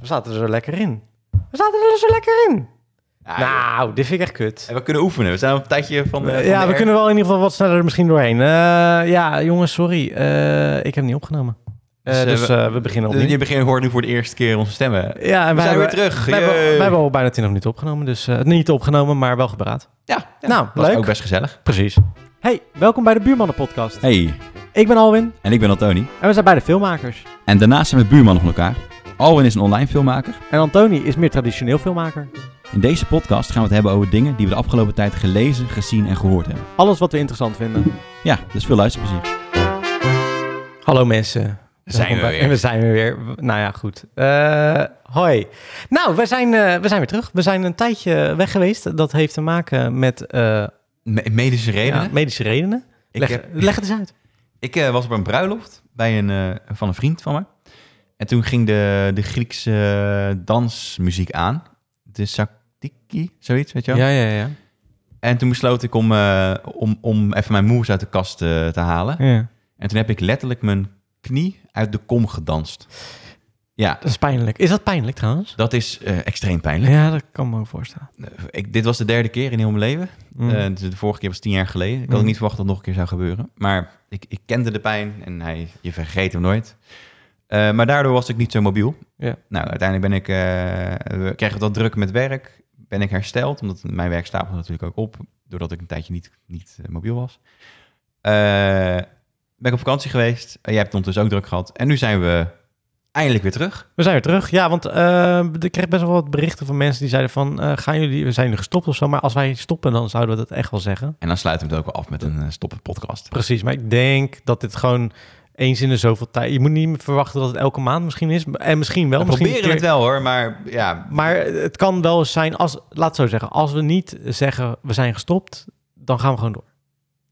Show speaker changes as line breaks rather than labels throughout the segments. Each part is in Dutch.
we zaten er zo lekker in. We zaten er zo lekker in.
Ja,
nou, dit vind ik echt kut.
En we kunnen oefenen. We zijn op een tijdje van de. van
ja,
de
we
R-
kunnen wel in ieder geval wat sneller er misschien doorheen. Eh, ja, jongens, sorry. Eh, ik heb niet opgenomen. Eh,
Dus,
dus
eh, we-
eh, we beginnen opnieuw.
Je begint hoort nu voor de eerste keer onze stemmen. We
Ja, en wij
zijn
hebben,
weer terug.
wij hebben,
Jee.
wij hebben al bijna 20 minuten opgenomen. Dus eh, niet opgenomen, maar wel gepraat.
Ja, ja,
nou,
was
leuk.
ook best gezellig.
Precies. Hey, welkom bij de Buurmannen Podcast.
Hey,
Ik ben Alwin
en ik ben Antoni.
en we zijn beide filmmakers.
En daarnaast zijn we buurmannen van elkaar. Alwin is een online filmmaker.
En Antoni is meer traditioneel filmmaker.
In deze podcast gaan we het hebben over dingen die we de afgelopen tijd gelezen, gezien en gehoord hebben.
Alles wat we interessant vinden.
Ja, dus veel luisterplezier.
Hallo mensen.
Zijn we
Welkom bij-
weer.
En we zijn er weer. W- Nou ja, goed. Eh, hoi. Nou, we zijn, eh, we zijn weer terug. We zijn een tijdje weg geweest. Dat heeft te maken met eh,
Me- medische redenen.
ja, medische redenen.
ik
Leg,
heb-
leg het eens uit.
ik eh, was op een bruiloft bij een, eh, van een vriend van me. En toen ging de, de Griekse eh, dansmuziek aan. De Saktiki, zoiets, weet je wel?
ja, ja.
En toen besloot ik om, eh, om, om even mijn moves uit de kast eh, te halen.
ja.
En toen heb ik letterlijk mijn knie uit de kom gedanst. Ja,
Dat is pijnlijk. Is dat pijnlijk trouwens?
dat is eh, extreem pijnlijk.
Ja, dat kan me ook voorstellen.
Ik, dit was de derde keer in heel mijn leven.
Mm.
Eh, dus de vorige keer was tien jaar geleden. Ik had
Mm.
ook niet verwacht dat het nog een keer zou gebeuren. Maar ik, ik kende de pijn en hij, je vergeet hem nooit. Eh, maar daardoor was ik niet zo mobiel.
Ja.
Nou, uiteindelijk ben ik, eh, we kregen het wat druk met werk. Ben ik hersteld, omdat mijn werk stapelde natuurlijk ook op. Doordat ik een tijdje niet, niet eh, mobiel was. Eh, ben ik op vakantie geweest. Eh, jij hebt het ondertussen ook druk gehad. En nu zijn we eindelijk weer terug.
We zijn weer terug. Ja, want eh ik kreeg best wel wat berichten van mensen die zeiden van... eh, gaan jullie, we zijn nu gestopt of zo, maar als wij stoppen dan zouden we dat echt wel zeggen.
En dan sluiten we het ook wel af met een eh, stoppen podcast.
Precies, maar ik denk dat dit gewoon eens in de zoveel tijd... Je moet niet verwachten dat het elke maand misschien is. En misschien wel.
We
misschien
proberen
een
het
keer-
wel hoor, maar ja,
Maar het kan wel eens zijn, als, laat het zo zeggen... als we niet zeggen we zijn gestopt, dan gaan we gewoon door.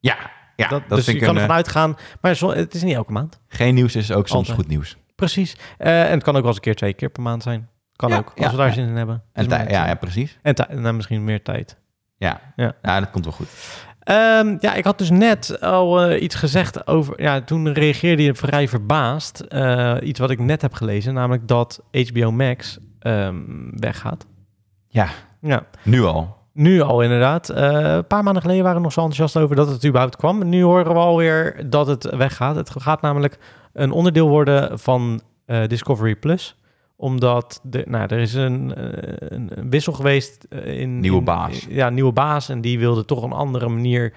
ja, ja dat,
dus
vind
je
ik
kan
een, eh,
ervan uitgaan, maar zo- het is niet elke maand.
Geen nieuws is ook soms
Altijd.
goed nieuws.
Precies. Eh, en het kan ook wel eens een keer twee keer per maand zijn. Kan
Ja,
ook, als
ja,
we daar
ja.
zin in hebben.
En
Dus maar
tij-
het-
ja, ja, precies.
En tij- nou, misschien meer tijd.
Ja.
Ja.
Ja. dat komt wel goed.
Ehm, ja, ik had dus net al eh, iets gezegd over. Ja, toen reageerde je vrij verbaasd. eh, iets wat ik net heb gelezen, namelijk dat HBO Max ehm, weggaat.
Ja.
Ja,
Nu al.
nu al inderdaad. Eh, een paar maanden geleden waren we nog zo enthousiast over dat het überhaupt kwam. Nu horen we alweer dat het weggaat. Het gaat namelijk een onderdeel worden van eh, Discovery Plus omdat de, nou, er is een, eh, een wissel geweest eh, in...
Nieuwe
in-
baas.
ja, nieuwe baas. En die wilde toch op een andere manier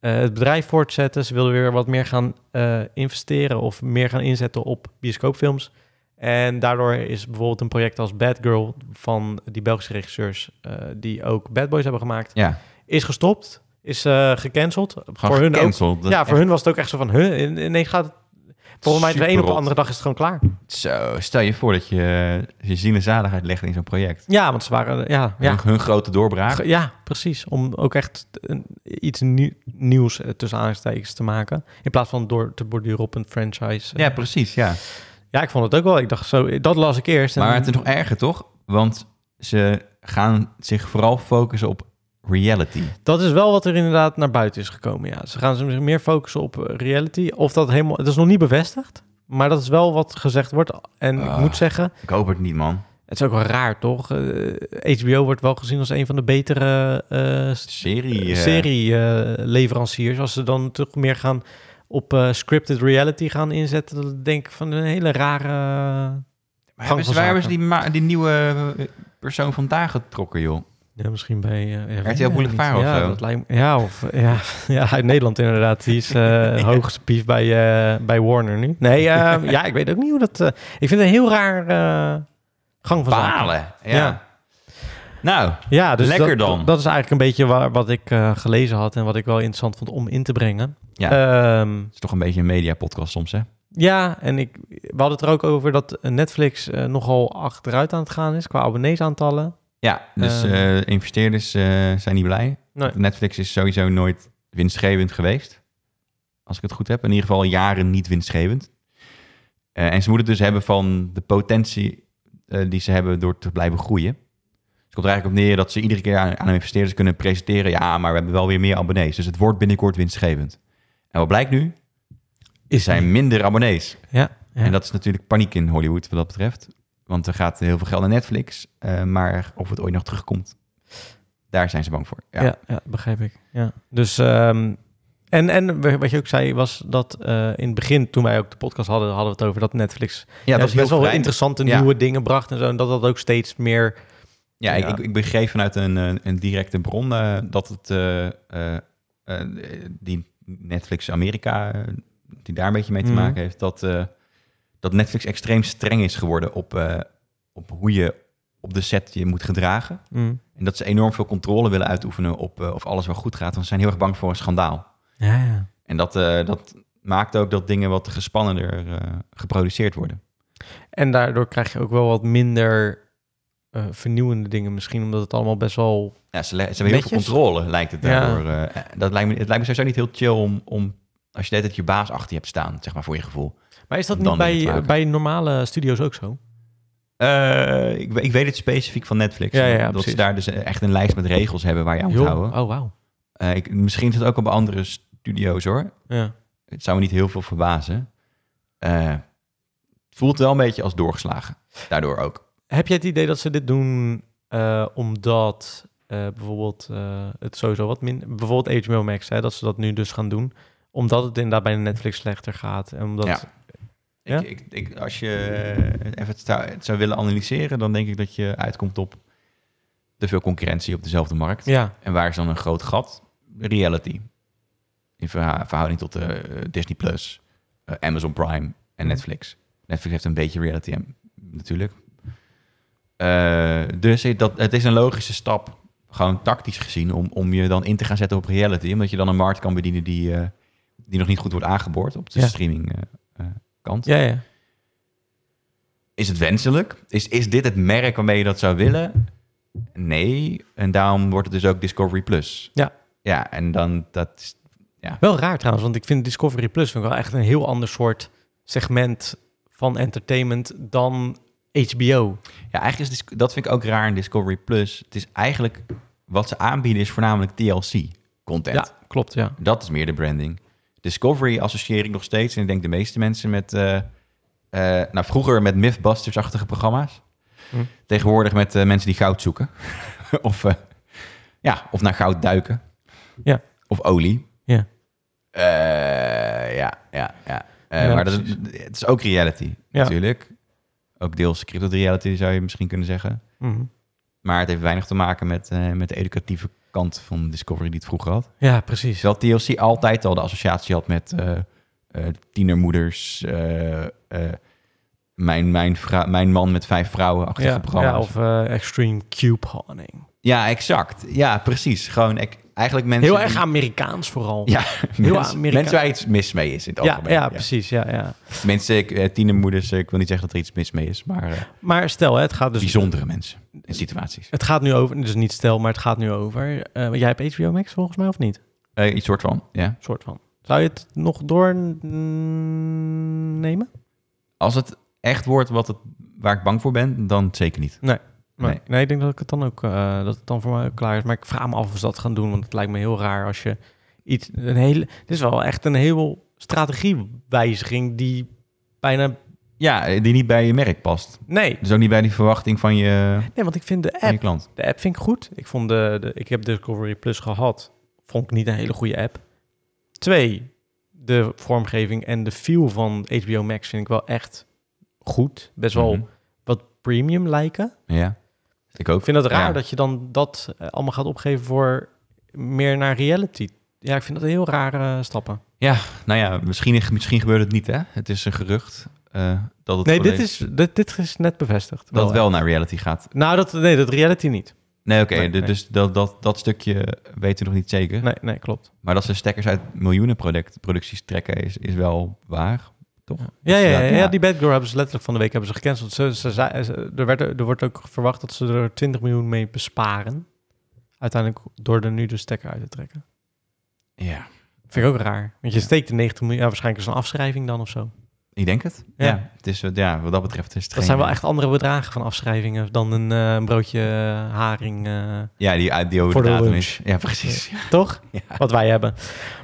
eh, het bedrijf voortzetten. Ze wilden weer wat meer gaan eh, investeren of meer gaan inzetten op bioscoopfilms. En daardoor is bijvoorbeeld een project als Bad Girl van die Belgische regisseurs... eh, die ook Bad Boys hebben gemaakt,
Ja.
is gestopt. Is eh, gecanceld.
Gewoon
voor hun ook.
gecanceld. Dat
Ja,
is
voor hun was het ook echt zo van... Huh, in- ineens gaat het... Volgens mij de ene op de
Superrot.
andere dag is het gewoon klaar.
echt Zo, stel je voor dat je eh, je ziel en zaligheid legt in zo'n project.
Ja, want ze waren... Ja, ja.
Hun, hun grote doorbraak.
Ge- Ja, precies. Om ook echt een- iets nieuw- nieuws eh, tussen aanstekens te maken. In plaats van door te borduren op een franchise.
Ja, precies, ja.
ja, ik vond het ook wel. Ik dacht zo, dat las ik eerst. en-
Maar het is nog erger, toch? Want ze gaan zich vooral focussen op reality.
Dat is wel wat er inderdaad naar buiten is gekomen. Ja. Ze gaan zich meer focussen op eh, reality. Of dat helemaal. Het is nog niet bevestigd. Maar dat is wel wat gezegd wordt. En ik
Ah.
moet zeggen,
Ik hoop het niet, man.
het is ook wel raar toch? Eh, HBO wordt wel gezien als een van de betere eh,
Serie. eh,
serie-leveranciers. als ze dan toch meer gaan op eh, scripted reality gaan inzetten, dan denk ik van een hele rare.
Maar hebben ze,
van
waar hebben ze die, ma- die nieuwe eh, persoon vandaan getrokken, joh?
Ja, misschien bij uh,
RTL Boulevard of
ja,
zo.
dat lijkt me- ja, of ja, ja, uit Nederland inderdaad. Die is eh hoogste pief bij, eh, bij Warner nu. Nee, eh, ja, ik weet ook niet hoe dat. eh, ik vind het een heel raar eh, gang van zaken.
Palen. Ja.
Ja.
Nou,
Ja, dus
Lekker
dat,
dan.
Dat is eigenlijk een beetje waar, wat ik eh, gelezen had en wat ik wel interessant vond om in te brengen.
Ja.
Ehm,
het is toch een beetje een media-podcast soms, hè?
Ja, en ik, we hadden het er ook over dat Netflix eh, nogal achteruit aan het gaan is qua abonneesaantallen.
Ja, dus
Ehm.
eh, investeerders eh, zijn niet blij.
Nee.
Netflix is sowieso nooit winstgevend geweest. Als ik het goed heb. In ieder geval jaren niet winstgevend. Eh, en ze moeten het dus hebben van de potentie eh, die ze hebben door te blijven groeien. Dus het komt er eigenlijk op neer dat ze iedere keer aan, aan hun investeerders kunnen presenteren. Ja, maar we hebben wel weer meer abonnees. Dus het wordt binnenkort winstgevend. En wat blijkt nu? Er
Is
zijn minder abonnees.
Ja, ja.
En dat is natuurlijk paniek in Hollywood wat dat betreft. Want er gaat heel veel geld naar Netflix. eh, maar of het ooit nog terugkomt, daar zijn ze bang voor. Ja.
Ja, ja, begrijp ik. Ja. Dus, ehm, en, en we- wat je ook zei was dat eh, in het begin, toen wij ook de podcast hadden, hadden we het over dat Netflix
Ja,
ja, best wel
vrij.
interessante
Ja.
nieuwe dingen bracht en zo. En dat dat ook steeds meer...
Ja, ik-
Ja.
Ik, ik begreep vanuit een, eh, een directe bron eh, dat het eh, eh, eh, die Netflix Amerika, eh, die daar een beetje mee te
Mhm.
maken heeft, dat, eh, dat Netflix extreem streng is geworden op, eh, op hoe je op de set je moet gedragen.
Mm.
En dat ze enorm veel controle willen uitoefenen op eh, of alles wel goed gaat. Want ze zijn heel erg bang voor een schandaal.
Ja, ja.
En dat, eh, dat maakt ook dat dingen wat gespannender eh, geproduceerd worden.
En daardoor krijg je ook wel wat minder eh, vernieuwende dingen misschien, omdat het allemaal best wel...
Ja, ze, le- ze hebben heel veel
Netjes.
controle, lijkt het
Ja.
daardoor. eh, dat lijkt me, het lijkt me sowieso niet heel chill om, om als je de hele tijd je baas achter je hebt staan, zeg maar, voor je gevoel.
Maar is dat
Dan
niet
wil je het
bij,
maken.
bij normale studio's ook zo?
Eh, ik, we- ik weet het specifiek van Netflix.
Ja, ja,
dat
precies.
ze daar dus echt een lijst met regels hebben waar je aan moet
Joh,
houden.
Oh, wauw.
Eh, ik, misschien zit het ook al bij andere studio's hoor.
Ja.
Het zou me niet heel veel verbazen. Eh, het voelt wel een beetje als doorgeslagen. Daardoor ook.
Heb jij het idee dat ze dit doen eh, omdat eh, bijvoorbeeld eh, het sowieso wat minder... Bijvoorbeeld HBO Max, hè, dat ze dat nu dus gaan doen. Omdat het inderdaad bij Netflix slechter gaat. En omdat...
Ja.
Ja?
Ik, ik, ik- als je eh, even het zou, het zou willen analyseren, dan denk ik dat je uitkomt op te veel concurrentie op dezelfde markt.
Ja,
En waar is dan een groot gat? Reality. In verha- verhouding tot eh, Disney Plus, eh, Amazon Prime en Netflix. Netflix heeft een beetje reality en- natuurlijk. Eh, dus het- dat, het is een logische stap, gewoon tactisch gezien, om, om je dan in te gaan zetten op reality. Omdat je dan een markt kan bedienen die, eh, die nog niet goed wordt aangeboord op de
Ja.
streaming eh, eh, kant.
ja, ja.
Is het wenselijk? Is, is dit het merk waarmee je dat zou willen? Nee. En daarom wordt het dus ook Discovery Plus.
Ja.
Ja, en dan dat... is-
Wel raar trouwens, want ik vind Discovery Plus vind ik wel echt een heel ander soort segment van entertainment dan HBO.
Ja, eigenlijk is Dis- dat vind ik ook raar in Discovery Plus. Het is eigenlijk... Wat ze aanbieden is voornamelijk TLC-content.
Ja, klopt, ja.
Dat is meer de branding. Discovery associeer ik nog steeds... en ik denk de meeste mensen met... eh, eh, nou, vroeger met Mythbusters-achtige programma's.
Hm.
Tegenwoordig met eh, mensen die goud zoeken. of, eh, ja, of naar goud duiken.
Ja.
Of olie.
Ja,
Eh, ja, ja, ja. Eh,
Ja,
maar dat is,
precies.
het is ook reality,
Ja.
natuurlijk. Ook deels crypto reality zou je misschien kunnen zeggen.
Mhm.
Maar het heeft weinig te maken met, eh, met de educatieve kant van Discovery die het vroeger had.
ja precies.
Terwijl TLC altijd al de associatie had met eh, eh, tienermoeders, eh, eh, mijn, mijn, vrou- mijn man met vijf vrouwen achter
Ja,
programma's.
ja, of eh, Extreme Cube Honing.
Ja, exact. Ja, precies. Gewoon ik- eigenlijk mensen...
Heel
die-
erg Amerikaans vooral.
Ja,
heel
mensen,
Amerika-
mensen waar iets mis mee is in het
ja,
algemeen.
ja, precies. Ja, ja.
Mensen, ik, eh, tienermoeders, eh, ik wil niet zeggen dat er iets mis mee is, maar eh,
Maar stel, hè, het gaat dus...
bijzondere mensen en situaties.
Het gaat nu over, dus niet stel, maar het gaat nu over... eh, want jij hebt HBO Max volgens mij, of niet?
Eh, iets soort van, ja.
soort van. Zou je het nog doornemen?
Als het echt wordt wat het, waar ik bang voor ben, dan zeker niet.
Nee.
Nee.
Nee. ik denk dat ik het dan ook eh, dat het dan voor mij ook klaar is. Maar ik vraag me af of ze dat gaan doen, want het lijkt me heel raar als je iets een hele. Dit is wel echt een heel strategiewijziging die bijna
Ja, eh, die niet bij je merk past.
nee,
Dus ook niet bij die verwachting van je,
nee, want ik vind de
van je
app,
klant.
de app vind ik goed. Ik vond de, de ik heb Discovery Plus gehad, vond ik niet een hele goede app. Twee, de vormgeving en de feel van HBO Max vind ik wel echt goed, best wel
Mhm.
wat premium lijken.
Ja, ik ook.
Ik vind het raar
Ja.
dat je dan dat eh, allemaal gaat opgeven voor meer naar reality. Ja, ik vind dat heel rare stappen.
Nou ja, misschien, misschien gebeurt het niet, hè? Het is een gerucht eh, dat het
Nee, dit
volledig-
is, dit, dit is net bevestigd.
dat het wel naar reality gaat.
hè. Nou, dat, nee, dat reality niet.
Nee, oké,
Nee,
de-
nee.
dus dat, dat, dat stukje weten we nog niet zeker.
Nee, nee klopt.
Maar dat ze stekkers uit miljoenen product, producties trekken is, is wel waar.
Ja, ja, ja,
Ja.
ja, die Bad Girl hebben ze letterlijk van de week hebben ze gecanceld. Ze, ze, zei- ze- er, werd, er wordt ook verwacht dat ze er 20 miljoen mee besparen. Uiteindelijk door er nu de stekker uit te trekken.
Ja.
Vind ik ook raar. Want je steekt de 90 miljoen, ja, waarschijnlijk is een afschrijving dan of zo.
Ik denk het. Ja.
Ja.
het is, wat- ja, wat dat betreft is het
Dat
geen-
zijn wel echt andere bedragen van afschrijvingen dan een eh, een broodje eh, haring. eh,
Ja, die uit die over
Voor
de
de
datum
lunch.
is. Ja, precies. Ja.
Toch?
Ja.
Wat wij hebben.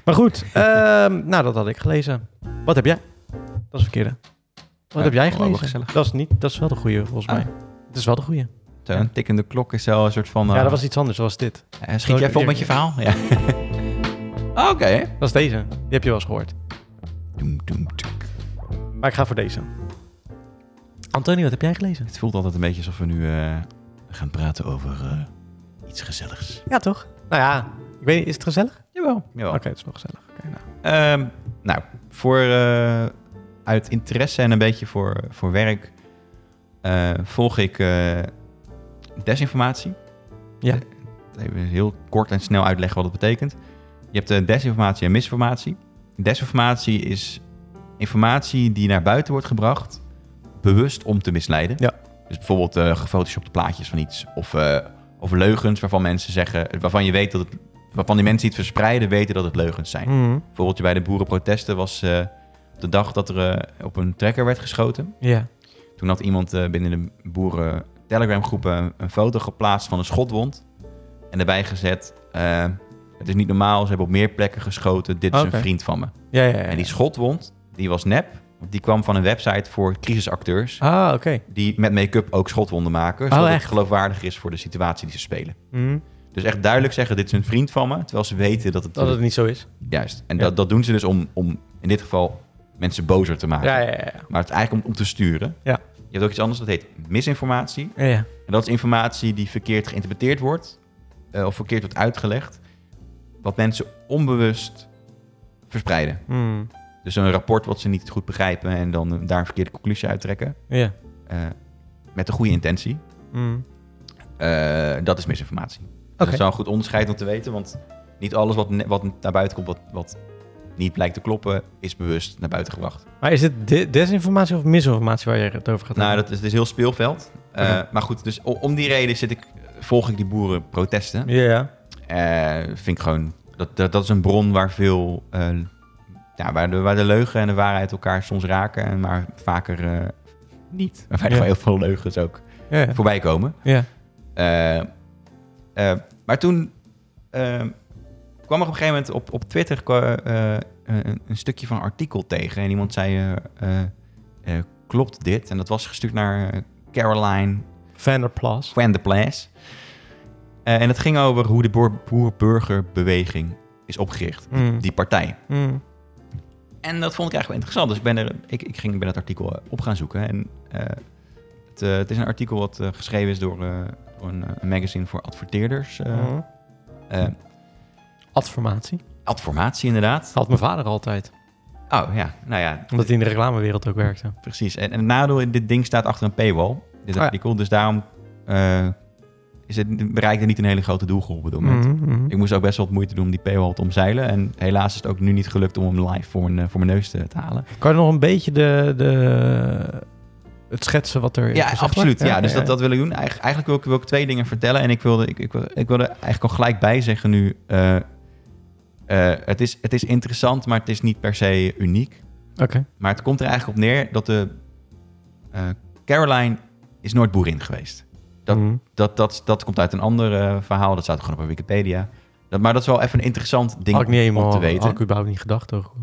Maar goed, ehm, nou dat had ik gelezen. Wat heb jij? Dat is het verkeerde. Wat heb jij
Oh, wel
gelezen?
gezellig.
dat, is niet, dat is wel de goede, volgens
Ah.
mij. Dat is wel de goede.
Zo, een tikkende klok is wel een soort van...
Ja,
eh,
dat was iets anders, dat was dit.
eh, schiet jij vol met je verhaal? Ja. Oké.
Dat is deze. Die heb je wel eens gehoord.
Doem, doem, doem.
Maar ik ga voor deze. Antonio, wat heb jij gelezen?
Het voelt altijd een beetje alsof we nu eh, gaan praten over eh, iets gezelligs.
Ja, toch? Nou ja, ik weet niet, is het gezellig?
Jawel. Jawel.
Oké, het is wel gezellig. Oké, nou.
Ehm, nou, voor, eh, uit interesse en een beetje voor, voor werk eh, volg ik eh, desinformatie.
Ja.
Even heel kort en snel uitleggen wat het betekent. Je hebt eh, desinformatie en misinformatie. Desinformatie is informatie die naar buiten wordt gebracht, bewust om te misleiden.
Ja.
Dus bijvoorbeeld eh gefotoshopte plaatjes van iets. Of, eh, of leugens waarvan mensen zeggen, waarvan je weet dat het, waarvan die mensen die het verspreiden weten dat het leugens zijn.
Mhm.
Bijvoorbeeld bij de boerenprotesten was eh, de dag dat er eh, op een trekker werd geschoten.
Ja.
Toen had iemand eh, binnen de boeren Telegram groepen een, een foto geplaatst van een schotwond. En daarbij gezet, eh, het is niet normaal, ze hebben op meer plekken geschoten. Dit is
Oké.
een vriend van me.
Ja, ja, ja.
En die schotwond, die was nep. want Die kwam van een website voor crisisacteurs.
Ah, oké.
Die met make-up ook schotwonden maken. Zodat het
Oh, echt?
geloofwaardig is voor de situatie die ze spelen.
Mhm.
Dus echt duidelijk zeggen, dit is een vriend van me. Terwijl ze weten dat het...
Dat het niet zo is.
Juist. En
Ja.
dat, dat doen ze dus om, om in dit geval mensen bozer te maken.
Ja, ja, ja.
Maar het is eigenlijk om, om te sturen.
Ja.
Je hebt ook iets anders dat heet misinformatie.
ja, ja.
En dat is informatie die verkeerd geïnterpreteerd wordt eh, of verkeerd wordt uitgelegd. Wat mensen onbewust verspreiden.
Mhm.
Dus een rapport wat ze niet goed begrijpen en dan eh, daar een verkeerde conclusie uit trekken.
Ja.
eh, met de goede intentie.
Mhm.
Eh, dat is misinformatie. Dus
Oké.
Dat is wel een goed onderscheid om te weten, want niet alles wat, ne- wat naar buiten komt, wat, wat niet blijkt te kloppen, is bewust naar buiten gebracht.
Maar is het de- desinformatie of misinformatie waar je het over gaat
Nou,
hebben?
dat is, het is heel speelveld. Eh,
Oké.
Maar goed, dus o- om die reden zit ik, volg ik die boerenprotesten.
Ja, ja.
Eh, vind ik gewoon, dat, dat, dat is een bron waar veel, eh, ja, waar, de, waar de leugen en de waarheid elkaar soms raken, en maar vaker eh, niet. Waarbij
Ja.
er gewoon heel veel leugens ook
Ja, ja.
voorbij komen.
ja.
Eh, eh, maar toen eh, kwam er op een gegeven moment op, op Twitter eh, eh, een, een stukje van een artikel tegen. En iemand zei, eh, eh, eh, klopt dit? En dat was gestuurd naar eh, Caroline
Vanderplas.
Van der Plas. Eh, en het ging over hoe de boer- boer-burgerbeweging is opgericht.
Mhm.
Die partij.
Mhm.
En dat vond ik eigenlijk wel interessant. Dus ik ben, er, ik, ik ging, ben het artikel eh, op gaan zoeken. En eh, het, eh, het is een artikel wat eh, geschreven is door, eh, door een, eh, een magazine voor adverteerders. eh
Mhm.
eh,
Adformatie.
adformatie inderdaad.
Had mijn vader altijd.
Oh ja, nou ja,
Omdat hij in de reclamewereld ook werkte.
precies. En, en het nadeel, dit ding staat achter een paywall, dit
Oh ja.
artikel. Dus daarom eh, is het, bereikt het niet een hele grote doelgroep op het moment.
Mhm, mhm.
Ik moest ook best wel wat moeite doen om die paywall te omzeilen. En helaas is het ook nu niet gelukt om hem live voor mijn, eh, voor mijn neus te, te halen.
Kan je nog een beetje de, de, het schetsen wat er is?
Ja,
gezegd
absoluut. Ja,
wordt?
dus Dat, dat wil ik doen. Eigen- eigenlijk wil ik, wil ik twee dingen vertellen. En ik wilde, ik, ik, wil- ik wilde eigenlijk al gelijk bij zeggen nu... eh, eh, het, is, het is interessant, maar het is niet per se uniek.
Oké.
Maar het komt er eigenlijk op neer dat de... eh, Caroline is nooit boerin geweest.
Mhm.
Dat, dat, dat komt uit een ander eh, verhaal. Dat staat gewoon op Wikipedia. Dat, maar dat is wel even een interessant ding
Had ik niet
om
helemaal,
te weten.
had ik überhaupt niet gedacht. Ook.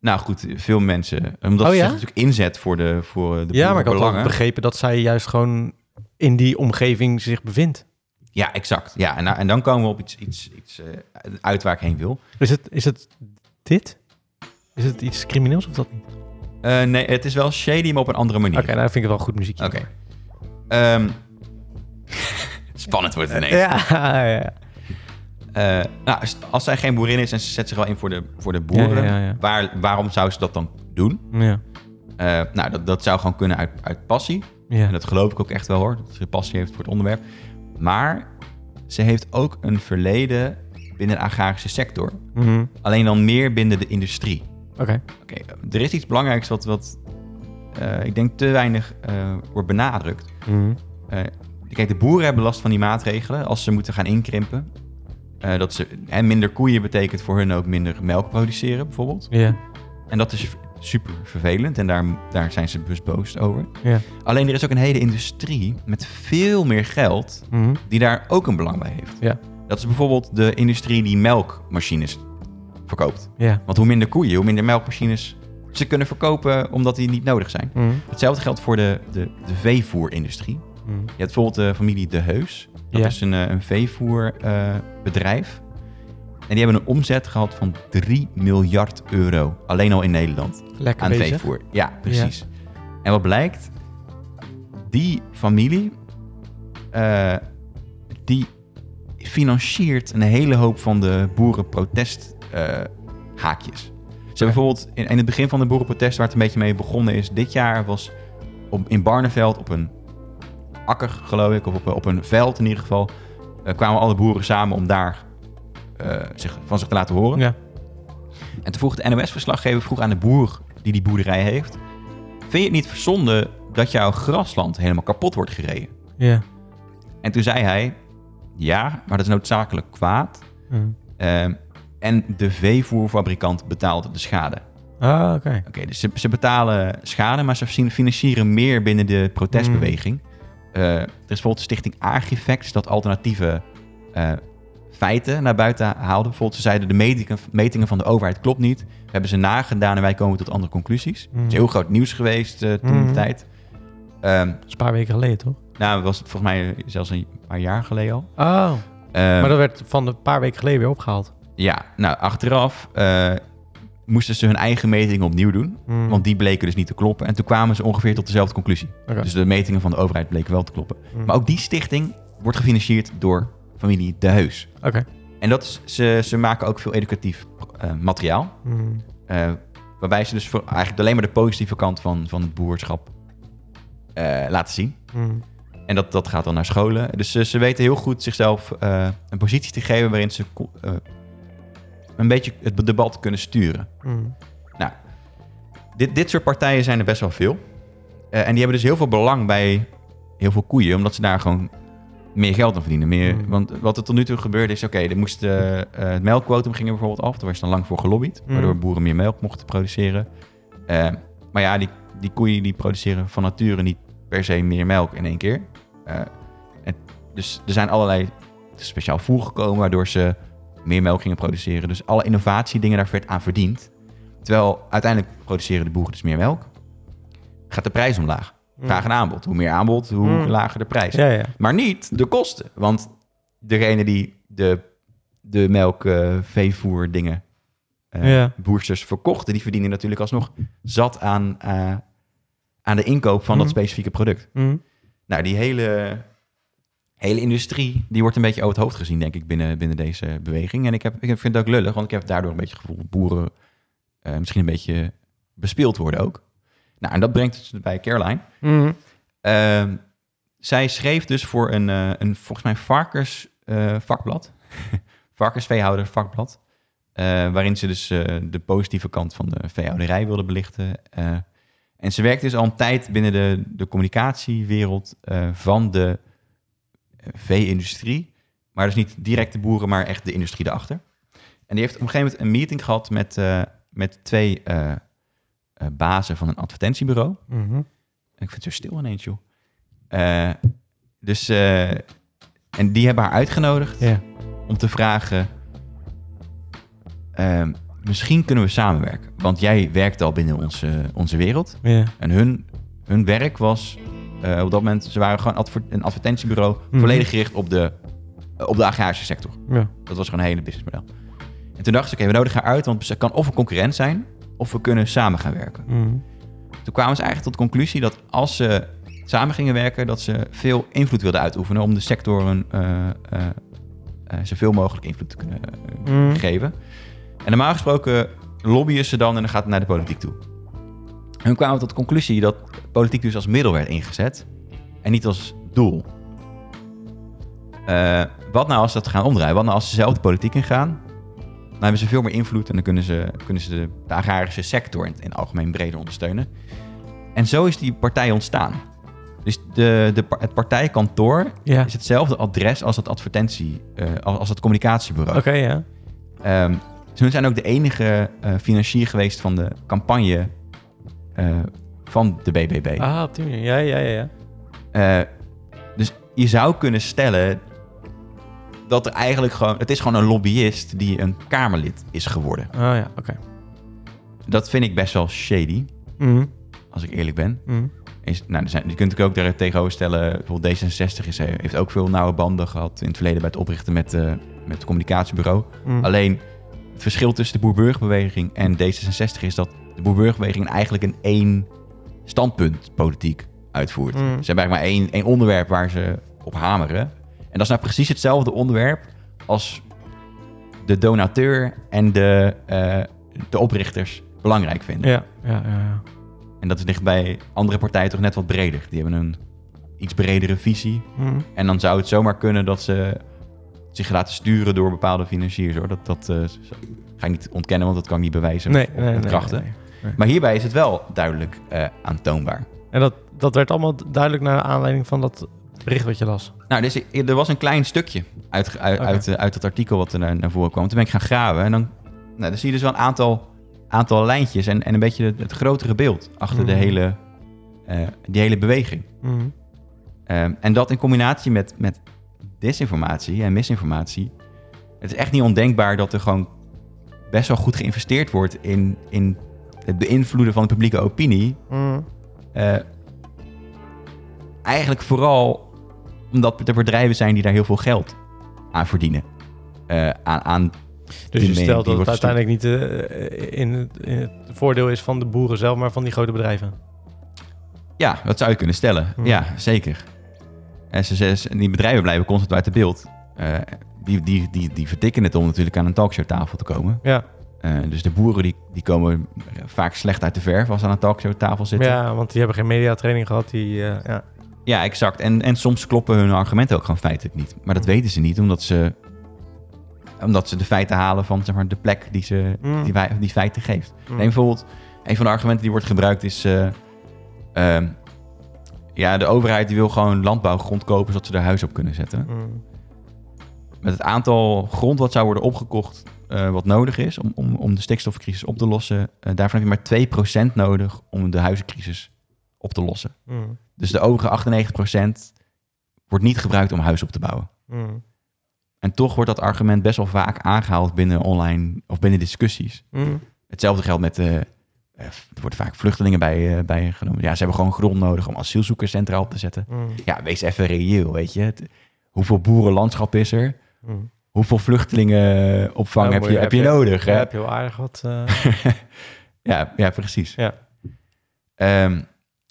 Nou goed, veel mensen. eh, Omdat
Oh
ze
ja?
zich natuurlijk inzet voor de, voor de
Ja, maar ik had
belangen.
ook begrepen dat zij juist gewoon in die omgeving zich bevindt.
Ja, exact. Ja, en, nou- en dan komen we op iets, iets, iets eh, uit waar ik heen wil.
Is het, is het dit? Is het iets crimineels of dat niet? Oké,
Eh, nee, het is wel shady, maar op een andere manier.
nou vind ik het wel goed muziekje.
Oké. Ehm, spannend wordt het ineens.
Ja, ja, ja.
Eh, nou, als- als zij geen boerin is en ze zet zich wel in voor de, voor de boeren...
Ja, ja, ja.
Waar, waarom zou ze dat dan doen?
ja.
Eh, nou, dat, dat zou gewoon kunnen uit, uit passie.
ja.
En dat geloof ik ook echt wel hoor, dat ze passie heeft voor het onderwerp. Maar ze heeft ook een verleden binnen de agrarische sector.
Mhm.
Alleen dan meer binnen de industrie.
Oké.
Oké, er is iets belangrijks wat, wat eh, ik denk te weinig eh, wordt benadrukt.
Mhm.
Eh, kijk, de boeren hebben last van die maatregelen als ze moeten gaan inkrimpen. Eh, dat ze hè, minder koeien betekent voor hun ook minder melk produceren bijvoorbeeld.
Ja.
En dat is super vervelend en daar, daar zijn ze dus boos over.
Ja.
Alleen er is ook een hele industrie met veel meer geld
Mhm.
die daar ook een belang bij heeft.
Ja.
Dat is bijvoorbeeld de industrie die melkmachines verkoopt.
Ja.
Want hoe minder koeien, hoe minder melkmachines ze kunnen verkopen omdat die niet nodig zijn.
Mhm.
Hetzelfde geldt voor de, de, de veevoerindustrie.
Mhm.
Je hebt bijvoorbeeld de familie De Heus. Dat
Ja.
is een, eh, een veevoerbedrijf. en die hebben een omzet gehad van 3 miljard euro. Alleen al in Nederland.
Lekker
aan
bezig.
veevoer. Ja, precies. En wat blijkt? Die familie... eh, die financiert een hele hoop van de boerenprotesthaakjes. haakjes. Ze hebben bijvoorbeeld in, in het begin van de boerenprotest, waar het een beetje mee begonnen is, dit jaar was op, in Barneveld op een akker, geloof ik, of op, op een veld in ieder geval, eh, kwamen alle boeren samen om daar eh, zich, van zich te laten horen.
Ja.
En toen vroeg de NOS-verslaggever vroeg aan de boer die die boerderij heeft, vind je het niet verzonde dat jouw grasland helemaal kapot wordt gereden?
Ja.
En toen zei hij, ja, maar dat is noodzakelijk kwaad.
Mhm.
Ehm, en de veevoerfabrikant betaalt de schade.
Ah, oké.
Oké, dus ze, ze betalen schade, maar ze fin- financieren meer binnen de protestbeweging.
Mm.
Eh, er is bijvoorbeeld de stichting Agrifacts dat alternatieve eh, feiten naar buiten haalde. Bijvoorbeeld, ze zeiden de metingen, metingen van de overheid klopt niet. We hebben ze nagedaan en wij komen tot andere conclusies.
Mhm.
Het is heel groot nieuws geweest eh, toen
Mhm.
de tijd. Ehm,
Dat is een paar weken geleden, toch?
nou, dat was volgens mij zelfs een paar jaar geleden al.
Oh,
Ehm,
maar dat werd van een paar weken geleden weer opgehaald.
Ja, nou, achteraf eh, moesten ze hun eigen metingen opnieuw doen.
Mhm.
Want die bleken dus niet te kloppen. En toen kwamen ze ongeveer tot dezelfde conclusie.
Oké.
Dus de metingen van de overheid bleken wel te kloppen.
Mhm.
Maar ook die stichting wordt gefinancierd door familie De Heus.
Oké.
En dat is, ze, ze maken ook veel educatief eh, materiaal.
Mhm.
Eh, waarbij ze dus voor, eigenlijk alleen maar de positieve kant van, van het boerschap eh, laten zien.
Mhm.
En dat, dat gaat dan naar scholen. Dus ze, ze weten heel goed zichzelf eh, een positie te geven waarin ze co- eh, een beetje het debat kunnen sturen.
Mhm.
Dit, dit soort partijen zijn er best wel veel. Eh, en die hebben dus heel veel belang bij heel veel koeien, omdat ze daar gewoon meer geld aan verdienen. Meer,
Mm.
Want wat er tot nu toe gebeurde is, oké, er moest eh, eh, het melkquotum ging er bijvoorbeeld af. Daar was dan lang voor gelobbyd,
Mm.
waardoor boeren meer melk mochten produceren. Eh, maar ja, die, die koeien die produceren van nature niet per se meer melk in één keer. Eh, en dus er zijn allerlei speciaal voer gekomen, waardoor ze meer melk gingen produceren. Dus alle innovatiedingen daar werd aan verdiend. Terwijl uiteindelijk produceren de boeren dus meer melk. Gaat de prijs omlaag. Vraag en aanbod. Hoe meer aanbod, hoe
Mm.
lager de prijs.
Ja, ja.
Maar niet de kosten. Want degene die de, de melk, eh, veevoer, dingen, eh,
Ja.
boersters verkochten, die verdienen natuurlijk alsnog zat aan, eh, aan de inkoop van dat
Mhm.
specifieke product.
Mhm.
Nou, die hele, hele industrie, die wordt een beetje over het hoofd gezien, denk ik, binnen, binnen deze beweging. En ik, heb, ik vind het ook lullig, want ik heb daardoor een beetje het gevoel dat boeren eh, misschien een beetje bespeeld worden ook. Nou, en dat brengt ons bij Caroline.
Mhm.
Ehm, zij schreef dus voor een, eh, een volgens mij varkens eh, vakblad. Varkensveehouder vakblad. Eh, waarin ze dus eh, de positieve kant van de veehouderij wilde belichten. Eh, en ze werkt dus al een tijd binnen de, de communicatiewereld eh, van de eh, vee-industrie. Maar dus niet direct de boeren, maar echt de industrie erachter. En die heeft op een gegeven moment een meeting gehad met, eh, met twee eh, eh, bazen van een advertentiebureau.
Mhm.
Mm-hmm. Ik vind het zo stil ineens, joh. Eh, dus, eh, en die hebben haar uitgenodigd
Ja.
om te vragen... ehm, misschien kunnen we samenwerken. Want jij werkt al binnen onze, onze wereld.
Ja.
En hun, hun werk was... eh, op dat moment, ze waren gewoon adver- een advertentiebureau...
Mhm.
volledig gericht op de, eh, op de agrarische sector.
Ja.
Dat was gewoon een hele businessmodel. En toen dachten ze, oké, we nodigen haar uit... want ze kan of een concurrent zijn... of we kunnen samen gaan werken.
Mhm.
Toen kwamen ze eigenlijk tot de conclusie dat als ze samen gingen werken, dat ze veel invloed wilden uitoefenen om de sector een, eh, eh, eh, zoveel mogelijk invloed te kunnen eh,
Mhm.
geven. En normaal gesproken lobbyen ze dan en dan gaat het naar de politiek toe. Hun kwamen tot de conclusie dat politiek dus als middel werd ingezet en niet als doel. Eh, wat nou als ze dat gaan omdraaien? Wat nou als ze zelf de politiek ingaan? Dan hebben ze veel meer invloed en dan kunnen ze, kunnen ze de, de agrarische sector in, in het algemeen breder ondersteunen. En zo is die partij ontstaan. Dus de, de, par- het partijkantoor
Ja.
is hetzelfde adres als het advertentie, eh, als als het communicatiebureau.
Oké, ja.
Ehm, ze hun zijn ook de enige eh, financier geweest van de campagne eh, van de BBB.
Ah, op die manier. Ja, ja, ja. ja.
Eh, dus je zou kunnen stellen dat er eigenlijk gewoon... Het is gewoon een lobbyist die een Kamerlid is geworden.
Oh ja, oké.
Dat vind ik best wel shady,
Mhm,
als ik eerlijk ben.
mhm.
Is, nou, er zijn, je kunt natuurlijk ook daar tegenover stellen. Bijvoorbeeld D66 is, eh, heeft ook veel nauwe banden gehad in het verleden bij het oprichten met, eh, met het communicatiebureau.
Mm.
Alleen het verschil tussen de Boerburgbeweging en D66 is dat de Boerburgbeweging eigenlijk een één standpunt politiek uitvoert.
Mm.
Ze hebben eigenlijk maar één, één onderwerp waar ze op hameren. En dat is nou precies hetzelfde onderwerp als de donateur en de, eh, de oprichters belangrijk vinden.
Ja, ja, ja, ja.
En dat ligt bij andere partijen toch net wat breder. Die hebben een iets bredere visie.
Mhm.
En dan zou het zomaar kunnen dat ze zich laten sturen door bepaalde financiers. Hoor. Dat, dat eh, ga ik niet ontkennen, want dat kan ik niet bewijzen.
Nee,
of- of
nee, nee,
ontkrachten.
nee,
Maar hierbij is het wel duidelijk eh, aantoonbaar.
nee. En dat, dat werd allemaal duidelijk naar aanleiding van dat bericht wat je las.
Nou, dus, ik- er was een klein stukje uit, uit,
Oké.
uit, eh, uit dat artikel wat er naar, naar voren kwam. Toen ben ik gaan graven. En dan, nou, dan zie je dus wel een aantal, aantal lijntjes en, en een beetje het, het grotere beeld achter de
Mhm.
hele, eh, die hele beweging.
Mhm.
Ehm, en dat in combinatie met, met disinformatie en misinformatie. Het is echt niet ondenkbaar dat er gewoon best wel goed geïnvesteerd wordt in, in het beïnvloeden van de publieke opinie.
Mhm.
Eh, eigenlijk vooral omdat er bedrijven zijn die daar heel veel geld aan verdienen. Eh, aan, aan,
Dus
Die
je
mee-
stelt
die
dat het
wordt
uiteindelijk niet eh, in, het, in het voordeel is van de boeren zelf, maar van die grote bedrijven.
ja, dat zou je kunnen stellen.
Hm.
Ja, zeker. En ze, ze- die bedrijven blijven constant uit het beeld. Eh, die, die, die, die verdikken het om natuurlijk aan een talkshowtafel te komen.
Ja,
Eh, dus de boeren die, die komen eh, vaak slecht uit de verf als ze aan een talkshowtafel zitten. Ja,
ja want die hebben geen mediatraining gehad. Die, eh, ja.
exact. En, en soms kloppen hun argumenten ook gewoon feitelijk niet. Maar dat
Mm.
weten ze niet, omdat ze, omdat ze de feiten halen van zeg maar, de plek die, ze,
Mm.
die, wij- die feiten geeft.
Mm.
Neem bijvoorbeeld, een van de argumenten die wordt gebruikt is... eh, ehm, ja, de overheid die wil gewoon landbouwgrond kopen zodat ze er huis op kunnen zetten.
Mhm.
Met het aantal grond wat zou worden opgekocht, eh, wat nodig is om, om, om de stikstofcrisis op te lossen, eh, daarvan heb je maar 2% nodig om de huizencrisis op te lossen.
Mhm.
Dus de overige 98% wordt niet gebruikt om huis op te bouwen.
Mhm.
En toch wordt dat argument best wel vaak aangehaald binnen online of binnen discussies.
Mhm.
Hetzelfde geldt met. eh, eh, er worden vaak vluchtelingen bij, eh bij genomen. Ja, ze hebben gewoon grond nodig om asielzoekers centraal op te zetten.
Mhm.
Ja, wees even reëel, weet je. Het- hoeveel boerenlandschap is er?
Mhm.
Hoeveel vluchtelingenopvang
Ja,
heb,
moet
je, heb je nodig?
Ja,
hè?
heb je wel aardig wat. eh,
Ja, ja precies.
Ja.
Ehm,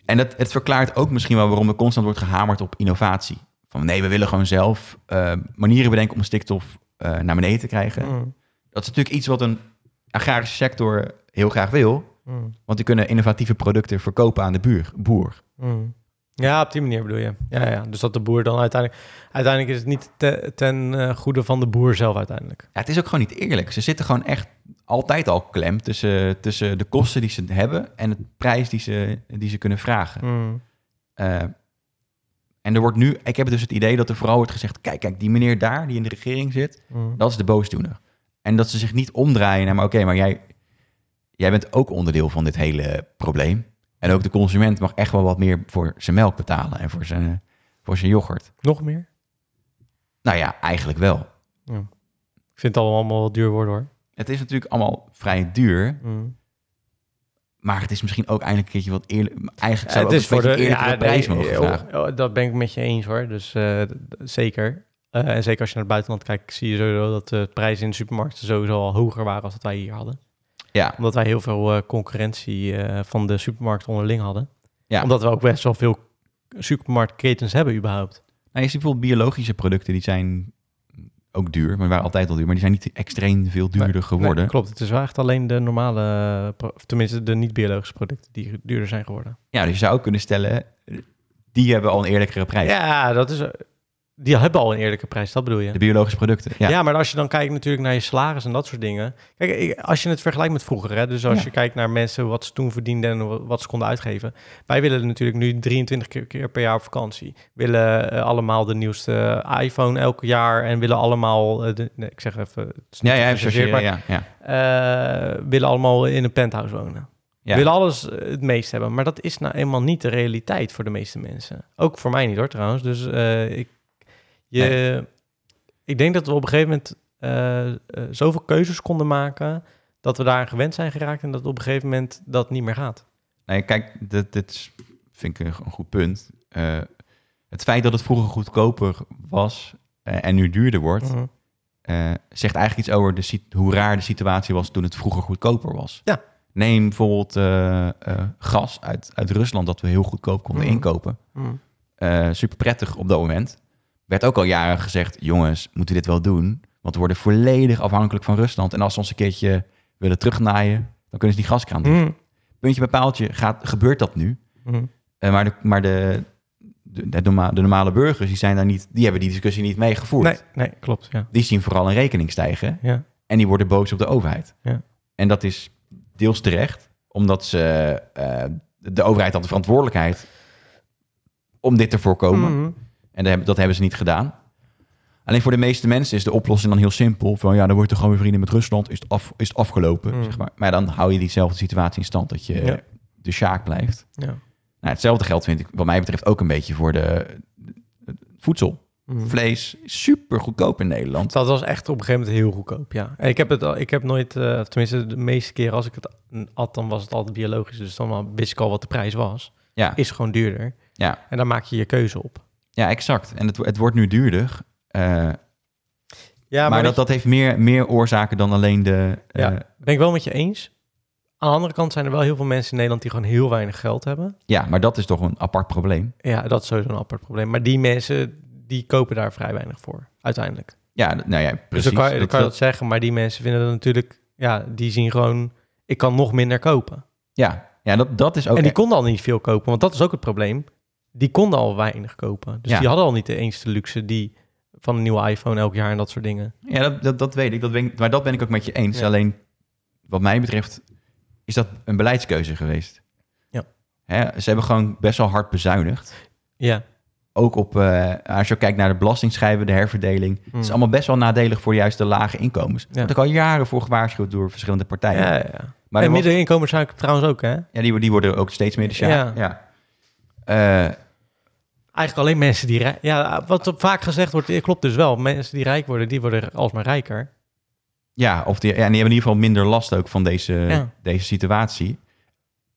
en dat, het verklaart ook misschien wel waarom er constant wordt gehamerd op innovatie. Van nee, we willen gewoon zelf eh, manieren bedenken om stikstof eh, naar beneden te krijgen.
mhm.
Dat is natuurlijk iets wat een agrarische sector heel graag wil.
Mhm.
Want die kunnen innovatieve producten verkopen aan de buur, boer.
Mhm. Ja, op die manier bedoel je. Ja, ja. Dus dat de boer dan uiteindelijk. Uiteindelijk is het niet te- ten eh, goede van de boer zelf uiteindelijk.
Ja, het is ook gewoon niet eerlijk. Ze zitten gewoon echt altijd al klem tussen, tussen de kosten die ze hebben en het prijs die ze, die ze kunnen vragen.
Mhm.
Eh, en er wordt nu, ik heb dus het idee dat er vooral wordt gezegd: kijk, kijk, die meneer daar die in de regering zit,
Mhm.
dat is de boosdoener. En dat ze zich niet omdraaien naar, maar oké, maar jij, jij bent ook onderdeel van dit hele probleem. En ook de consument mag echt wel wat meer voor zijn melk betalen en voor zijn, voor zijn yoghurt.
Nog meer?
Nou ja, eigenlijk wel.
Ik vind het allemaal wel duur worden hoor.
Het is natuurlijk allemaal vrij duur,
Mhm.
maar het is misschien ook eindelijk een keertje wat eerlijk. Eigenlijk
Ja,
zou
het
het ook
is voor de
eerlijkere
ja,
prijs
nee,
mogen
eh,
vragen.
oh, oh, Dat ben ik met je eens hoor. Dus eh, d- d- zeker. Eh, en zeker als je naar het buitenland kijkt, zie je sowieso dat de prijzen in de supermarkten sowieso al hoger waren als dat wij hier hadden.
Ja,
Omdat wij heel veel eh, concurrentie eh, van de supermarkten onderling hadden.
Ja.
Omdat we ook best wel veel supermarktketens hebben überhaupt.
Nou, je ziet bijvoorbeeld biologische producten, die zijn ook duur, maar waren altijd al duur, maar die zijn niet extreem veel duurder geworden.
Nee, klopt, het is wel echt alleen de normale, eh, pro- of tenminste de niet-biologische producten die duurder zijn geworden.
ja, dus je zou ook kunnen stellen, eh, die hebben al een eerlijkere prijs.
Ja, dat is, eh, die hebben al een eerlijke prijs, dat bedoel je?
De biologische producten. Ja,
Ja. maar als je dan kijkt natuurlijk naar je salaris en dat soort dingen. Kijk, ik- als je het vergelijkt met vroeger, hè, dus als
Ja.
je kijkt naar mensen wat ze toen verdienden en wa- wat ze konden uitgeven. Wij willen natuurlijk nu 23 keer, keer per jaar op vakantie. Willen eh, allemaal de nieuwste iPhone elk jaar en willen allemaal, eh, de- nee, ik zeg even, het is niet
ja, ja, even
gechargeerd,
chargeren,
maar
ja, ja.
eh, willen allemaal in een penthouse wonen.
Ja.
Willen alles eh, het meest hebben. Maar dat is nou eenmaal niet de realiteit voor de meeste mensen. Ook voor mij niet hoor trouwens. Dus eh, ik, je, ik denk dat we op een gegeven moment eh, eh, zoveel keuzes konden maken... dat we daar gewend zijn geraakt en dat op een gegeven moment dat niet meer gaat.
Nee, kijk, dit, dit is- vind ik een, go- een goed punt. Eh, het feit dat het vroeger goedkoper was eh, en nu duurder wordt,
Mhm.
eh, zegt eigenlijk iets over de, sit- hoe raar de situatie was toen het vroeger goedkoper was.
Ja.
Neem bijvoorbeeld eh, eh, gas uit, uit Rusland, dat we heel goedkoop konden
Mhm.
inkopen.
Mhm.
super prettig op dat moment. Werd ook al jaren gezegd, jongens, moeten we dit wel doen? Want we worden volledig afhankelijk van Rusland. En als ze ons een keertje willen terugnaaien, dan kunnen ze die gaskraan dicht.
Mhm.
Puntje bij paaltje, gaat, gebeurt dat nu?
Mhm.
Eh, maar de, maar de, de, de, norma- de normale burgers, die, zijn daar niet, die hebben die discussie niet meegevoerd.
Nee, nee, klopt. Ja.
Die zien vooral een rekening stijgen
Ja.
en die worden boos op de overheid.
Ja.
En dat is deels terecht, omdat ze, eh, de overheid had de verantwoordelijkheid om dit te voorkomen.
Mhm.
En dat hebben, dat hebben ze niet gedaan. Alleen voor de meeste mensen is de oplossing dan heel simpel. Van ja, dan wordt er gewoon weer vrienden met Rusland. Is het, af, is het afgelopen,
Mm.
zeg maar. Maar dan hou je diezelfde situatie in stand dat je
Ja.
de sjaak blijft.
Ja.
Nou, hetzelfde geldt vind ik wat mij betreft ook een beetje voor de, het voedsel.
Mhm.
Vlees, super goedkoop in Nederland.
Dat was echt op een gegeven moment heel goedkoop, ja. En ik heb het al, ik heb nooit, eh, of tenminste de meeste keer als ik het at, dan was het altijd biologisch. Dus dan wist ik al wat de prijs was.
Ja,
Is gewoon duurder.
Ja.
En daar maak je je keuze op.
ja exact. En het, wo- het wordt nu duurder. Eh,
Ja,
maar dat, dat heeft meer, meer oorzaken dan alleen de... eh,
Ja. ben ik wel met je eens. Aan de andere kant zijn er wel heel veel mensen in Nederland die gewoon heel weinig geld hebben.
ja, maar dat is toch een apart probleem.
Ja, dat is sowieso een apart probleem. Maar die mensen, die kopen daar vrij weinig voor, uiteindelijk.
Ja, d- nou ja, precies.
Dus dan kan, je- dan
Dat-
kan je
dat-
dat zeggen, maar die mensen vinden dat natuurlijk... Ja, die zien gewoon, ik kan nog minder kopen.
ja, ja dat, dat is ook...
En die konden al niet veel kopen, want dat is ook het probleem. Die konden al weinig kopen. Dus
Ja.
die hadden al niet de eens de luxe die van een nieuwe iPhone elk jaar en dat soort dingen.
Ja, dat, dat, dat weet ik. Dat ben ik. Maar dat ben ik ook met je eens.
Ja.
Alleen, wat mij betreft, is dat een beleidskeuze geweest.
Ja.
Hè, ze hebben gewoon best wel hard bezuinigd.
Ja.
Ook op, eh, als je kijkt naar de belastingschijven, de herverdeling.
Hmm.
Het is allemaal best wel nadelig voor juist de lage inkomens.
Ja.
Daar heb ik al jaren voor gewaarschuwd door verschillende partijen.
ja, ja, ja.
Maar er
en
was-
middeninkomens zijn trouwens ook, hè?
ja, die, die worden ook steeds meer de sjaak.
Ja.
Ja. Eh,
Eigenlijk alleen mensen die rijk... Ja, wat er vaak gezegd wordt, eh, klopt dus wel. Mensen die rijk worden, die worden alsmaar rijker.
Ja, of die, ja, en die hebben in ieder geval minder last ook van deze,
Ja.
deze situatie.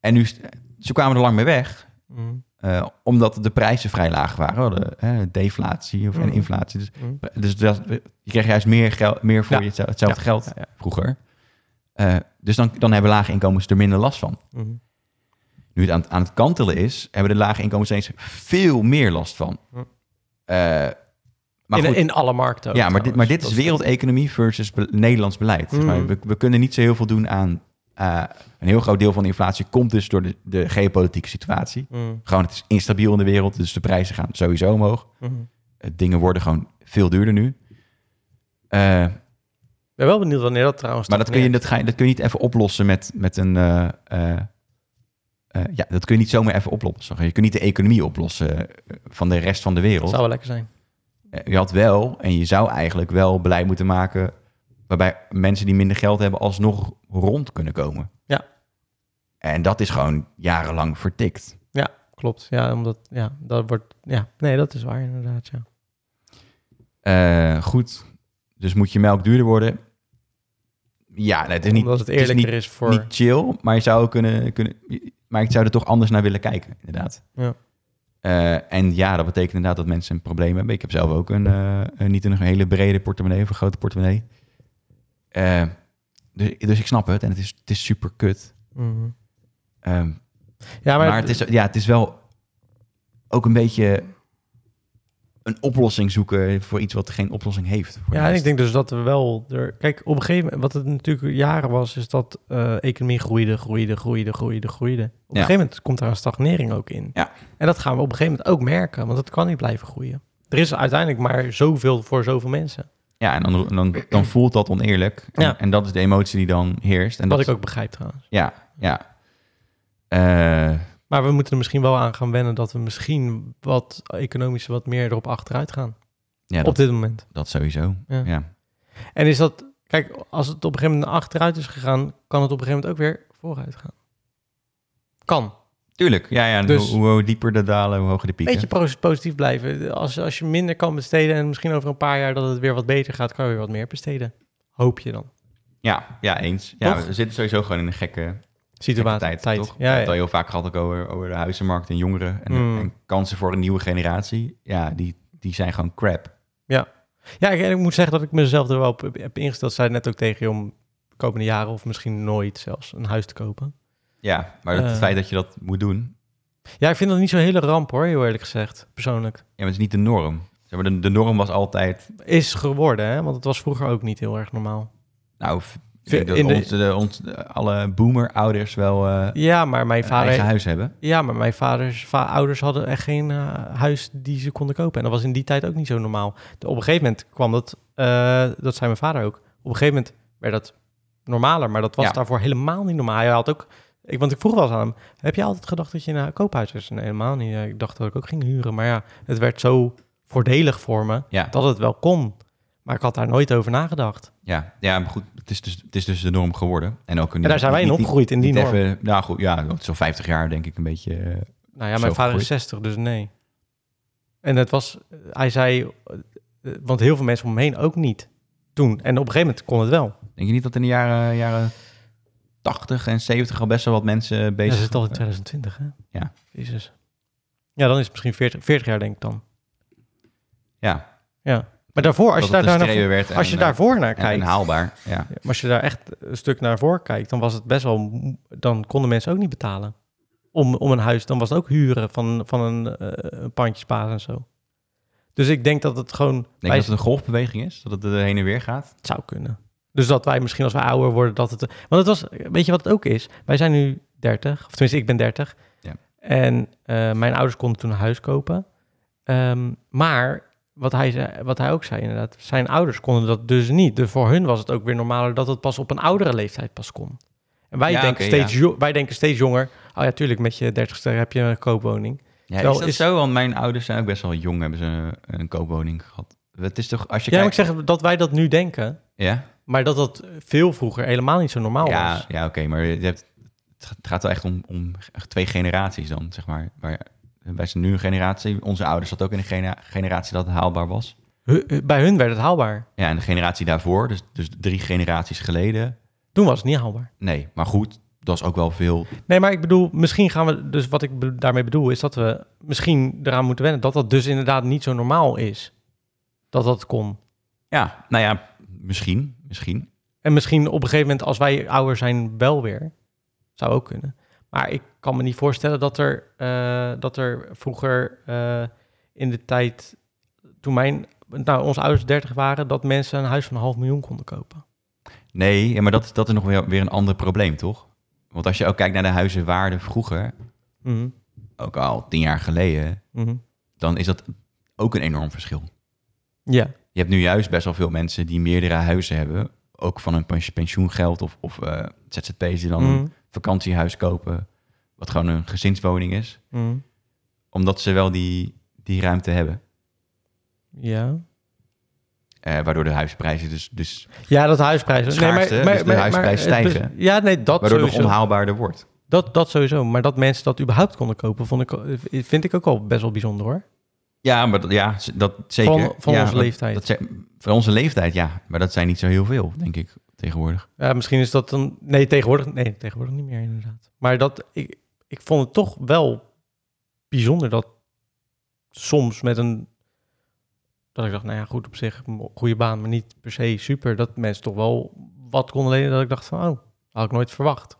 En nu, st- ze kwamen er lang mee weg.
Mm.
Eh, omdat de prijzen vrij laag waren. We hadden eh, deflatie of, en
Mm.
inflatie. Dus,
Mm.
dus dat, je kreeg juist meer, geld, meer voor
Ja.
je, hetzelfde
Ja.
geld
Ja, ja.
vroeger. Eh, dus dan, dan hebben lage inkomens er minder last van.
Mm.
Nu het aan, aan het kantelen is, hebben de lage inkomens eens veel meer last van.
Mm.
Eh, maar
in,
goed,
in alle markten ook,
ja, maar dit, maar
Oh, trouwens.
dit is
Dat
wereldeconomie versus be- Nederlands beleid. Zeg maar
Mm.
we, we kunnen niet zo heel veel doen aan... eh, een heel groot deel van de inflatie komt dus door de, de geopolitieke situatie.
Mm.
Gewoon, het is instabiel in de wereld, dus de prijzen gaan sowieso omhoog.
Mm.
Eh, Dingen worden gewoon veel duurder nu. Eh,
Ik ben wel benieuwd wanneer dat trouwens...
maar dat kun, je, dat, ga, je- dat kun je niet even oplossen met, met een... eh, eh, eh, ja, dat kun je niet zomaar even oplossen. Je kunt niet de economie oplossen eh, van de rest van de
Dat
wereld.
zou wel lekker zijn.
Eh, Je had wel, en je zou eigenlijk wel beleid moeten maken... waarbij mensen die minder geld hebben alsnog rond kunnen komen.
Ja.
En dat is gewoon jarenlang vertikt.
Klopt, ja, omdat... Ja, dat wordt... Ja, nee, dat is waar inderdaad, ja.
Eh, goed, dus moet je melk duurder worden? Ja, nee, het is niet,
omdat het
is
eerlijker is,
niet-
voor...
niet chill, maar je zou kunnen, kunnen... Maar ik zou er toch anders naar willen kijken, inderdaad.
Ja.
Eh, en ja, dat betekent inderdaad dat mensen een probleem hebben. Ik heb zelf ook een, eh, een- niet een hele brede portemonnee of een grote portemonnee. Eh, dus, dus ik snap het en het is, het is super kut.
Mhm.
Ehm,
Ja,
maar
maar,
het, is, ja, het is wel ook een beetje een oplossing zoeken voor iets wat geen oplossing heeft. voor de
Ja, en
rest.
ik denk dus dat we wel... Er, kijk, op een gegeven moment... Wat het natuurlijk jaren was, is dat eh, economie groeide, groeide, groeide, groeide, groeide. Op een
Ja.
gegeven moment komt daar een stagnering ook in.
Ja.
En dat gaan we op een gegeven moment ook merken, want het kan niet blijven groeien. Er is uiteindelijk maar zoveel voor zoveel mensen.
Ja, en dan, dan, dan voelt dat oneerlijk. En,
Ja.
en dat is de emotie die dan heerst. En
wat
dat,
ik ook begrijp trouwens.
Ja, ja. Eh,
Maar we moeten er misschien wel aan gaan wennen dat we misschien wat economisch wat meer erop achteruit gaan.
ja,
op
dat,
dit moment.
dat sowieso.
Ja.
Ja.
En is dat, kijk, als het op een gegeven moment naar achteruit is gegaan, kan het op een gegeven moment ook weer vooruit gaan. Kan.
Tuurlijk. Ja, ja. en
Dus-
hoe, hoe dieper de dalen, hoe hoger de pieken.
Beetje pro- positief blijven. Als, als je minder kan besteden en misschien over een paar jaar dat het weer wat beter gaat, kan je weer wat meer besteden. Hoop je dan.
Ja, ja eens. Ja,
Toch?
we zitten sowieso gewoon in een gekke, gekke
Situatie,
tijd, toch? We
Ja,
hebben het
ja.
al heel vaak gehad ook over, over de huizenmarkt en jongeren en,
Mm.
en kansen voor een nieuwe generatie. Ja, die, die zijn gewoon crap.
ja ik, ik moet zeggen dat ik mezelf er wel op heb ingesteld. Zei net ook tegen je om de komende jaren of misschien nooit zelfs een huis te kopen.
Ja, maar het
Eh.
feit dat je dat moet doen,
Ja, ik vind dat niet zo'n hele ramp hoor, heel eerlijk gezegd, persoonlijk.
ja, maar het is niet de norm. Zeg maar, de, de norm was altijd,
Is geworden, hè? Want het was vroeger ook niet heel erg normaal.
nou, v- ik denk dat
In de-
ons, de, ons, de- alle boomer-ouders wel eh
Ja, maar mijn
een eigen
vader...
huis hebben.
Ja, maar mijn vaders, va- ouders hadden echt geen eh, huis die ze konden kopen. En dat was in die tijd ook niet zo normaal. De- op een gegeven moment kwam dat, eh, dat zei mijn vader ook. Op een gegeven moment werd dat normaler, maar dat was
Ja.
daarvoor helemaal niet normaal. Hij had ook, ik, want ik vroeg wel eens aan hem, heb je altijd gedacht dat je in een koophuis was? Nee, helemaal niet. Ja, Ik dacht dat ik ook ging huren, maar ja, het werd zo voordelig voor me
Ja,
dat het wel kon. Maar ik had daar nooit over nagedacht.
ja, ja, maar goed, het is, dus, het is dus de norm geworden. En, ook
En daar zijn wij in opgegroeid, in die
Niet
norm.
even, nou goed, ja, zo'n 50 jaar denk ik een beetje. eh,
Nou ja, mijn
Zo
vader
gegroeid.
is 60, dus nee. En het was, hij zei, eh, want heel veel mensen om hem heen ook niet toen. En op een gegeven moment kon het wel.
denk je niet dat in de jaren, jaren 80 en 70 al best wel wat mensen
Ja,
bezig
dat is het al in 2020, hè?
Ja.
Jezus. Ja, dan is het misschien 40, 40 jaar, denk ik dan.
Ja,
Ja. Maar daarvoor, als je, daar,
dat het een
daar
streven
naar,
werd
als
en,
je
eh,
daarvoor naar
en- en
kijkt,
haalbaar. Ja.
maar als je daar echt een stuk naar voor kijkt, dan was het best wel, mo- dan konden mensen ook niet betalen. Om, om een huis, dan was het ook huren van, van een, eh, een pandjespaas en zo. Dus ik denk dat het gewoon...
Denk je dat het een golfbeweging is? Dat het er heen en weer gaat?
Het zou kunnen. Dus dat wij misschien als we ouder worden, dat het... Want het was, weet je wat het ook is? Wij zijn nu 30, of tenminste ik ben 30.
Ja.
En eh, mijn ouders konden toen een huis kopen. Ehm, maar wat hij, zei, wat hij ook zei inderdaad, zijn ouders konden dat dus niet. Dus voor hun was het ook weer normaler dat het pas op een oudere leeftijd pas kon. En wij,
Ja,
denken,
oké,
steeds jo- wij denken steeds jonger, oh ja, tuurlijk, met je dertigste heb je een koopwoning.
Ja,
Wel,
is dat
is-
zo? Want mijn ouders zijn ook best wel jong, hebben ze een, een koopwoning gehad. Het is toch, als je
Ja, maar ik
kijkt...
zeg dat wij dat nu denken,
Ja,
maar dat dat veel vroeger helemaal niet zo normaal
ja,
was.
ja oké, maar je hebt, het gaat- het gaat wel echt om, om twee generaties dan, zeg maar. Waar- wij zijn nu een generatie, onze ouders zat ook in een gena- generatie dat het haalbaar was.
Hu- hu- bij hun werd het haalbaar.
Ja, en de generatie daarvoor, dus, dus drie generaties geleden,
Toen was het niet haalbaar.
nee. Maar goed, dat is ook wel veel...
Nee, maar ik bedoel, misschien gaan we... Dus wat ik be- daarmee bedoel is dat we misschien eraan moeten wennen... dat dat dus inderdaad niet zo normaal is. Dat dat kon.
Ja, nou ja, misschien, misschien.
En misschien op een gegeven moment, als wij ouder zijn, wel weer. Zou ook kunnen. Maar ik kan me niet voorstellen dat er, eh, dat er vroeger eh, in de tijd... toen mijn, nou, onze ouders 30 waren... dat mensen een huis van een half miljoen konden kopen.
Nee, ja, maar dat, dat is nog weer, weer een ander probleem, toch? Want als je ook kijkt naar de huizenwaarde vroeger,
Mhm,
ook al tien jaar geleden,
mhm.
dan is dat ook een enorm verschil.
Ja,
Je hebt nu juist best wel veel mensen die meerdere huizen hebben, ook van hun pens- pensioengeld of, of eh, ZZP's die dan
mhm,
een vakantiehuis kopen, wat gewoon een gezinswoning is,
mhm.
omdat ze wel die, die ruimte hebben.
ja.
Eh, waardoor de huizenprijzen dus, dus
Ja, dat huisprijzen.
Schaarste, dus de huisprijzen
het-
stijgen.
dus- ja, nee, dat
waardoor het nog
sowieso.
onhaalbaarder wordt.
Dat, dat sowieso. Maar dat mensen dat überhaupt konden kopen, vond ik, vind ik ook al best wel bijzonder hoor.
Ja, maar dat, ja, z- dat zeker.
Van, van
Ja,
onze
want
leeftijd.
Dat zijn, van onze leeftijd, ja. Maar dat zijn niet zo heel veel, denk ik, tegenwoordig.
Ja, misschien is dat dan. Nee, tegenwoordig, nee, tegenwoordig niet meer inderdaad. Maar dat, ik, ik vond het toch wel bijzonder dat soms met een. Dat ik dacht, nou ja, goed op zich, een goede baan, maar niet per se super. Dat mensen toch wel wat konden lenen dat ik dacht van, oh, dat had ik nooit verwacht.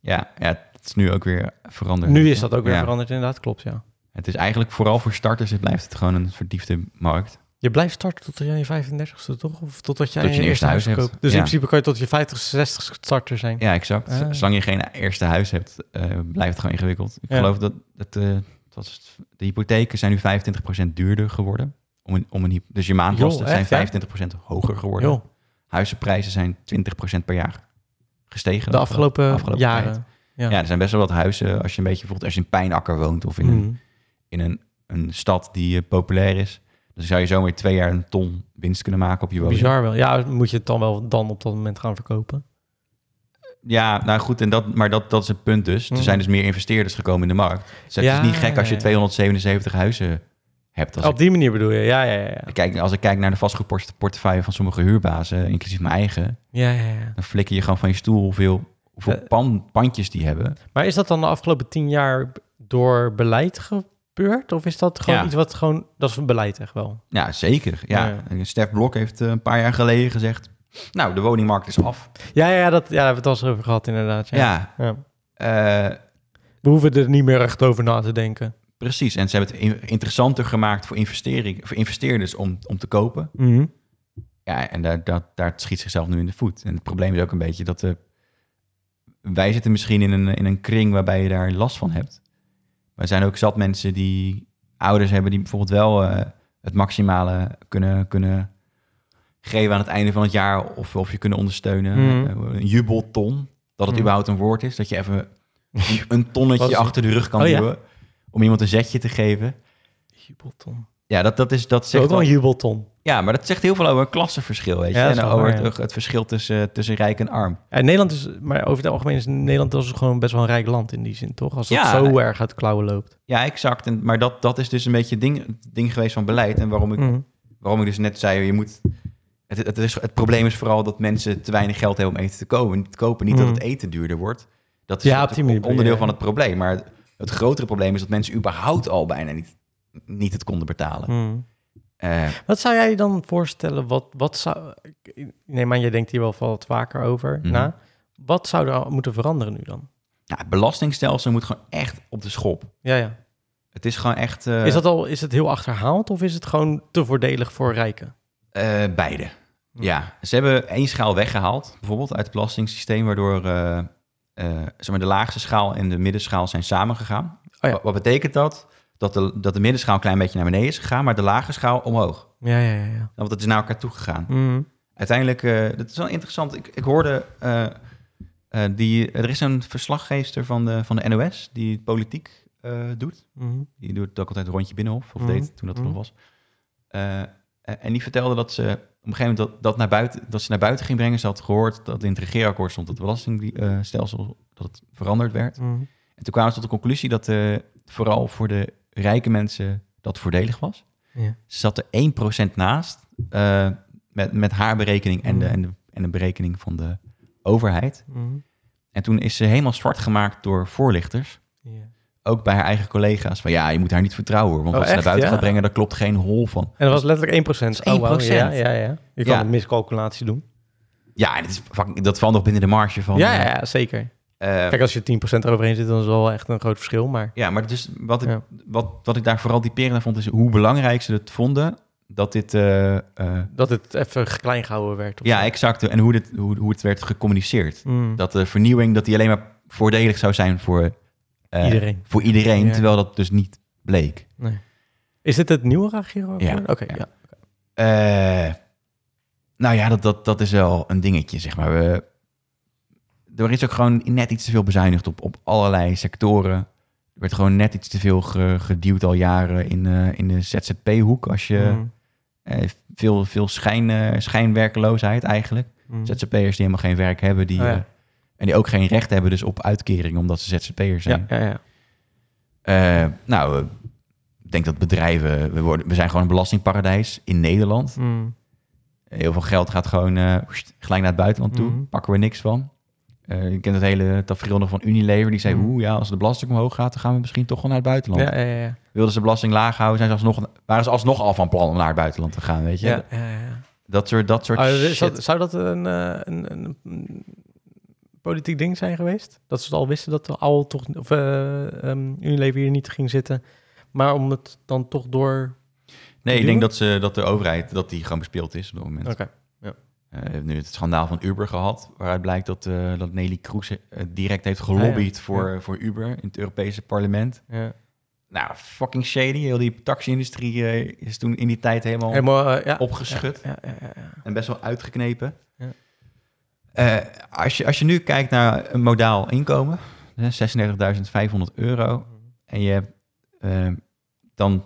Ja, ja het is nu ook weer veranderd.
Nu is dat ook weer
Ja.
veranderd, inderdaad, klopt, ja.
Het is eigenlijk vooral voor starters, het blijft het gewoon een verdiefde markt.
Je blijft starten tot je 35ste, toch? Of totdat jij
Tot je een eerste huis hebt.
Dus
Ja.
in principe kan je tot je 50ste, 60ste starter zijn.
Ja, exact. Z-
Ah.
Zolang je geen eerste huis hebt, eh, blijft het gewoon ingewikkeld. Ik
Ja.
geloof dat, dat eh, het was, de hypotheken zijn nu 25% duurder geworden. Om een, om een, hyp- dus je maandlasten
Joh, echt, ja?
zijn 25% hoger geworden.
Joh,
Huizenprijzen zijn 20% per jaar gestegen.
de afgelopen,
afgelopen tijd.
jaren.
Ja. er zijn best wel wat huizen. Als je een beetje bijvoorbeeld als je in Pijnakker woont of in, een,
Mm.
in een, een stad die eh, populair is, dan zou je zomaar twee jaar een ton winst kunnen maken op je woning.
Bizar wel. Ja, moet je het dan wel dan op dat moment gaan verkopen?
Ja, nou goed, en dat, maar dat, dat is het punt dus. Er
Mhm.
zijn dus meer investeerders gekomen in de markt. Dus het
Ja,
is niet gek als je
ja, ja.
277 huizen hebt. Als
Op die manier bedoel je, ja, ja, ja. ja.
ik, kijk, als ik kijk naar de vastgoedportefeuille van sommige huurbazen, inclusief mijn eigen,
ja, ja, ja.
dan flikker je gewoon van je stoel hoeveel, hoeveel
Eh.
pan- pandjes die hebben.
Maar is dat dan de afgelopen tien jaar door beleid gebeurd? Of is dat gewoon
Ja.
iets wat gewoon... Dat is een beleid echt wel.
Ja, zeker. Ja. Stef Blok heeft eh, een paar jaar geleden gezegd, nou, de woningmarkt is af.
Ja, ja, ja, dat, ja daar hebben we het al eens over gehad inderdaad. Ja.
Ja,
Ja.
eh,
We hoeven er niet meer echt over na te denken.
precies. En ze hebben het in- interessanter gemaakt voor, investering, voor investeerders om, om te kopen. Ja, en daar, daar, daar schiet zichzelf nu in de voet. En het probleem is ook een beetje dat de, wij zitten misschien in een, in een kring waarbij je daar last van hebt. Maar er zijn ook zat mensen die ouders hebben die bijvoorbeeld wel eh, het maximale kunnen, kunnen geven aan het einde van het jaar. Of, of je kunnen ondersteunen.
Mhm.
Eh, Een jubelton, dat het
Mhm.
überhaupt een woord is. Dat je even een, een tonnetje
Wat is-
achter de rug kan
Oh ja.
duwen om iemand een zetje te geven.
Jubelton.
Ja, dat, dat, is, dat
Zeg
zegt
ook wel
wel-
een jubelton.
ja, maar dat zegt heel veel over een klassenverschil, weet je.
Ja, dat
en
is wel
over
waar,
het, het verschil tussen, tussen rijk en arm.
En Eh, Nederland is... Maar over het algemeen is Nederland dus gewoon best wel een rijk land in die zin, toch? Als dat
Ja.
zo erg uit de klauwen loopt.
Ja, exact. En, maar dat, dat is dus een beetje het ding, het ding geweest van beleid. En waarom ik,
Mhm.
waarom ik dus net zei, je moet... Het, het, is, het probleem is vooral dat mensen te weinig geld hebben om eten te kopen. Te kopen. Niet dat
Mm.
het eten duurder wordt. Dat is
Ja, op
natuurlijk
die manier,
onderdeel
ja.
van het probleem. Maar het, het grotere probleem is dat mensen überhaupt al bijna niet, niet het konden betalen.
Mhm.
Eh,
Wat zou jij dan voorstellen? Wat, wat zou. ik- Nee, maar je denkt hier wel wat vaker over
Mhm.
na. Wat zou er al moeten veranderen nu dan?
nou, het belastingstelsel moet gewoon echt op de schop.
Ja, ja.
Het is gewoon echt... eh,
Is dat al is het heel achterhaald of is het gewoon te voordelig voor rijken?
Eh, beide.
Hm.
Ja, ze hebben één schaal weggehaald, bijvoorbeeld uit het belastingssysteem, waardoor eh, eh, zeg maar de laagste schaal en de middenschaal zijn samengegaan.
ja.
Wa- Wat betekent dat? Dat de, dat de middenschaal een klein beetje naar beneden is gegaan, maar de lage schaal omhoog.
Ja, ja, ja. ja.
Want het is naar elkaar toegegaan.
Mm.
Uiteindelijk, eh, dat is wel interessant. Ik, ik hoorde, eh, eh, die, er is een verslaggeefster van de, van de NOS die politiek eh, doet.
Mhm.
Die doet ook altijd een rondje binnenhof, of
Mhm.
deed toen dat er
Mhm.
nog was. Eh, en die vertelde dat ze op een gegeven moment dat, dat, naar buiten, dat ze naar buiten ging brengen. Ze had gehoord dat in het regeerakkoord stond dat het belastingstelsel eh, dat het veranderd werd.
Mhm.
En toen kwamen ze tot de conclusie dat eh, vooral voor de rijke mensen dat voordelig was.
Ja.
Ze zat er 1% naast eh, met, met haar berekening en, de,
Mhm.
en, de, en de berekening van de overheid.
Mhm.
En toen is ze helemaal zwart gemaakt door voorlichters
Ja.
ook bij haar eigen collega's van ja, je moet haar niet vertrouwen hoor. Want
Oh,
wat ze naar
echt?
buiten
Ja.
gaat brengen, daar klopt geen hol van.
En dat was letterlijk 1%.
Dat is
Oh, wauw,
1%.
ja, ja, ja. Je kan
Ja.
een miscalculatie doen.
Ja, en het is, fucking- dat valt nog binnen de marge van.
ja,
eh,
ja, ja, zeker.
eh,
Kijk, als je 10% eroverheen zit, dan is het wel echt een groot verschil. Maar
ja, maar dus wat ik,
Ja.
wat, wat ik daar vooral typerend aan vond, is hoe belangrijk ze het vonden dat dit. eh, eh,
dat het even klein gehouden werd. of
ja,
zo.
exact. En hoe, dit, hoe, hoe het werd gecommuniceerd.
Mhm.
Dat de vernieuwing, dat die alleen maar voordelig zou zijn voor eh,
Iedereen.
Voor iedereen
Ja.
Terwijl dat dus niet bleek.
Nee. Is dit het nieuwe regeerakkoord?
Ja.
Oké,
Ja.
ja.
Eh, nou ja, dat, dat, dat is wel een dingetje, zeg maar. We, er is ook gewoon net iets te veel bezuinigd op, op allerlei sectoren. Er werd gewoon net iets te veel ge- geduwd al jaren in, eh, in de ZZP-hoek. Als je
Mhm.
eh, veel, veel schijn, eh, schijnwerkeloosheid eigenlijk.
Mhm.
ZZP'ers die helemaal geen werk hebben, die,
Oh ja.
eh, en die ook geen recht hebben dus op uitkering omdat ze ZZP'ers zijn.
Ja, ja, ja.
Eh, nou, eh, ik denk dat bedrijven, we, worden, we zijn gewoon een belastingparadijs in Nederland.
Mm.
Heel veel geld gaat gewoon eh, wst, gelijk naar het buitenland toe.
Mhm.
Pakken we niks van. Eh je kent het hele tafereel nog van Unilever. Die zei,
Mhm.
oeh ja, als de belasting omhoog gaat... dan gaan we misschien toch wel naar het buitenland.
Ja, ja, ja, ja.
Wilden ze de belasting laag houden... Zijn ze alsnog, waren ze alsnog al van plan om naar het buitenland te gaan, weet je?
ja, ja, ja.
Dat soort, dat soort
Ah,
shit.
is dat- zou dat een, eh, een, een, een politiek ding zijn geweest? Dat ze het al wisten dat de al toch of eh ehm Unilever hier niet ging zitten, maar om het dan toch door.
nee, ik
duwen?
denk dat, ze, dat de overheid dat die gewoon bespeeld is op dat moment. Eh, we hebben nu het schandaal van Uber gehad... waaruit blijkt dat, eh, dat Nelly Kroes eh, direct heeft gelobbyd
Ah, Ja, ja.
Voor, voor Uber in het Europese parlement.
Ja.
Nou, fucking shady. Heel die taxi-industrie eh, is toen in die tijd helemaal...
Helemaal, eh, ja.
Opgeschud.
Ja, ja, ja, ja.
en best wel uitgeknepen.
Ja.
Eh, als, je, als je nu kijkt naar een modaal inkomen, hè, 36.500 euro, en je, hebt, eh, dan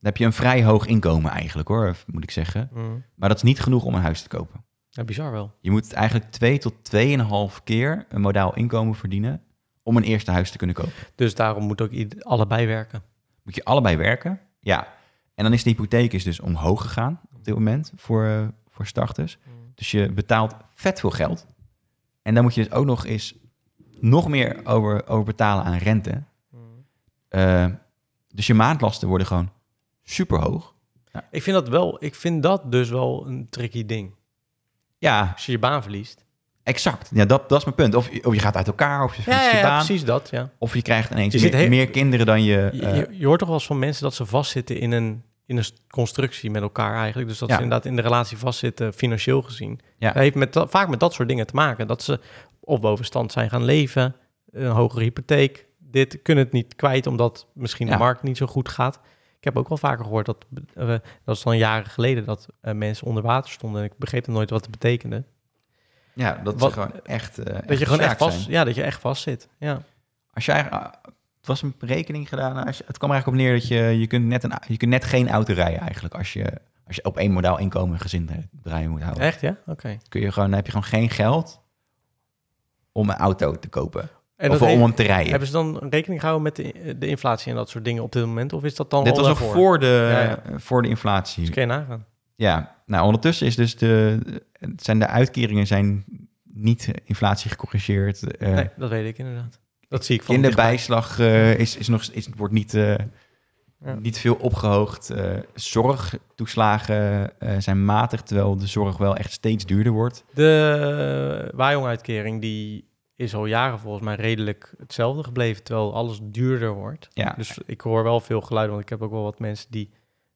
heb je een vrij hoog inkomen eigenlijk hoor, moet ik zeggen.
Mm.
Maar dat is niet genoeg om een huis te kopen.
Ja, bizar wel.
Je moet eigenlijk twee tot 2,5 keer een modaal inkomen verdienen om een eerste huis te kunnen kopen.
Dus daarom moet ook ied- allebei werken.
Moet je allebei werken? Ja. En dan is de hypotheek is dus omhoog gegaan op dit moment voor, eh, voor starters. Dus je betaalt vet veel geld. En dan moet je dus ook nog eens nog meer over, over betalen aan rente. Eh, dus je maandlasten worden gewoon super hoog.
Ik vind dat wel, ik vind dat dus wel een tricky ding.
Ja,
Als je je baan verliest.
exact. Ja, dat, dat is mijn punt. Of, je- of je gaat uit elkaar, of je verliest je baan.
precies dat, ja.
Of je krijgt ineens
Je
meer,
zit heel-
meer kinderen dan je...
Je,
eh,
je- je hoort toch wel eens van mensen dat ze vastzitten in een, in een constructie met elkaar eigenlijk. Dus dat
Ja.
ze inderdaad in de relatie vastzitten, financieel gezien.
Ja.
Dat heeft met, dat- vaak met dat soort dingen te maken. Dat ze op bovenstand zijn gaan leven, een hogere hypotheek. Dit kunnen het niet kwijt, omdat misschien
Ja.
de markt niet zo goed gaat. Ik heb ook wel vaker gehoord dat, eh, dat is dan jaren geleden, dat eh, mensen onder water stonden. En ik begreep dan nooit wat het betekende.
ja, dat
Wat-
ze gewoon echt... eh,
Dat je gewoon echt
gezaakt zijn.
vast, ja, dat je echt vast zit. Ja.
Als je eigenlijk, ah, het was een berekening gedaan. nou, Als je, het kwam er eigenlijk op neer dat je, je, kunt net een, je kunt net geen auto rijden eigenlijk. Als je, als je op één modaal inkomen een gezin eh, draaien moet houden.
Echt, ja? Oké.
Kun je gewoon, dan heb je gewoon geen geld om een auto te kopen.
En
of
dat
om
heeft-
hem te rijden.
hebben ze dan rekening gehouden met de, de inflatie en dat soort dingen op dit moment? Of is dat dan
Dit
al
was nog
daarvoor?
voor de,
Ja, ja.
eh, voor de inflatie.
Dus kun je nagaan.
Ja, nou ondertussen is dus de, het zijn de uitkeringen zijn niet inflatie gecorrigeerd. Eh,
Nee, dat weet ik inderdaad. Dat zie ik van
Kinderbijslag eh, is, is nog, is, wordt niet, eh,
Ja.
niet veel opgehoogd. Eh, zorgtoeslagen eh, zijn matig, terwijl de zorg wel echt steeds duurder wordt.
De waaijonguitkering die is al jaren volgens mij redelijk hetzelfde gebleven, terwijl alles duurder wordt.
Ja, dus,
Dus ik hoor wel veel geluiden, want ik heb ook wel wat mensen die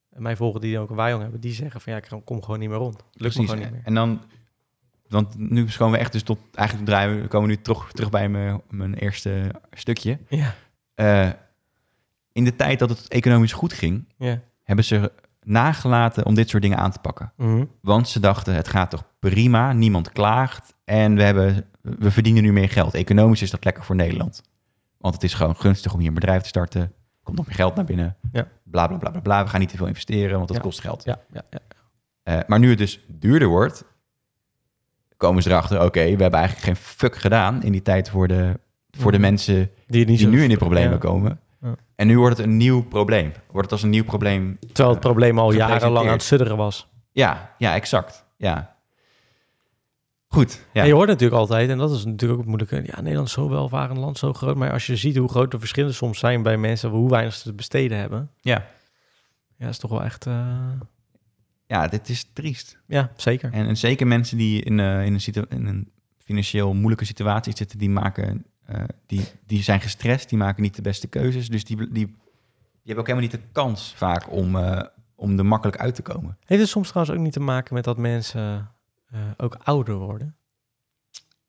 mij volgen die dan ook een waaijong hebben, die zeggen van ja, ik kom gewoon niet meer rond. Het Lukt me gewoon niet meer.
En dan, want nu schoon we echt dus tot, eigenlijk draaien, we- we komen nu terug, terug bij mijn, mijn eerste stukje.
Ja,
Eh, in de tijd dat het economisch goed ging,
ja.
hebben ze nagelaten om dit soort dingen aan te pakken.
Mhm.
Want ze dachten, het gaat toch prima, niemand klaagt en we, hebben, we verdienen nu meer geld. Economisch is dat lekker voor Nederland. Want het is gewoon gunstig om hier een bedrijf te starten. Komt nog meer geld naar binnen.
Ja.
Bla, bla, bla, bla, bla. We gaan niet te veel investeren, want dat
Ja.
kost geld.
ja, ja, ja.
Eh, maar nu het dus duurder wordt, komen ze erachter... oké, we hebben eigenlijk geen fuck gedaan in die tijd voor de, voor de
Mhm.
mensen...
Die, het niet
die
zo-
nu in die problemen
Ja.
komen.
Ja.
En nu wordt het een nieuw probleem. Wordt het als een nieuw probleem
Terwijl het probleem al
Gepresenteerd.
jarenlang aan het sudderen was.
Ja, ja, exact. Ja. Goed. Ja.
En je hoort natuurlijk altijd, en dat is natuurlijk ook het moeilijke. Ja, Nederland is zo welvarend land, zo groot. Maar als je ziet hoe groot de verschillen soms zijn bij mensen, hoe weinig ze te besteden hebben.
Ja.
Ja, is toch wel echt. eh,
ja, dit is triest.
ja, zeker.
En, en zeker mensen die in, eh, in, een situ- in een financieel moeilijke situatie zitten, die, maken, eh, die, die zijn gestrest, die maken niet de beste keuzes. Dus die, die, die hebben ook helemaal niet de kans vaak om, eh, om er makkelijk uit te komen.
Heeft het soms trouwens ook niet te maken met dat mensen eh, ook ouder worden,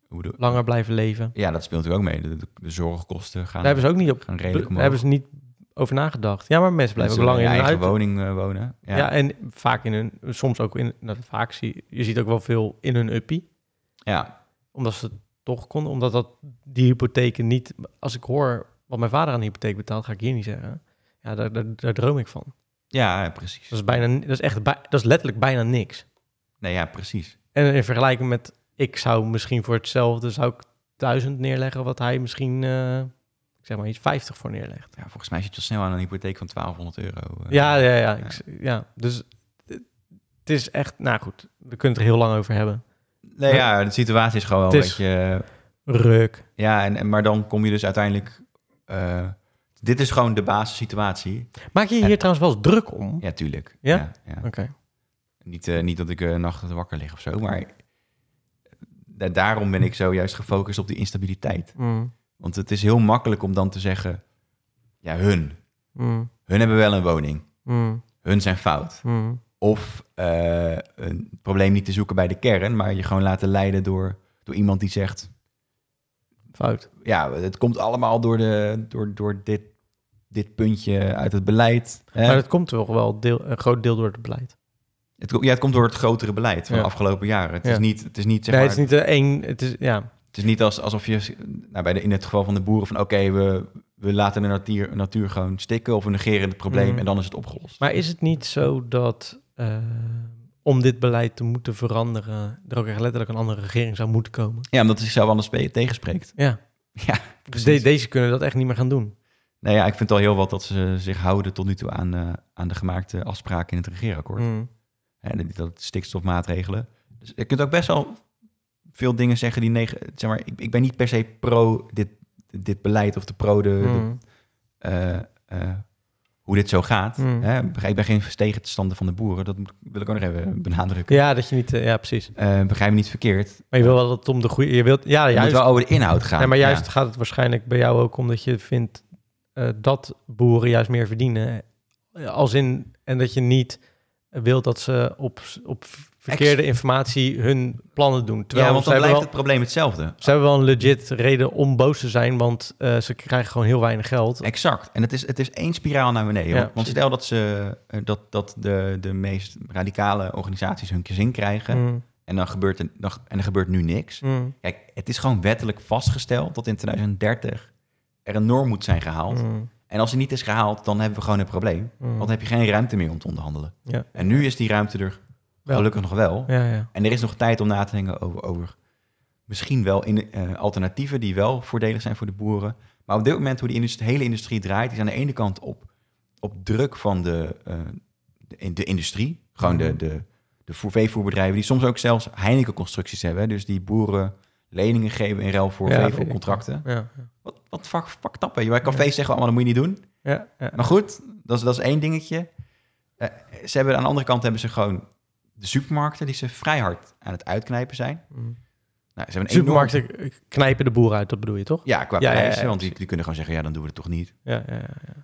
Hoe de-
langer blijven leven?
Ja, dat speelt natuurlijk ook mee. De, de, de zorgkosten gaan,
Daar hebben ze ook niet op.
gaan redelijk
Daar
omhoog.
hebben ze niet over nagedacht. Ja, maar mensen blijven ook
Mensen
langer in
in
hun
eigen
auto.
woning eh, wonen.
Ja. en vaak in hun, soms ook in, nou, vaak zie je ziet ook wel veel in hun uppie.
ja.
Omdat ze het toch konden. Omdat dat, die hypotheken niet... Als ik hoor wat mijn vader aan de hypotheek betaalt, ga ik hier niet zeggen. Ja, daar, daar, daar droom ik van.
Ja, precies.
Dat is, bijna, ni- dat is, echt, bij- dat is letterlijk bijna niks.
Nee, ja, precies.
En in vergelijking met... Ik zou misschien voor hetzelfde... Zou ik duizend neerleggen wat hij misschien... eh, ik zeg maar iets 50 voor neerlegt.
Ja, volgens mij zit je al snel aan een hypotheek van 1200 euro. eh.
Ja, ja, ja. ik s- ja. Dus eh, het is echt... Nou goed, we kunnen het er heel lang over hebben.
Nee, ja, de situatie is gewoon wel een
Het is-
beetje... eh,
Ruk.
Ja, en, en, maar dan kom je dus uiteindelijk... eh, dit is gewoon de basissituatie.
Maak je je hier trouwens wel eens druk om?
Ja, tuurlijk.
Ja?
ja.
Oké.
Niet, eh, niet dat ik eh nachten wakker lig of zo, maar... eh, da- daarom ben ik zojuist gefocust op die instabiliteit.
Mm,
Want het is heel makkelijk om dan te zeggen... Ja, hun.
mm,
Hun hebben wel een woning.
mm,
Hun zijn fout.
mm.
Of eh, een probleem niet te zoeken bij de kern, maar je gewoon laten leiden door, door iemand die zegt:
Fout.
Ja, het komt allemaal door, de, door, door dit, dit puntje uit het beleid. hè?
Maar dat komt toch wel deel, een groot deel door het beleid.
Het, ko- ja, het komt door het grotere beleid van
Ja.
de afgelopen jaren. Het,
Ja.
is niet, het is niet, zeg
nee,
maar,
het is niet de één. Het is ja.
als, alsof je, nou, bij de, in het geval van de boeren, van oké, we, we laten de natuur, natuur gewoon stikken of we negeren het probleem
Mhm.
en dan is het opgelost.
Maar is het niet zo dat eh, om dit beleid te moeten veranderen, er ook echt letterlijk een andere regering zou moeten komen?
Ja, omdat het zichzelf anders spe- tegenspreekt.
Ja.
Ja,
Dus
precies.
de- deze kunnen dat echt niet meer gaan doen.
Nou ja, ik vind het al heel wat dat ze zich houden tot nu toe aan, eh, aan de gemaakte afspraken in het regeerakkoord.
Mm.
En dat- dat stikstofmaatregelen. Dus je kunt ook best wel veel dingen zeggen die negen. Zeg maar, ik, ik ben niet per se pro dit, dit beleid of de pro de, de-
Mm.
eh, eh, hoe dit zo gaat.
Mm.
Hè? Ik ben geen tegenstander van de boeren. Dat moet- wil ik ook nog even
Hmm.
benadrukken.
Ja, dat je niet... eh, ja, precies.
Eh, begrijp me niet verkeerd.
Maar je wil wel dat het om de goede... Je wilt, ja,
Het moet
juist.
wel over de inhoud gaan.
Nee, maar juist
Ja.
gaat het waarschijnlijk bij jou ook omdat je vindt eh, dat boeren juist meer verdienen. Eh, Als in, en dat je niet wilt dat ze op, op verkeerde informatie hun plannen doen. Terwijl
ja, want
ze, hebben
dan blijft
wel,
het probleem hetzelfde.
ze hebben wel een legit reden om boos te zijn, want eh, ze krijgen gewoon heel weinig geld.
Exact. En het is, het is één spiraal naar beneden.
Ja,
hoor. want
precies.
stel dat, ze, eh, dat, dat de, de meest radicale organisaties hun zin krijgen.
Mm,
En, dan gebeurt er, dan, en er gebeurt nu niks.
mm,
Kijk, het is gewoon wettelijk vastgesteld dat in 2030 er een norm moet zijn gehaald.
mm,
En als die niet is gehaald, dan hebben we gewoon een probleem.
mm.
Want dan heb je geen ruimte meer om te onderhandelen.
Ja.
En nu is die ruimte er
Wel.
gelukkig nog wel.
Ja, ja.
En er is nog tijd om na te denken over, over misschien wel in, eh, alternatieven die wel voordelig zijn voor de boeren. Maar op dit moment hoe die indust- hele industrie draait, is aan de ene kant op, op druk van de, eh, de, in- de industrie. Gewoon de, de, de voer- veevoerbedrijven die soms ook zelfs Heineken-constructies hebben. hè. Dus die boeren leningen geven in ruil voor
Ja,
veevoercontracten.
Ja,
Wat, wat vak, vak tap, hè. Bij cafés zeggen we allemaal, dat moet je niet doen.
ja, ja.
Maar goed, dat is, dat is één dingetje. Eh, ze hebben, aan de andere kant hebben ze gewoon de supermarkten die ze vrij hard aan het uitknijpen zijn.
Mm.
Nou, ze hebben een
Supermarkten knijpen de boeren uit, dat bedoel je toch?
enorm- ja, qua
Ja, ja, ja,
prijzen, want die,
precies.
die kunnen gewoon zeggen, ja, dan doen we het toch niet.
Ja, ja, ja.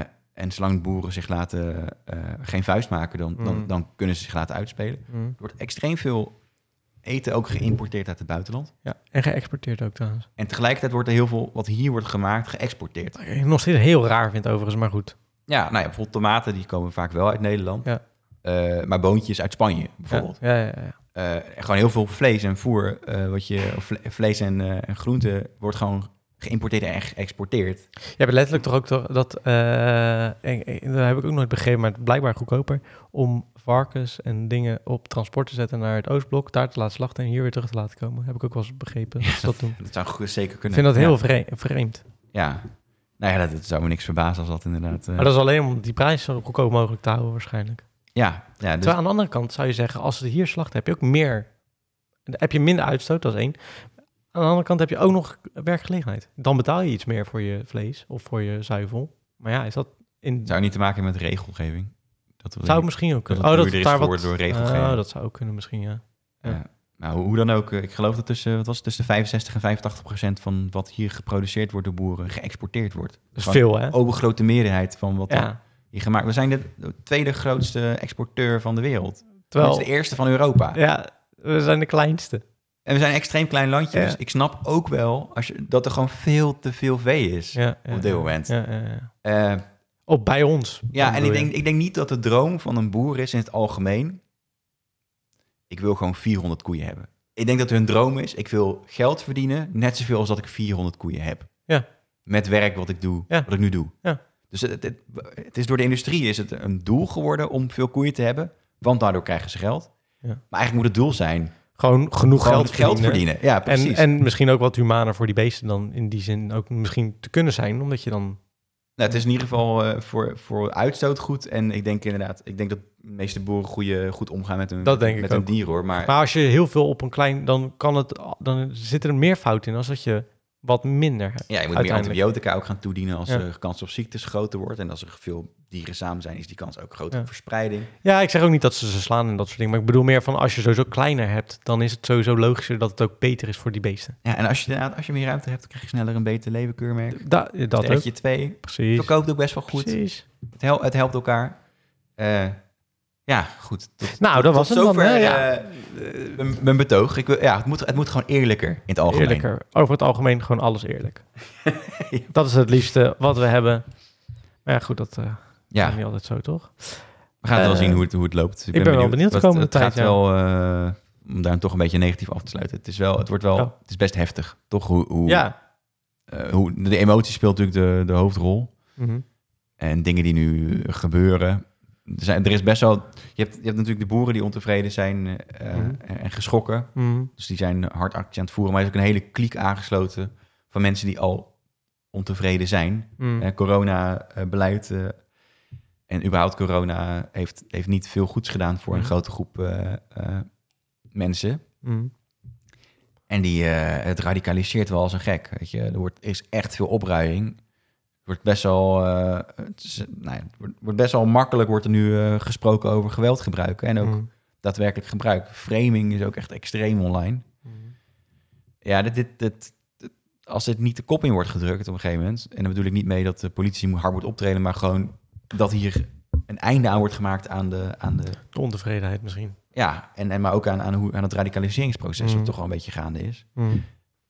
Eh, en zolang boeren zich laten, eh, geen vuist maken, dan, dan,
Mm.
dan kunnen ze zich laten uitspelen.
Mm.
Er wordt extreem veel eten ook geïmporteerd uit het buitenland.
ja. En geëxporteerd ook trouwens.
En tegelijkertijd wordt er heel veel wat hier wordt gemaakt, geëxporteerd.
Wat ik nog steeds heel raar vind overigens, maar goed.
Ja, nou ja, bijvoorbeeld tomaten, die komen vaak wel uit Nederland.
Ja.
Eh, maar boontjes uit Spanje, bijvoorbeeld.
Ja, ja, ja. ja.
eh, gewoon heel veel vlees en voer, eh, wat je, of vle- vlees en, eh, en groenten, wordt gewoon geïmporteerd en geëxporteerd.
Je hebt letterlijk toch ook toch dat, eh, en, en dat heb ik ook nooit begrepen, maar het is blijkbaar goedkoper om varkens en dingen op transport te zetten naar het Oostblok, daar te laten slachten en hier weer terug te laten komen. Heb ik ook wel eens begrepen dat ze dat doen.
Dat zou goed, zeker
Ik
kunnen.
vind dat
Ja.
heel vre- vreemd.
Ja. Nou ja, dat, dat zou me niks verbazen als dat inderdaad... eh,
Maar dat is alleen om die prijs zo goedkoop mogelijk te houden waarschijnlijk.
Ja, ja dus,
Terwijl aan de andere kant zou je zeggen, als ze hier slachten, heb je ook meer, dan heb je minder uitstoot, dat is één. Aan de andere kant heb je ook nog werkgelegenheid. Dan betaal je iets meer voor je vlees of voor je zuivel. Maar ja, is dat in
zou niet te maken hebben met regelgeving. Dat
Zou
wil ik-
het misschien ook kunnen.
dat het
oh, dat
duurder
het
is
daar wat...
geworden door regelgeving.
Oh, dat zou ook kunnen misschien, ja.
Nou, hoe- hoe dan ook, eh, ik geloof dat tussen, wat was het, tussen 65 en 85 procent van wat hier geproduceerd wordt door boeren, geëxporteerd wordt.
Dat is
Gewoon
veel, hè?
de overgrote meerderheid van wat er
Ja.
hier gemaakt We zijn de de tweede grootste exporteur van de wereld. Dat
Terwijl,
is de eerste van Europa.
ja, we zijn de kleinste.
En we zijn een extreem klein landje.
Ja.
Dus ik snap ook wel als je, dat er gewoon veel te veel vee is
Ja, ja,
op dit moment. Ja,
Ja, ja, ja. Oh, bij ons.
ja
dan
en ik
bedoel je.
denk, ik denk niet dat de droom van een boer is in het algemeen. Ik wil gewoon 400 koeien hebben. Ik denk dat hun droom is, ik wil geld verdienen, net zoveel als dat ik 400 koeien heb.
Ja.
Met werk wat ik doe,
Ja.
wat ik nu doe.
Ja.
Dus het, het, het is door de industrie is het een doel geworden om veel koeien te hebben, want daardoor krijgen ze geld.
Ja.
Maar eigenlijk moet het doel zijn,
Gewoon genoeg
gewoon
geld,
geld
verdienen.
verdienen. Ja, precies.
En, en misschien ook wat humaner voor die beesten dan in die zin ook misschien te kunnen zijn. Omdat je dan...
Nou, het is in ieder geval eh, voor, voor uitstoot goed. En ik denk inderdaad, ik denk dat de meeste boeren goede, goed omgaan met hun,
Dat denk ik
met hun
ook.
dieren hoor. Maar,
Maar als je heel veel op een klein... Dan, kan het, dan zit er meer fout in als dat je wat minder hebt.
ja, je moet meer
uiteindelijk-
antibiotica ook gaan toedienen als
Ja.
de kans op ziektes groter wordt. En als er veel dieren samen zijn, is die kans ook groter
Ja.
op verspreiding.
Ja, ik zeg ook niet dat ze ze slaan en dat soort dingen. Maar ik bedoel meer van als je sowieso kleiner hebt... dan is het sowieso logischer dat het ook beter is voor die beesten.
Ja, en als je, inderdaad- als je meer ruimte hebt, dan krijg je sneller een beter levenkeurmerk.
Da- dat ook.
Dat je twee.
Precies.
Verkoopt ook best wel goed.
Precies.
Het, hel- het helpt elkaar. Eh, ja, goed. Tot,
Nou, dat
tot
was het
zover
dan. hè? Ja.
eh, mijn- mijn betoog. Ik wil, ja, het, moet, het moet gewoon eerlijker in het algemeen.
Eerlijker. Over het algemeen gewoon alles eerlijk. Dat is het liefste wat we hebben. Maar ja, goed, dat eh
Ja,
is niet altijd zo, toch?
We gaan het wel
Eh,
zien hoe het, hoe het loopt.
ik ben wel benieuwd de
Wat-
komende
het
tijd,
gaat
ja.
wel, eh, om daar toch een beetje negatief af te sluiten. Het is wel, het wordt wel,
Ja.
het is best heftig. Toch hoe, hoe,
Ja.
eh, hoe de emotie speelt natuurlijk de, de hoofdrol.
Mhm.
En dingen die nu gebeuren. Er, zijn, er is best wel, je hebt, je hebt natuurlijk de boeren die ontevreden zijn eh,
Mhm.
en, en geschrokken.
Mhm.
Dus die zijn hard actie aan het voeren. Maar er is ook een hele kliek aangesloten van mensen die al ontevreden zijn.
Mm.
Corona-beleid eh, en überhaupt corona heeft, heeft niet veel goeds gedaan voor een
Mhm.
grote groep eh, eh, mensen.
Mm.
En die, eh, het radicaliseert wel als een gek. Weet je? Er wordt, er is echt veel opruiing. Het wordt best wel, eh, het is- nou, ja, het wordt, wordt best wel makkelijk wordt er nu eh, gesproken over geweld gebruiken. En ook
Mm.
daadwerkelijk gebruik. Framing is ook echt extreem online.
Mm.
Ja, dit, dit, dit- dit- als dit niet de kop in wordt gedrukt op een gegeven moment... en dan bedoel ik niet mee dat de politie moet- hard moet optreden... maar gewoon dat hier een einde aan wordt gemaakt aan de... Aan de
De ontevredenheid misschien.
ja, en, en maar ook aan, aan, hoe, aan het radicaliseringsproces...
Mm.
wat toch wel een beetje gaande is.
Mm.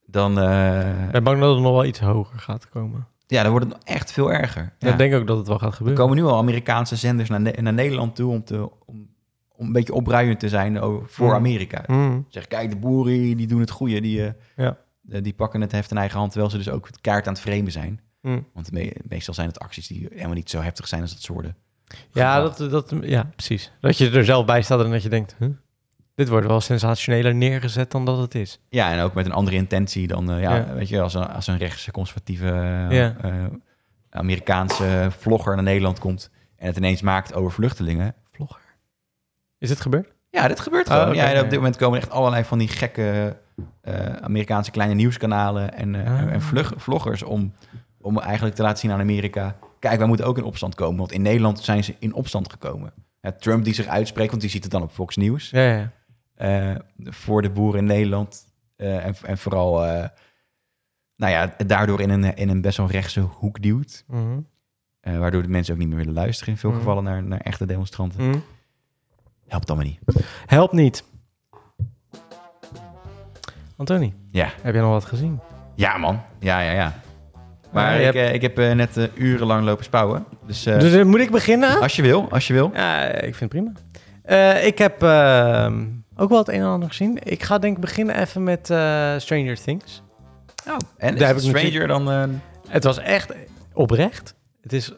Dan, eh,
Ik ben bang dat het nog wel iets hoger gaat komen.
ja, dan wordt het nog echt veel erger. Ja.
Ik denk ook dat het wel gaat
Er
gebeuren.
komen nu al Amerikaanse zenders naar, Ne- naar Nederland toe... om, te, om, om een beetje opruiend te zijn over- voor
Mm.
Amerika.
Mm.
Zeg, kijk, de boeren die doen het goede. Die, eh,
Ja.
eh, die pakken het heft in eigen hand, terwijl ze dus ook het kaart aan het framen zijn.
Mm.
Want me- meestal zijn het acties die helemaal niet zo heftig zijn als dat ze worden.
Ja,
gebracht.
dat, dat, ja, precies. Dat je er zelf bij staat en dat je denkt... huh, Dit wordt wel sensationeler neergezet dan dat het is.
Ja, en ook met een andere intentie dan, eh, ja,
Ja.
weet je, als een, als een rechtse, conservatieve eh,
Ja.
eh, Amerikaanse vlogger naar Nederland komt en het ineens maakt over vluchtelingen.
Vlogger. Is dit gebeurd?
Ja, dat gebeurt
Oh,
gewoon.
oké,
ja, en op
ja.
dit moment komen echt allerlei van die gekke eh, Amerikaanse kleine nieuwskanalen en, eh,
Ah.
en vlug- vloggers om, om eigenlijk te laten zien aan Amerika. Kijk, wij moeten ook in opstand komen, want in Nederland zijn ze in opstand gekomen. Ja, Trump die zich uitspreekt, want die ziet het dan op Fox News.
Ja, ja, ja.
eh, voor de boeren in Nederland. eh, en, en vooral, eh, nou ja, het daardoor in een, in een best wel rechtse hoek duwt.
Mhm.
Eh, waardoor de mensen ook niet meer willen luisteren in veel
Mm.
gevallen naar, naar echte demonstranten.
Mm.
Helpt allemaal niet.
Helpt niet. Antoni,
Ja.
heb jij nog wat gezien?
Ja, man. Ja, ja, ja. Maar
Ja, je
ik, eh, ik heb eh, net eh, urenlang lopen spouwen. Dus eh,
Dus eh, moet ik beginnen?
als je wil, als je wil.
Ja, ik vind het prima. Eh, ik heb ehm, ook wel het een en ander gezien. Ik ga denk ik beginnen even met eh, Stranger Things.
En is
Daar heb
het
ik
Stranger dan... eh,
Het was echt oprecht. Het is...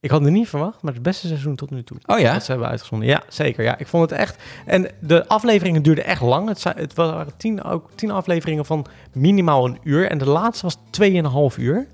Ik had het niet verwacht, maar het beste seizoen tot nu toe.
Oh ja?
Dat ze hebben uitgezonden. Ja, zeker. Ja, ik vond het echt... En de afleveringen duurden echt lang. Het, zijn- het waren tien, ook tien afleveringen van minimaal een uur. En de laatste was tweeënhalf uur.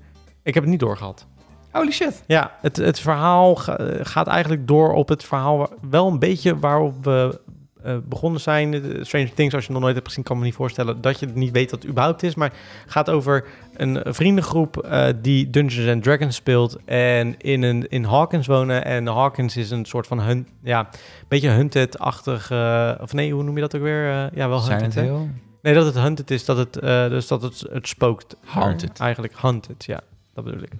Ik heb het niet doorgehad.
Holy shit.
Ja, het, het verhaal ga- eh, gaat eigenlijk door op het verhaal wa- wel een beetje waarop we eh, begonnen zijn. Eh, Stranger Things, als je het nog nooit hebt gezien, kan ik me niet voorstellen dat je het niet weet dat het überhaupt is. Maar het gaat over een vriendengroep eh, die Dungeons and Dragons speelt en in, een, in Hawkins wonen. En Hawkins is een soort van hun, ja, beetje hunted-achtig, eh, of nee, hoe noem je dat ook weer? Eh, ja, wel
Zijn
hunted.
het
hè?
heel...
Nee, dat het hunted is, dat het, eh, dus dat het, het spookt.
Haunted.
Eigenlijk haunted, ja. Dat bedoel ik.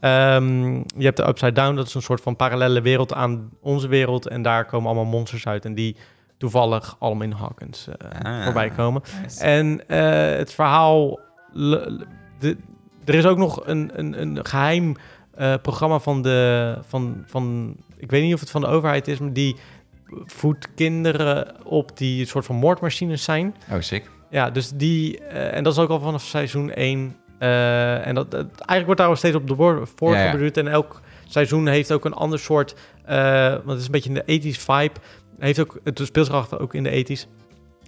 Ehm, je hebt de Upside Down, dat is een soort van parallele wereld aan onze wereld. En daar komen allemaal monsters uit en die toevallig allemaal in Hawkins eh,
Ah.
voorbij komen. En eh, het verhaal... le- le- de- er is ook nog een, een, een geheim eh, programma van de... Van, van, ik weet niet of het van de overheid is, maar die voedt kinderen op die een soort van moordmachines zijn.
Oh, sick.
Ja, dus die... eh, en dat is ook al vanaf seizoen 1. eh, en dat, dat- eigenlijk wordt daar al steeds op de voor
Ja, ja.
voortgebeduurd. En elk seizoen heeft ook een ander soort... eh, want het is een beetje in de 80s vibe. Heeft ook, het speelt zich af ook in de 80s.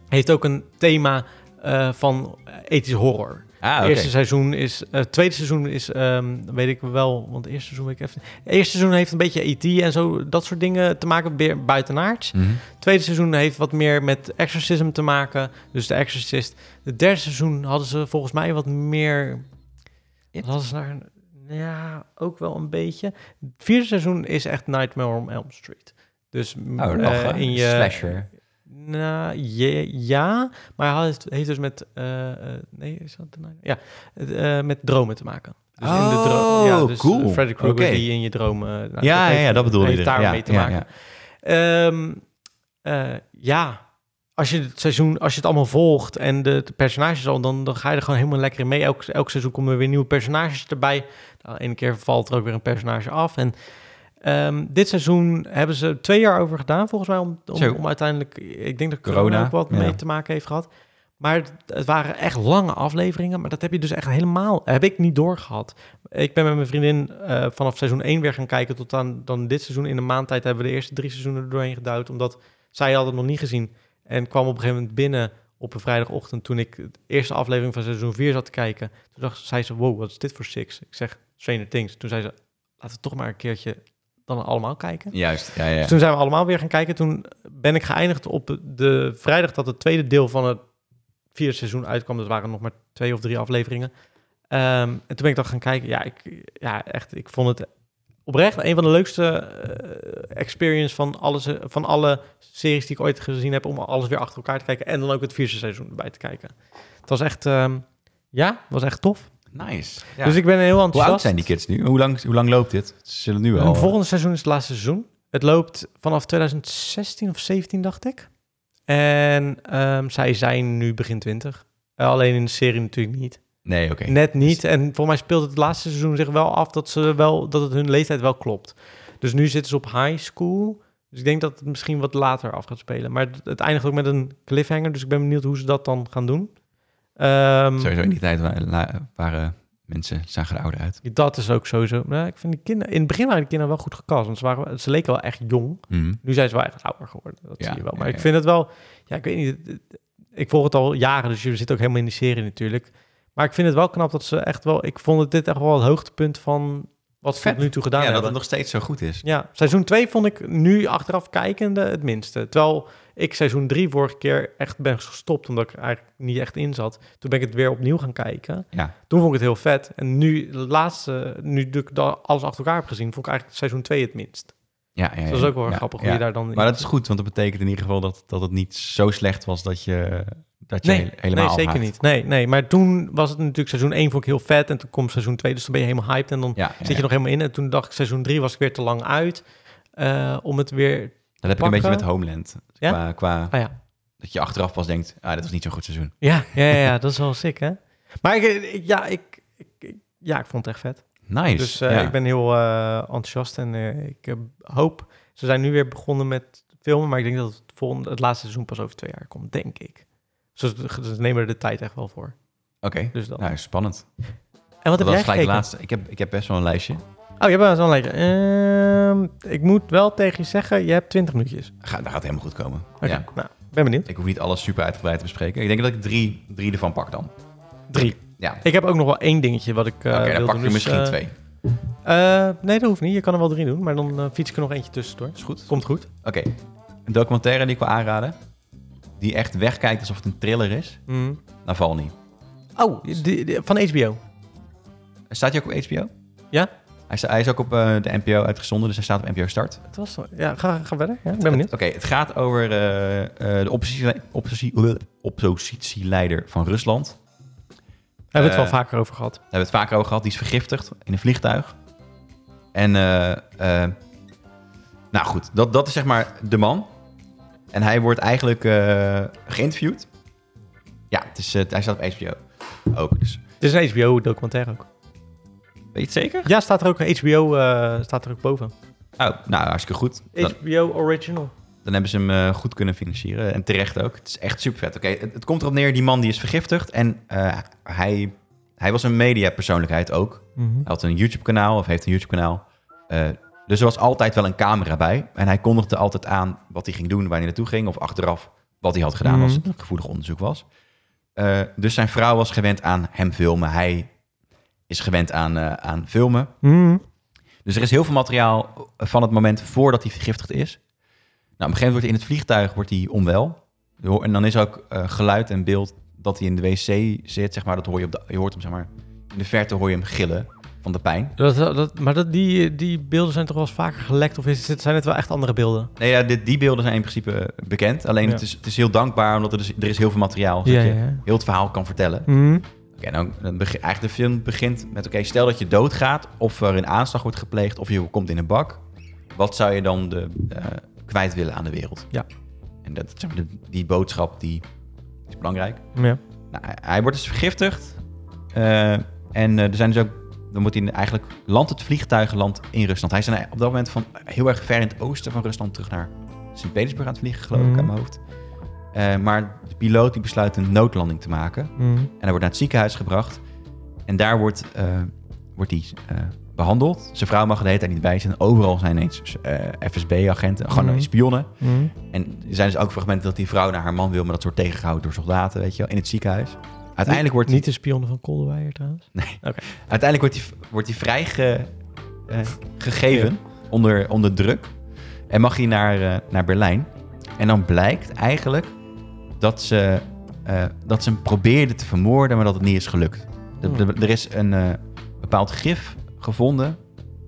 Heeft ook een thema eh, van ethisch horror.
Ah, oké.
Het Eerste seizoen is, eh, het tweede seizoen is, ehm, weet ik wel, want het eerste seizoen weet ik even. Het eerste seizoen heeft een beetje ET en zo, dat soort dingen te maken, weer buitenaards.
Mhm.
Het tweede seizoen heeft wat meer met exorcism te maken, dus de exorcist. Het derde seizoen hadden ze volgens mij wat meer,
It?
wat hadden ze daar, ja, ook wel een beetje. Het vierde seizoen is echt Nightmare on Elm Street. Dus m,
Oh,
eh,
lachen.
in je
Slasher.
nou, je- ja, maar hij heeft, heeft dus met... eh, eh, nee, is dat de naam? Ja, het, eh, met dromen te maken. Dus
Oh,
ja, dus
cool.
Freddy Krueger
Oké.
die in je droom... eh, nou,
ja, ja,
heeft-
ja, dat bedoelde
heeft
je.
daarmee
ja,
te
ja,
maken.
ja.
Ehm, eh, ja, als je het seizoen, als je het allemaal volgt en de, de personages al, dan, dan ga je er gewoon helemaal lekker in mee. Elk, elk seizoen komen er weer nieuwe personages erbij. Nou, De ene keer valt er ook weer een personage af. En ehm, dit seizoen hebben ze twee jaar over gedaan, volgens mij, om,
Zo.
om, om uiteindelijk, ik denk dat corona,
Corona,
ook wat
ja.
mee te maken heeft gehad. Maar het, het waren echt lange afleveringen, maar dat heb je dus echt helemaal, heb ik niet doorgehad. Ik ben met mijn vriendin eh, vanaf seizoen 1 weer gaan kijken tot aan dan dit seizoen. In een maand tijd hebben we de eerste drie seizoenen er doorheen geduwd, omdat zij had het nog niet gezien. En kwam op een gegeven moment binnen op een vrijdagochtend, toen ik de eerste aflevering van seizoen 4 zat te kijken, toen dacht, zei ze, wow, wat is dit voor six? Ik zeg, Stranger Things. Toen zei ze, laten we toch maar een keertje dan allemaal kijken.
Juist, ja, ja.
Dus toen zijn we allemaal weer gaan kijken. Toen ben ik geëindigd op de vrijdag dat het tweede deel van het vierde seizoen uitkwam. Dat waren nog maar twee of drie afleveringen. Ehm, en toen ben ik dat gaan kijken. Ja, ik, ja, echt, ik vond het oprecht een van de leukste eh, experience van, alles, eh, van alle series die ik ooit gezien heb. Om alles weer achter elkaar te kijken. En dan ook het vierde seizoen erbij te kijken. Het was echt, ehm, ja, was echt tof.
Nice. Ja.
Dus ik ben heel enthousiast.
Hoe oud zijn die kids nu? Hoe lang, hoe lang loopt dit? Ze zullen nu eh, al...
Het volgende seizoen is het laatste seizoen. Het loopt vanaf 2016 of 17, dacht ik. En ehm, zij zijn nu begin 20. Eh, Alleen in de serie natuurlijk niet.
Nee, oké.
Net niet. En volgens mij speelt het laatste seizoen zich wel af dat, ze wel, dat het hun leeftijd wel klopt. Dus nu zitten ze op high school. Dus ik denk dat het misschien wat later af gaat spelen. Maar het, het eindigt ook met een cliffhanger. Dus ik ben benieuwd hoe ze dat dan gaan doen. Ehm,
Sowieso in die tijd wa- la- waren mensen, zagen er ouder uit.
dat is ook sowieso. Maar ik vind die kinderen, in het begin waren de kinderen wel goed gecast. Want ze, waren, ze leken wel echt jong.
Mhm.
Nu zijn ze wel echt ouder geworden. Dat
Ja,
zie je wel. Maar
ja,
ik
ja.
vind het wel. Ja, ik weet niet. het- het- Ik volg het al jaren, dus je zit ook helemaal in die serie natuurlijk. Maar ik vind het wel knap dat ze echt wel. Ik vond het dit echt wel het hoogtepunt van wat ze
Vet.
tot nu toe gedaan
Ja, dat
hebben.
het nog steeds zo goed is.
Ja, seizoen 2 vond ik nu achteraf kijkende het minste. Terwijl ik seizoen 3 vorige keer echt ben gestopt omdat ik er eigenlijk niet echt in zat. Toen ben ik het weer opnieuw gaan kijken.
Ja.
Toen vond ik het heel vet. En nu, de laatste, nu ik dat alles achter elkaar heb gezien, vond ik eigenlijk seizoen 2 het minst.
Ja, ja, ja.
Dus dat is ook wel
Ja,
grappig
ja.
hoe je daar dan in
Maar dat is goed, want dat betekent in ieder geval dat, dat het niet zo slecht was dat je, dat je he- helemaal
nee, zeker
afhaakt.
niet. Nee, nee, maar toen was het natuurlijk seizoen 1 vond ik heel vet en toen komt seizoen 2, dus dan ben je helemaal hyped en dan
Ja, ja,
zit je
ja.
nog helemaal in. En toen dacht ik seizoen 3 was ik weer te lang uit eh, om het weer...
dat heb ik een beetje met
pakken.
Homeland. Dus
Ja?
Qua, qua
Ah ja,
dat je achteraf pas denkt, ah, dat was niet zo'n goed seizoen.
ja, ja, ja, ja, dat is wel sick hè. Maar ik, eh, ik- ja, ik, ik, ik- ja, ik vond het echt vet.
Nice.
Dus eh,
ja.
ik ben heel eh, enthousiast en eh, ik eh, hoop... Ze zijn nu weer begonnen met filmen, maar ik denk dat het, volgende, het laatste seizoen pas over twee jaar komt, denk ik. Dus ze ze nemen er de tijd echt wel voor.
Oké,
Dus dat.
nou, spannend.
En wat
dat
heb jij
was gelijk de
gekeken?
laatste. Ik heb, ik heb best wel een lijstje.
Oh, je hebt wel zo'n lijstje. Ehm, ik moet wel tegen je zeggen, je hebt 20 minuutjes.
Ga, dat gaat helemaal goed komen.
Oké,
Ja.
nou, ben benieuwd.
Ik hoef niet alles super uitgebreid te bespreken. Ik denk dat ik drie, drie ervan pak dan.
Drie.
Ja,
Ik heb ook nog wel één dingetje wat ik eh
oké,
wil
dan pak
doen,
je
dus,
misschien
eh,
twee.
eh, nee, dat hoeft niet. Je kan er wel drie doen, maar dan eh, fiets ik er nog eentje tussendoor.
Is goed.
Komt goed.
Oké, een documentaire die ik wil aanraden. Die echt wegkijkt alsof het een thriller is.
Mm.
Navalny.
Oh, die- die- van HBO.
Staat hij ook op HBO?
Ja.
Hij, sta- hij is ook op eh, de NPO uitgezonden, dus hij staat op NPO Start.
Het was, ja, ga, ga verder. Ja, ik ben benieuwd.
Oké, het gaat over eh, eh, de oppositie- oppositie- eh, oppositieleider van Rusland.
Daar hebben we het
eh,
wel vaker over gehad.
Daar hebben we het vaker over gehad. Die is vergiftigd in een vliegtuig. En, eh, eh, nou goed, dat, dat is zeg maar de man. En hij wordt eigenlijk eh, geïnterviewd. Ja, het is, eh, hij staat op HBO ook. Dus.
Het is een HBO-documentaire ook.
Weet je het zeker?
Ja, staat er ook een HBO eh, staat er ook boven.
Oh, nou, hartstikke goed. Dan,
HBO Original.
dan hebben ze hem eh, goed kunnen financieren. En terecht ook. Het is echt super vet. Oké, het, het komt erop neer, die man die is vergiftigd. En eh, hij, hij was een mediapersoonlijkheid ook.
Mhm.
Hij had een YouTube-kanaal of heeft een YouTube-kanaal. Eh, dus er was altijd wel een camera bij. En hij kondigde altijd aan wat hij ging doen, waar hij naartoe ging. Of achteraf wat hij had gedaan als het
Mhm.
een gevoelig onderzoek was. Eh, dus zijn vrouw was gewend aan hem filmen. Hij is gewend aan, eh, aan filmen.
Mhm.
Dus er is heel veel materiaal eh, van het moment voordat hij vergiftigd is. Nou, op een gegeven moment wordt hij in het vliegtuig wordt hij onwel. Je hoort- En dan is ook eh, geluid en beeld dat hij in de wc zit, zeg maar. Dat hoor je, op de, je hoort hem, zeg maar. In de verte hoor je hem gillen van de pijn.
Dat, dat, maar dat, die, die beelden zijn toch wel eens vaker gelekt? Of is, het- zijn het wel echt andere beelden?
Nee, ja, dit- die beelden zijn in principe eh, bekend. Alleen
Ja.
het, is, het is heel dankbaar, omdat er is, er is heel veel materiaal.
Ja,
dat je
ja, ja.
heel het verhaal kan vertellen.
Mm,
Oké, dan, dan beg- eigenlijk de film begint met... Oké, stel dat je doodgaat, of er een aanslag wordt gepleegd... of je komt in een bak. Wat zou je dan de, eh, kwijt willen aan de wereld?
Ja.
En dat, zeg maar, de- die boodschap, die is belangrijk.
Ja.
Nou, hij- hij wordt dus vergiftigd. Eh, en eh, er zijn dus ook... Dan moet hij eigenlijk... Landt het vliegtuig land in Rusland. Hij is dan op dat moment van heel erg ver in het oosten van Rusland... terug naar Sint-Petersburg aan het vliegen, geloof ik,
Mhm.
aan mijn hoofd. Eh, maar de piloot die besluit een noodlanding te
Mm,
maken. En hij wordt naar het ziekenhuis gebracht. En daar wordt, eh, wordt hij eh, behandeld. Zijn vrouw mag er de hele tijd niet bij zijn. Overal zijn ineens eh, FSB-agenten, gewoon
Mhm.
spionnen.
Mhm.
En er zijn dus ook fragmenten dat die vrouw naar haar man wil, maar dat wordt tegengehouden door soldaten, weet je wel, in het ziekenhuis. Uiteindelijk wordt,
Niet de spion van Kolderweijer trouwens.
uiteindelijk wordt die, wordt die vrijgegeven eh, gegeven onder, onder druk. En mag hij naar, eh, naar Berlijn. En dan blijkt eigenlijk dat ze, eh, dat ze hem probeerde te vermoorden, maar dat het niet is gelukt. De-
Hmm.
de- er is een eh, bepaald gif gevonden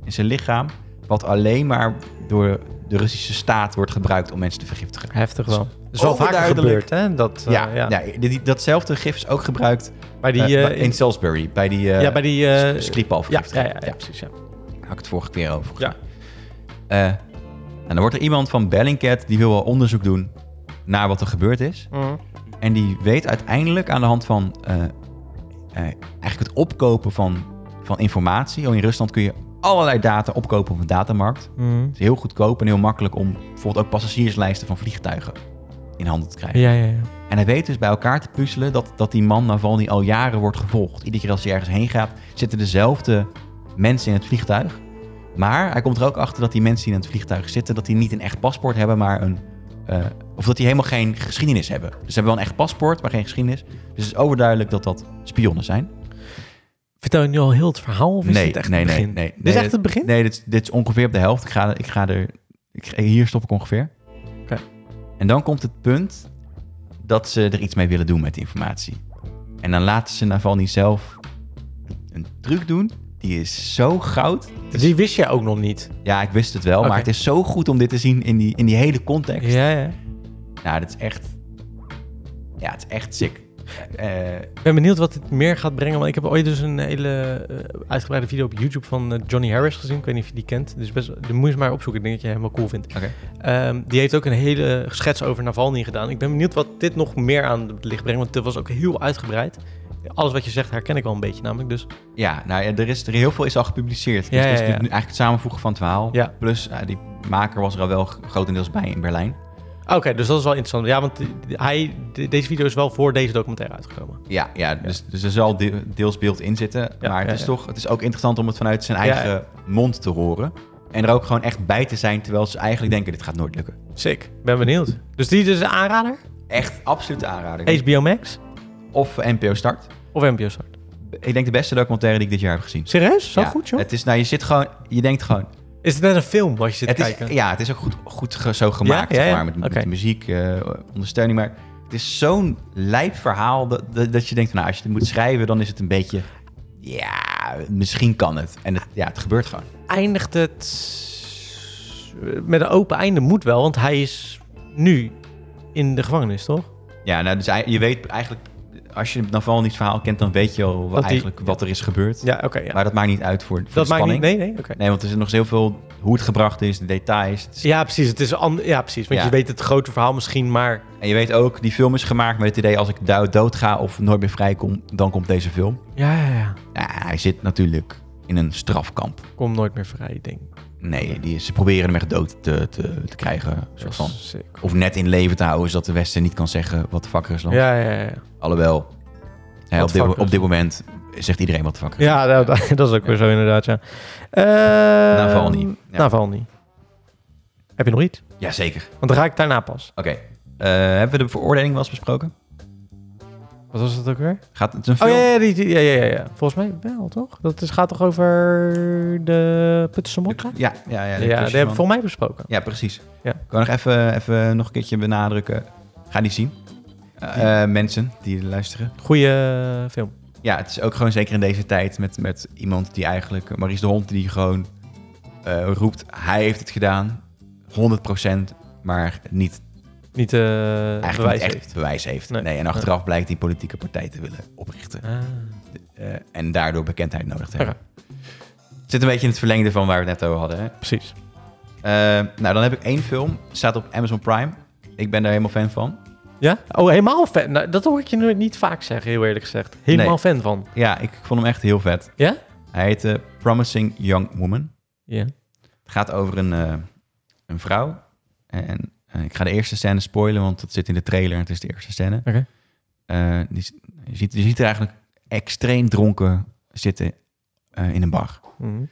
in zijn lichaam, wat alleen maar door de Russische staat wordt gebruikt om mensen te vergiftigen.
Heftig wel. Dat is wel vaker
Overduidelijk.
gebeurd, hè? Dat, eh,
ja,
ja.
ja. die- die- datzelfde gif is ook gebruikt
Bij die...
eh,
eh,
bij- in Salisbury, bij die eh
ja, bij die... eh,
s-
ja, ja,
schietbalvergiftiging.
ja, ja, precies, ja.
Daar had ik het vorige keer over.
Ja.
Eh, en dan wordt er iemand van Bellingcat, die wil wel onderzoek doen naar wat er gebeurd is.
Mhm.
En die weet uiteindelijk aan de hand van eh, eh, eigenlijk het opkopen van, van informatie. Oh, in Rusland kun je allerlei data opkopen op een datamarkt.
Mhm.
Het is heel goedkoop en heel makkelijk om bijvoorbeeld ook passagierslijsten van vliegtuigen in handen te krijgen.
Ja, ja, ja.
En hij weet dus bij elkaar te puzzelen dat, dat die man Navalny al jaren wordt gevolgd. Iedere keer als hij ergens heen gaat, zitten dezelfde mensen in het vliegtuig. Maar hij komt er ook achter dat die mensen die in het vliegtuig zitten, dat die niet een echt paspoort hebben, maar een. eh, of dat die helemaal geen geschiedenis hebben. Dus ze hebben wel een echt paspoort, maar geen geschiedenis. Dus het is overduidelijk dat dat spionnen zijn.
Vertel je nu al heel het verhaal of is
nee,
dit echt
nee,
het begin?
nee, nee.
Dit is echt het begin?
Nee, dit is, dit is ongeveer op de helft. Ik ga, ik ga er... Ik, hier stop ik ongeveer.
Oké.
En dan komt het punt dat ze er iets mee willen doen met die informatie. En dan laten ze Navalny zelf een truc doen. Die is zo goud.
Dus Die wist je ook nog niet.
Ja, ik wist het wel, maar
Oké.
het is zo goed om dit te zien in die, in die hele context.
Ja, ja.
Nou, dat is echt... Ja, het is echt sick. Eh,
Ik ben benieuwd wat dit meer gaat brengen. Want ik heb ooit dus een hele eh, uitgebreide video op YouTube van eh, Johnny Harris gezien. Ik weet niet of je die kent. Dus best, die moet je maar opzoeken. Ik denk dat je hem wel cool vindt.
Oké.
Ehm, die heeft ook een hele schets over Navalny gedaan. Ik ben benieuwd wat dit nog meer aan het licht brengt. Want het was ook heel uitgebreid. Alles wat je zegt herken ik al een beetje namelijk. Dus
Ja, nou ja, er is er heel veel is al gepubliceerd.
Ja,
dus dat is
ja, ja.
nu eigenlijk het samenvoegen van het verhaal.
Ja.
Plus, eh, die maker was er al wel g- grotendeels bij in Berlijn.
oké, dus dat is wel interessant. Ja, want hij, de- deze video is wel voor deze documentaire uitgekomen.
Ja, ja, Dus, dus er zal de- deels beeld in zitten.
Ja,
maar het
ja,
is
ja.
toch, het is ook interessant om het vanuit zijn
Ja,
eigen mond te horen. En er ook gewoon echt bij te zijn, terwijl ze eigenlijk denken, dit gaat nooit lukken.
Sick. Ben benieuwd. Dus die is dus een aanrader.
Echt absoluut aanraden.
HBO Max
Of NPO Start.
of NPO Start.
Ik denk de beste documentaire die ik dit jaar heb gezien.
Serieus? Zo
Ja,
goed, joh?
Het is, nou, je zit gewoon, je denkt gewoon,
Is het net een film wat je zit
Het
te
is,
kijken?
ja, het is ook goed, goed ge- zo gemaakt,
Ja, ja,
zeg
ja.
maar, met, met
Oké.
de muziek, eh, ondersteuning. Maar het is zo'n lijp verhaal dat, dat, dat je denkt, nou, als je het moet schrijven, dan is het een beetje, ja, misschien kan het. En het, ja, het gebeurt gewoon.
eindigt het met een open einde moet wel, want hij is nu in de gevangenis, toch?
Ja, nou, dus ei- je weet eigenlijk, als je Naval niet verhaal kent, dan weet je al
die-
eigenlijk wat er is gebeurd.
Ja, oké. ja.
Maar dat maakt niet uit voor, voor
Dat
de
maakt
spanning.
niet. Nee, nee. Oké.
nee. want er zit nog heel veel hoe het gebracht is, de details. Het is-
Ja, precies. Het is een ander. Ja, precies. Want
Ja.
je weet het grote verhaal misschien, maar
En je weet ook, die film is gemaakt met het idee, als ik dood, dood ga of nooit meer vrijkom, dan komt deze film.
ja, ja, ja.
Ja, hij zit natuurlijk in een strafkamp.
Kom nooit meer vrij, denk ik.
Nee, die, ze proberen hem echt dood te, te, te krijgen. Soort van.
Sick.
Of net in leven te houden, zodat de Westen niet kan zeggen wat de fuck Rusland.
Ja, ja, ja.
Alhoewel, hè,
Wat
op, dit,
fuck
op dit
Rusland.
moment zegt iedereen wat de fuck
Ja, dat, dat- dat is ook weer zo inderdaad, ja. Uh,
Navalny. Ja.
niet. Heb je nog iets?
Rusland- Jazeker.
Want dan ga ik daarna pas.
Oké. Eh, hebben we de veroordeling wel eens besproken?
Wat was dat ook weer?
Gaat het een
Oh
film?
ja, ja, die- die- ja, ja, ja, ja. Volgens mij wel, toch? Dat is, gaat toch over de Putse Mokka?
Ja, ja,
Ja,
ja. de
die
Kusjesman.
hebben we volgens mij besproken.
Ja, precies.
Ja.
Kan nog even, even nog een keertje benadrukken. Ga die zien. Eh, eh, mensen die luisteren.
Goeie eh, film.
Ja, het is ook gewoon zeker in deze tijd met, met iemand die eigenlijk... Maurice de Hond die gewoon eh, roept, hij heeft het gedaan. 100%, maar niet,
Niet eh
eigenlijk
bewijs
niet echt
heeft.
bewijs heeft. Nee.
Nee.
en achteraf blijkt die politieke partij te willen oprichten.
Ah.
Eh, en daardoor bekendheid nodig te
Oké.
hebben. Het zit een beetje in het verlengde van waar we het net over hadden. Hè?
Precies.
Eh, nou, dan heb ik één film. Staat op Amazon Prime. Ik ben daar helemaal fan van.
Ja? Oh, helemaal fan. Nou, dat hoor ik je nooit niet vaak zeggen, heel eerlijk gezegd. Helemaal
Nee.
fan van.
Ja, ik vond hem echt heel vet.
Ja?
Hij heet eh, Promising Young Woman.
Ja.
Het gaat over een, eh, een vrouw. En eh, ik ga de eerste scène spoilen, want dat zit in de trailer. en Het is de eerste scène.
Oké.
Eh, die, s- je, ziet, je ziet er eigenlijk extreem dronken zitten eh, in een bar.
Mhm.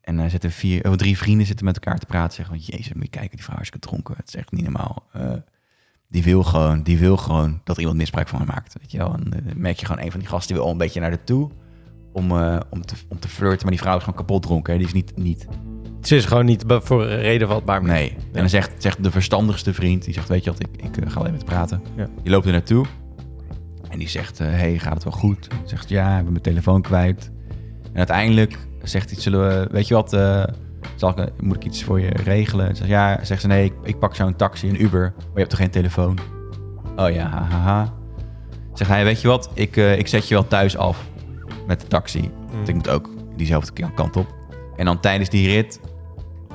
En daar zitten vier, oh, drie vrienden zitten met elkaar te praten. Zeggen van, jezus, moet je kijken, die vrouw is hartstikke dronken. Het is echt niet normaal. Eh, die wil gewoon, die wil gewoon dat iemand misbruik van haar maakt. Weet je wel? En eh, dan merk je gewoon, een van die gasten die wil al een beetje naar de toe. Om, eh, om, te, om te flirten. Maar die vrouw is gewoon kapot dronken. Hè? Die is niet, niet
Ze is gewoon niet be- voor een reden vatbaar. meer.
Nee. En dan zegt, zegt de verstandigste vriend, die zegt, weet je wat, ik, ik eh, ga alleen met praten.
Ja.
Die loopt er naartoe en die zegt, eh, hey, gaat het wel goed? Zegt, ja, ik ben mijn telefoon kwijt. En uiteindelijk zegt hij, zullen we, weet je wat, eh, zal ik, eh, moet ik iets voor je regelen? Zegt, ja, zegt ze, nee, ik, ik pak zo'n taxi, een Uber, maar je hebt toch geen telefoon? Oh ja, ha, ha, ha. Zegt hij, weet je wat, ik, eh, ik zet je wel thuis af met de taxi. Want ik moet ook diezelfde kant op. En dan tijdens die rit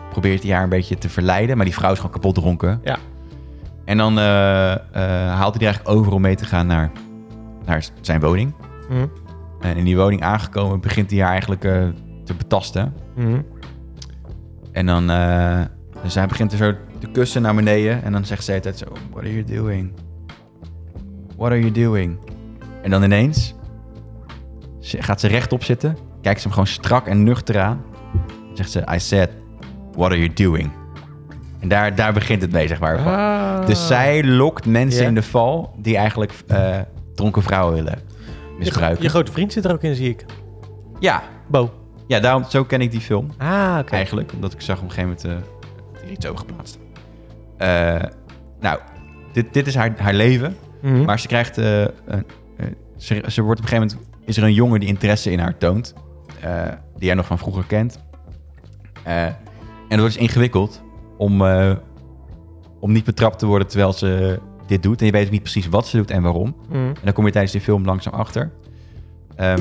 probeert hij haar een beetje te verleiden. Maar die vrouw is gewoon kapot dronken.
Ja.
En dan eh, eh, haalt hij die eigenlijk over om mee te gaan naar, naar zijn woning.
Mhm.
En in die woning aangekomen begint hij haar eigenlijk eh, te betasten.
Mhm.
En dan... eh, dus hij begint er zo te kussen naar beneden. En dan zegt zij altijd zo... What are you doing? What are you doing? En dan ineens... ze- gaat ze rechtop zitten. Kijkt ze hem gewoon strak en nuchter aan. Zegt ze... I said... What are you doing? En daar, daar begint het mee, zeg maar.
Ah.
Dus zij lokt mensen
Ja.
in de val... die eigenlijk eh, dronken vrouwen willen
Je gro-
misbruiken.
Je grote vriend zit er ook in, zie ik.
ja,
Bo.
ja daarom, zo ken ik die film.
Ah, oké.
eigenlijk. Omdat ik zag op een gegeven moment eh, er iets over geplaatst. Eh, nou, dit, dit is haar, haar leven.
Mhm.
Maar ze krijgt... eh, een- eh, ze, ze wordt op een gegeven moment... Is er een jongen die interesse in haar toont. eh, die jij nog van vroeger kent. Eh, en het wordt dus ingewikkeld om, eh, om niet betrapt te worden terwijl ze dit doet. En je weet ook niet precies wat ze doet en waarom.
Mhm.
En dan kom je tijdens die film langzaam achter. Ehm,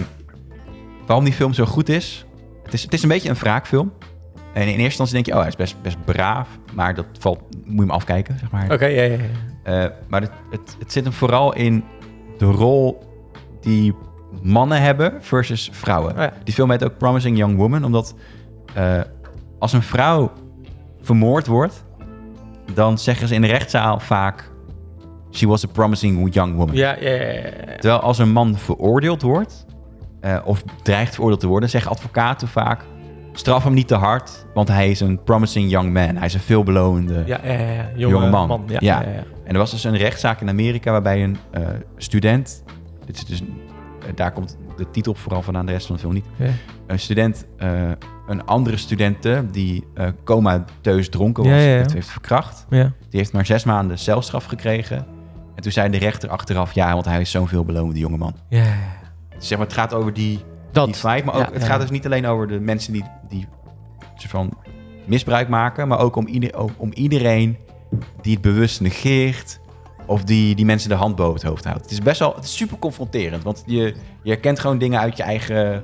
waarom die film zo goed is? Het, is. het is een beetje een wraakfilm. En in eerste instantie denk je, oh, hij is best, best braaf. Maar dat valt, moet je hem afkijken, zeg maar.
Oké, ja, ja, ja.
Eh, maar het, het, het zit hem vooral in de rol die mannen hebben versus vrouwen.
Oh ja.
Die film heet ook Promising Young Woman, omdat eh, als een vrouw vermoord wordt, dan zeggen ze in de rechtszaal vaak: She was a promising young woman.
Ja, ja, ja, ja, ja.
Terwijl als een man veroordeeld wordt, eh, of dreigt veroordeeld te worden, zeggen advocaten vaak: straf hem niet te hard, want hij is een promising young man. Hij is een veelbelovende.
Ja, ja, ja, ja. Jonge,
Jonge man.
Ja,
Ja.
ja. ja, ja.
En er was dus een rechtszaak in Amerika waarbij een eh, student, dit is dus, eh, daar komt de titel vooral van aan de rest van de film niet,
Ja.
een student, eh, een andere studente die eh comateus dronken was,
Ja, ja, ja.
heeft- heeft verkracht.
Ja.
Die heeft maar zes maanden celstraf gekregen. En toen zei de rechter achteraf, ja, want hij is zo'n veelbelovende jongeman.
ja, ja.
Dus zeg maar, het gaat over die die
Dat.
vibe. Maar ook,
Ja,
het
ja.
gaat dus niet alleen over de mensen die, die soort van misbruik maken, maar ook om, ieder, ook om iedereen die het bewust negeert of die, die mensen de hand boven het hoofd houdt. Het is best wel het is super confronterend, want je, je herkent gewoon dingen uit je eigen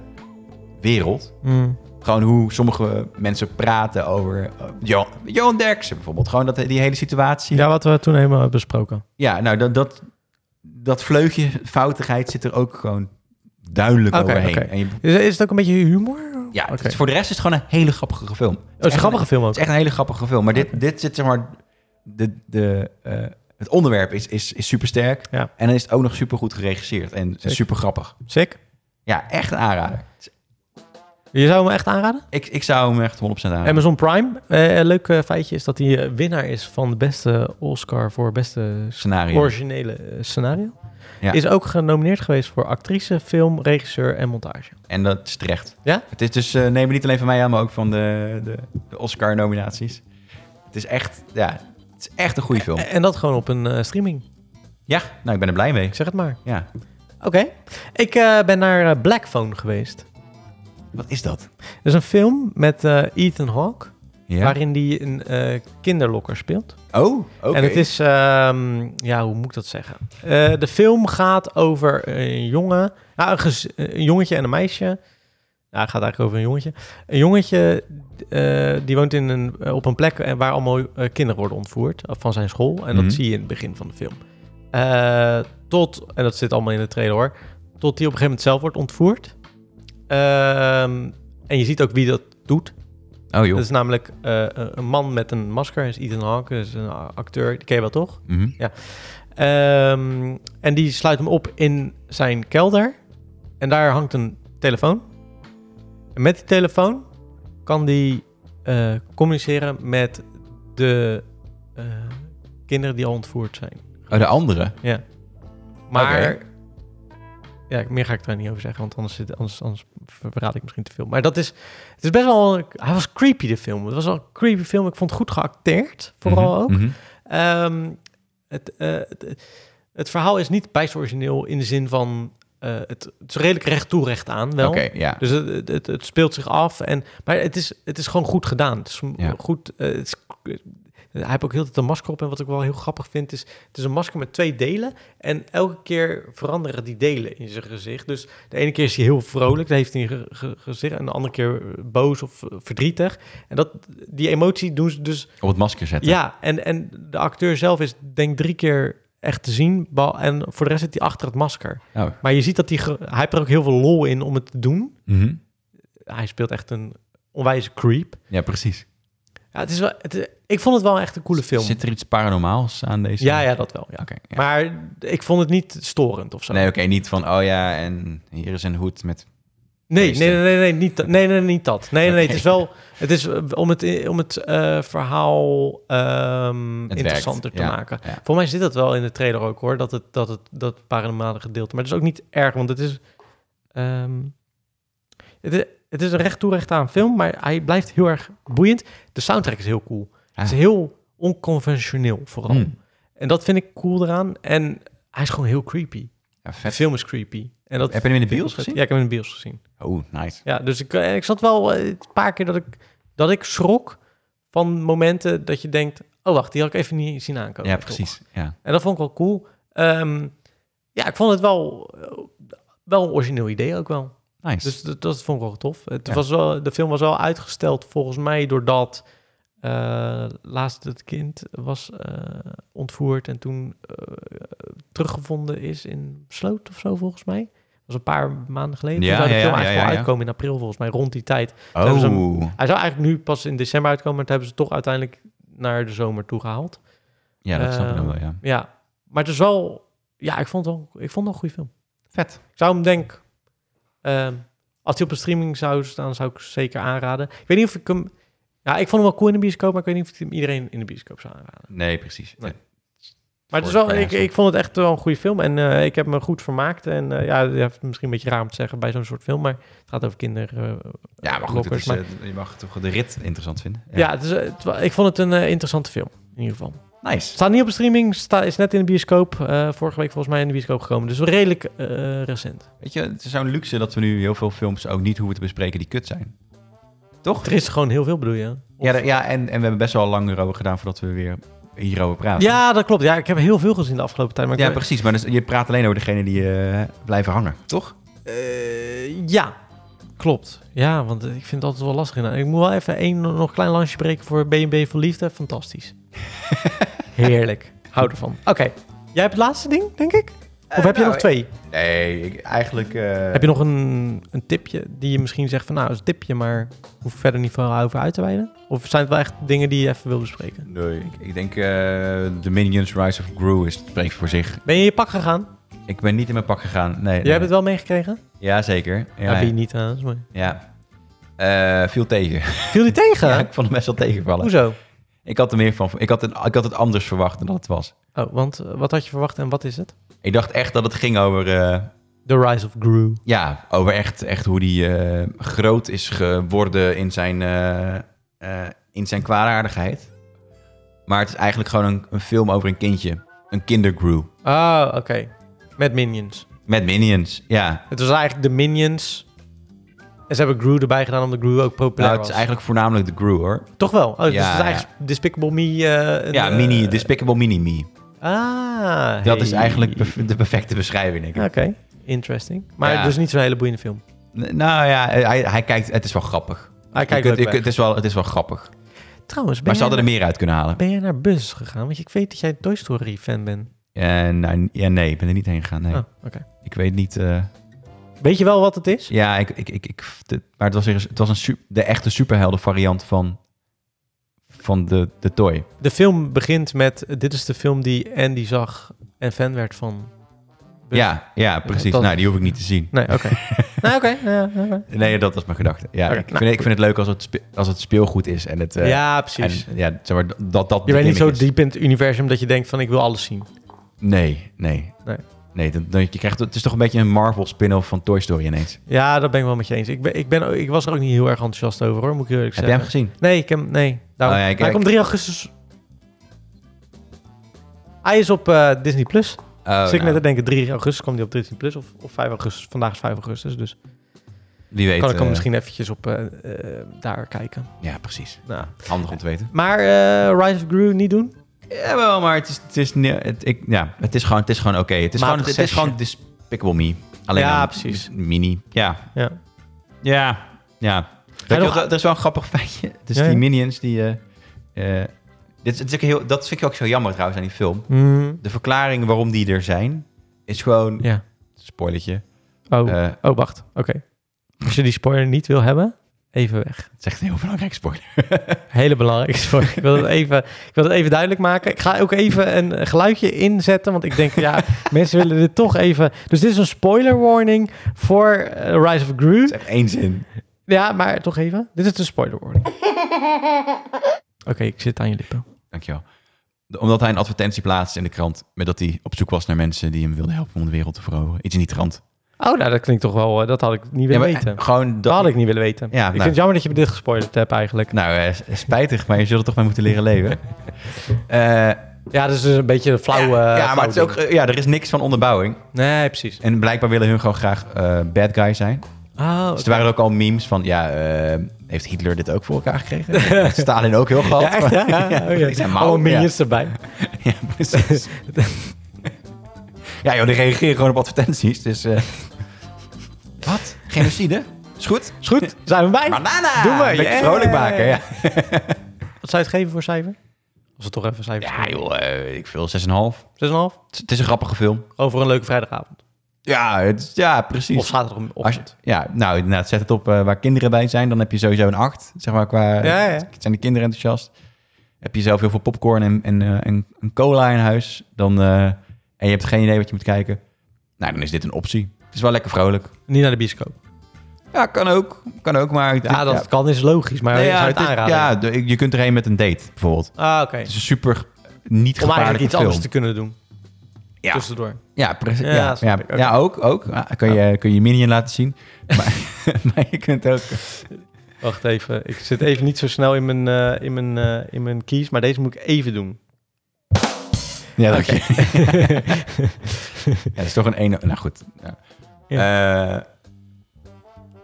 wereld.
Mhm.
Gewoon hoe sommige mensen praten over eh, Johan, Johan Derksen bijvoorbeeld. Gewoon dat, die hele situatie.
Ja, wat we toen helemaal hebben besproken.
Ja, nou, dat, dat, dat vleugje foutigheid zit er ook gewoon duidelijk
Oké,
overheen.
oké.
En je,
Is, is het ook een beetje humor?
ja, het
Oké.
is- voor de rest is het gewoon een hele grappige film.
Oh, het is een grappige film ook.
Het is echt een hele grappige film. Maar dit, dit zit zeg maar... De, de, eh, het onderwerp is, is, is super sterk.
Ja.
En dan is het ook nog super goed geregisseerd. En
Zeker.
super grappig.
Sick.
Ja, echt een aanrader.
Je zou hem echt aanraden?
Ik, ik zou hem echt 100% aanraden.
Amazon Prime. Eh, een leuk eh, feitje is dat hij eh, winnaar is van de beste Oscar voor beste
Scenario.
originele eh, scenario.
Ja.
Is ook genomineerd geweest voor actrice, film, regisseur en montage.
En dat is terecht.
Ja?
Het is dus... eh, neem het niet alleen van mij aan, maar ook van de, de, de Oscar-nominaties. Het is echt... Ja, het is echt een goede film.
En dat gewoon op een eh, streaming.
Ja, nou, ik ben er blij mee.
Ik zeg het maar.
Ja.
Oké. Ik eh, ben naar eh, Blackphone geweest.
Wat is dat?
Dat is een film met eh, Ethan Hawke,
Ja.
waarin hij een eh, kinderlokker speelt.
Oh, oké.
En het is, ehm, ja, hoe moet ik dat zeggen? Eh, de film gaat over een jongen, nou, een, gez- een jongetje en een meisje. Nou, het gaat eigenlijk over een jongetje. Een jongetje eh, die woont in een, eh, op een plek eh, waar allemaal eh, kinderen worden ontvoerd eh, van zijn school. En dat
Mhm.
zie je in het begin van de film. Eh, tot, en dat zit allemaal in de trailer hoor, tot hij op een gegeven moment zelf wordt ontvoerd. Ehm, en je ziet ook wie dat doet.
Oh, joh.
Dat is namelijk eh, een man met een masker. Dat is Ethan Hawke, dat is een acteur. Die ken je wel, toch?
Mhm.
Ehm, en die sluit hem op in zijn kelder. En daar hangt een telefoon. En met die telefoon kan die eh, communiceren met de eh, kinderen die al ontvoerd zijn.
Oh, de andere?
Ja. Maar, ja, meer ga ik daar niet over zeggen, want anders, zit, anders, anders verraad ik misschien te veel. Maar dat is, het is best wel, hij was creepy de film. Het was wel een creepy film, ik vond het goed geacteerd, vooral ook.
Mhm, mhm.
Ehm, het, eh, het, het verhaal is niet bijster origineel in de zin van... eh, het, het is redelijk recht toe, recht aan wel.
Oké, ja.
Dus het, het, het- het speelt zich af. En, maar het is, het is gewoon goed gedaan. Het is
Ja.
goed... eh, het is, hij heeft ook heel de tijd een masker op. En wat ik wel heel grappig vind is... Het is een masker met twee delen. En elke keer veranderen die delen in zijn gezicht. Dus de ene keer is hij heel vrolijk. Dan heeft hij een ge- ge- gezicht. En de andere keer boos of eh, verdrietig. En dat, die emotie doen ze dus
Op het masker zetten.
ja, en, en de acteur zelf is denk ik drie keer echt te zien. Bal- En voor de rest zit hij achter het masker.
Oh.
Maar je ziet dat hij... ge- Hij heeft er ook heel veel lol in om het te doen.
Mhm.
Hij speelt echt een onwijze creep.
Ja, precies.
Ja, het is wel, het- eh, ik vond het wel echt een coole film.
Zit er iets paranormaals aan deze?
Ja, ja, dat wel. Ja.
Oké. ja.
Maar ik vond het niet storend of zo.
Nee, oké, niet van, oh ja, en hier is een hoed met...
Nee,
Meester.
nee, nee, nee, nee, niet, dat- nee, nee, niet dat. Nee, nee, nee, het is
Oké.
wel... Het is eh, om het, eh, om het eh, verhaal ehm,
werkt,
interessanter te
ja,
maken.
ja.
Volgens mij zit dat wel in de trailer ook, hoor. Dat het, dat het dat paranormale gedeelte. Maar het is ook niet erg, want het is... ehm, het, is het is een recht toe, recht aan film, maar hij blijft heel erg boeiend. De soundtrack is heel cool. Het is
Ah.
heel onconventioneel, vooral.
Hmm.
En dat vind ik cool eraan. En hij is gewoon heel creepy.
Ja,
De
vet.
film is creepy. En dat
Heb je hem in de
vind ik
bios
vet.
gezien?
Ja, ik heb hem in de bios gezien.
Oh, nice.
Ja, dus ik, eh, ik zat wel eh, een paar keer dat ik, dat ik schrok van momenten dat je denkt... oh, wacht, die had ik even niet zien aankomen.
Ja,
toch?
precies. Ja.
En dat vond ik wel cool. Ehm, ja, ik vond het wel, eh, wel een origineel idee ook wel.
Nice.
Dus dat, dat vond ik wel tof. Het
Ja.
was wel, de film was wel uitgesteld volgens mij doordat... eh laatst het kind was eh, ontvoerd en toen eh, teruggevonden is in Sloot of zo volgens mij. Dat was een paar maanden geleden.
Ja,
toen zou de
ja,
film
ja,
eigenlijk
ja,
wel
ja.
uitkomen in april volgens mij, rond die tijd. hebben ze hem-
oh.
Hij zou eigenlijk nu pas in december uitkomen, maar dat hebben ze toch uiteindelijk naar de zomer toe gehaald.
Ja, dat snap ik dan
Ehm,
wel, ja.
Ja, maar het is wel... Ja, ik vond het wel, ik vond het wel een goede film.
Vet.
Ik zou hem denk... ehm, als hij op een streaming zou staan, zou ik zeker aanraden. Ik weet niet of ik hem... Ja, ik vond hem wel cool in de bioscoop, maar ik weet niet of ik hem iedereen in de bioscoop zou aanraden.
Nee, precies.
Nee.
Ja.
Maar het is
Voor-
wel,
voor
ik,
jou.
ik vond het echt wel een goede film en eh, ik heb me goed vermaakt. En eh, ja, ja, misschien een beetje raar om te zeggen bij zo'n soort film, maar het gaat over kinderen. eh,
Ja, maar goed, het
Blokkers,
is, eh, je mag toch de rit interessant vinden.
ja, het is, eh, het wa- ik vond het een eh, interessante film in ieder geval.
Nice.
Staat niet op streaming, sta, is net in de bioscoop. eh, vorige week volgens mij in de bioscoop gekomen, dus wel redelijk eh, recent.
Weet je, het is zo'n luxe dat we nu heel veel films ook niet hoeven te bespreken die kut zijn. Toch?
Er is gewoon heel veel bedoel je? Of- eh,
Ja, d- ja en, en we hebben best wel lang erover gedaan voordat we weer hierover praten.
ja, dat klopt. Ja, ik heb heel veel gezien de afgelopen tijd. Maar ik
ja
weet-
precies. Maar dus, je praat alleen over degene die eh, blijven hangen, toch?
Eh, ja, klopt. Ja, want eh, ik vind het altijd wel lastig. Nou, ik moet wel even één nog nog klein lansje breken voor BNB voor Liefde. Fantastisch. Heerlijk. Hou ervan. Oké. Jij hebt het laatste ding, denk ik? Of
Eh,
heb je
nou,
nog twee?
Nee, ik- eigenlijk... eh,
Heb je nog een, een tipje die je misschien zegt van... Nou, is een tipje, maar hoef ik verder niet veel over uit te wijden? Of zijn het wel echt dingen die je even wil bespreken?
Nee, ik, ik denk eh The Minions Rise of Gru is spreekt voor zich.
Ben je in je pak gegaan?
Ik ben niet in mijn pak gegaan. Nee, nee.
Jij hebt het wel meegekregen?
Ja, zeker.
Ja,
Ja,
wie
ja.
niet trouwens, maar...
Eh, viel tegen.
Viel die tegen?
Ja, ik vond hem best wel tegenvallen.
Hoezo?
Ik had er meer van. Ik had, een, ik had het anders verwacht dan dat het was.
Oh, want eh, wat had je verwacht en wat is het?
Ik dacht echt dat het ging over, eh,
The Rise of Gru.
ja, over echt, echt hoe die eh, groot is geworden in zijn, eh, eh, in zijn kwaadaardigheid. Maar het is eigenlijk gewoon een, een film over een kindje. Een kindergrew.
Oh, oké. Met minions.
Met minions, ja.
Het was eigenlijk de minions. En ze hebben Gru erbij gedaan omdat Gru ook populair
Nou, het is
was.
eigenlijk voornamelijk de crew, hoor.
Toch wel? Oh, dus
Ja,
het is eigenlijk Despicable Me. eh, een,
Ja,
eh,
mini, Despicable Mini Me.
Ah.
Dat
hey.
is eigenlijk perf- de perfecte beschrijving, denk ik.
Oké, interesting. Maar
Ja.
dus niet zo'n hele boeiende film. Ah,
N- Nou ja, hij, hij kijkt, het is wel grappig.
Hij kijkt
Je
leuk
kunt- je
weg.
kunt- het, is wel, het is wel grappig.
Trouwens, ben,
Maar ze
jij,
hadden er meer uit kunnen halen.
ben jij naar Buzz gegaan? Want ik weet dat jij een Toy Story fan bent.
Eh, nou, ja, nee, ik ben er niet heen gegaan. Nee.
Oh, oké.
Ik weet niet. eh,
Weet je wel wat het is?
ja, ik, ik, ik, ik, de- maar het was, weer eens- het was een, su- de echte superhelden variant van, van de, de toy.
De film begint met... eh, Dit is de film die Andy zag en fan werd van. Bus.
Ja, ja, precies.
Dus- dat-
Nou, die hoef ik niet te zien.
Nee, oké. Nou, oké. ja, oké.
Nee, dat was mijn gedachte. Ja,
Oké,
ik,
nou,
vind, ik vind het leuk als het, spe- als het speelgoed is. En het, eh,
ja, precies.
En, ja, zeg maar, dat, dat
je bent niet zo
gimmick is.
diep in het universum dat je denkt van ik wil alles zien.
Nee, nee.
Nee.
Nee, dan, dan- je krijgt, het is toch een beetje een Marvel spin-off van Toy Story ineens.
Ja, dat ben ik wel met je eens. Ik, ben, ik, ben, ook- ik was er ook niet heel erg enthousiast over hoor, moet ik eerlijk
Heb jij
zeggen.
hem gezien?
Nee, ik heb hem- nee. Daarom-
Oh ja, ik-
hij
ik-
komt 3 augustus. Hij is op eh, Disney+. Plus.
Oh,
Zit ik net
nou,
te denken, 3 augustus komt hij op Disney+. Plus of, of 5 augustus. Vandaag is 5 augustus, dus
Wie weet.
kan ik hem
eh,
misschien eventjes op eh, eh, daar kijken.
Ja, precies.
Nou.
Handig om te weten.
Maar eh, Rise of Gru niet doen?
Jawel, maar het is, het is, ne- het, ik, ja, het is gewoon, het is gewoon oké. Het is gewoon,
Matig
het, is gewoon Despicable Me. Alleen
Ja,
dan
precies.
Mini. Ja.
Ja.
Ja. Ja. Weet je
nog-
wat, er is wel een grappig feitje. Dus
Ja,
die
ja. heel-
minions die... eh, eh, dit, dit is ook heel, dat vind ik ook zo jammer trouwens aan die film.
Mm.
De verklaring waarom die er zijn, is gewoon...
Ja.
Spoilertje.
Oh,
Eh,
oh wacht. Oké. Als je die spoiler niet wil hebben, even weg.
het is echt een heel belangrijk spoiler.
Hele belangrijke spoiler. Ik wil het even, ik wil het even duidelijk maken. Ik ga ook even een geluidje inzetten, want ik denk, ja, mensen willen dit toch even... Dus dit is een spoiler warning voor eh, Rise of Gru.
Het is echt één zin.
Ja, maar toch even. Dit is een spoiler warning. Oké, ik zit aan je lippen.
Dankjewel. De- Omdat hij een advertentie plaatste in de krant... met dat hij op zoek was naar mensen die hem wilden helpen om de wereld te veroveren. Iets in die trant.
Oh, nou, dat klinkt toch wel... eh, dat had ik niet
Ja,
willen
maar, eh,
weten.
Gewoon
Dat
dat,
had ik niet willen weten.
Ja,
ik
nou.
vind het jammer dat je me dit gespoilerd hebt eigenlijk.
Nou, eh, s- spijtig, maar je zult er toch mee moeten leren leven. Eh,
Ja, dat is dus een beetje een flauwe...
ja,
eh,
ja, maar
flauw
het is ook,
ding.
eh, ja, er is niks van onderbouwing.
Nee, precies.
En blijkbaar willen hun gewoon graag eh, bad guy zijn.
Oh,
Dus er waren ook al memes van, ja, eh, heeft Hitler dit ook voor elkaar gekregen? Heeft Stalin ook heel gehad.
Ja, echt, hè? Ja, oh, ja.
die zijn
Allemaal
mouwen, ja.
minions erbij.
Ja, precies. ja, joh, die reageren gewoon op advertenties. Dus, eh, wat? nou- Genocide? Is goed?
Is goed, zijn we bij.
Banana!
Doe maar,
Een beetje
yeah.
vrolijk maken, ja.
Wat zou je het geven voor cijfer? Als we toch even cijfers
Ja,
geven.
joh, eh, ik veel 6,5.
6,5?
Het is- Het is een grappige film.
Over een leuke vrijdagavond.
Ja, het, is- ja
Of
precies. Als je-
zaterdagochtend.
ja, nou inderdaad, zet het op eh, waar kinderen bij zijn. Dan heb je sowieso een 8. Zeg maar qua,
Ja, ja.
zijn de kinderen enthousiast. Heb je zelf heel veel popcorn en, en, eh, en, en cola in huis. Dan, eh, en je hebt geen idee wat je moet kijken. Nou, dan is dit een optie. Het is wel lekker vrolijk.
Niet naar de bioscoop.
Ja, kan ook. Kan ook, maar...
Ja, dat kan is logisch, maar
Nee,
ik
ja,
zou je
het
het
is-
aanraden?
ja, de- je kunt erheen met een date, bijvoorbeeld.
Ah, oké.
Het is een super niet
Om eigenlijk
gevaarlijke
iets
film.
anders te kunnen doen.
Ja.
Tussendoor.
Ja, precies.
Ja,
Ja, ja,
snap
ja,
ik. Oké.
ook. ook. Ah, kun, je, kun je Minion laten zien. maar, maar je kunt ook...
Wacht even, ik zit even niet zo snel in mijn, eh, in mijn, eh, in mijn kies, maar deze moet ik even doen.
Ja, dank je. ja, dat is toch een ene... Nou goed. Ja. Eh,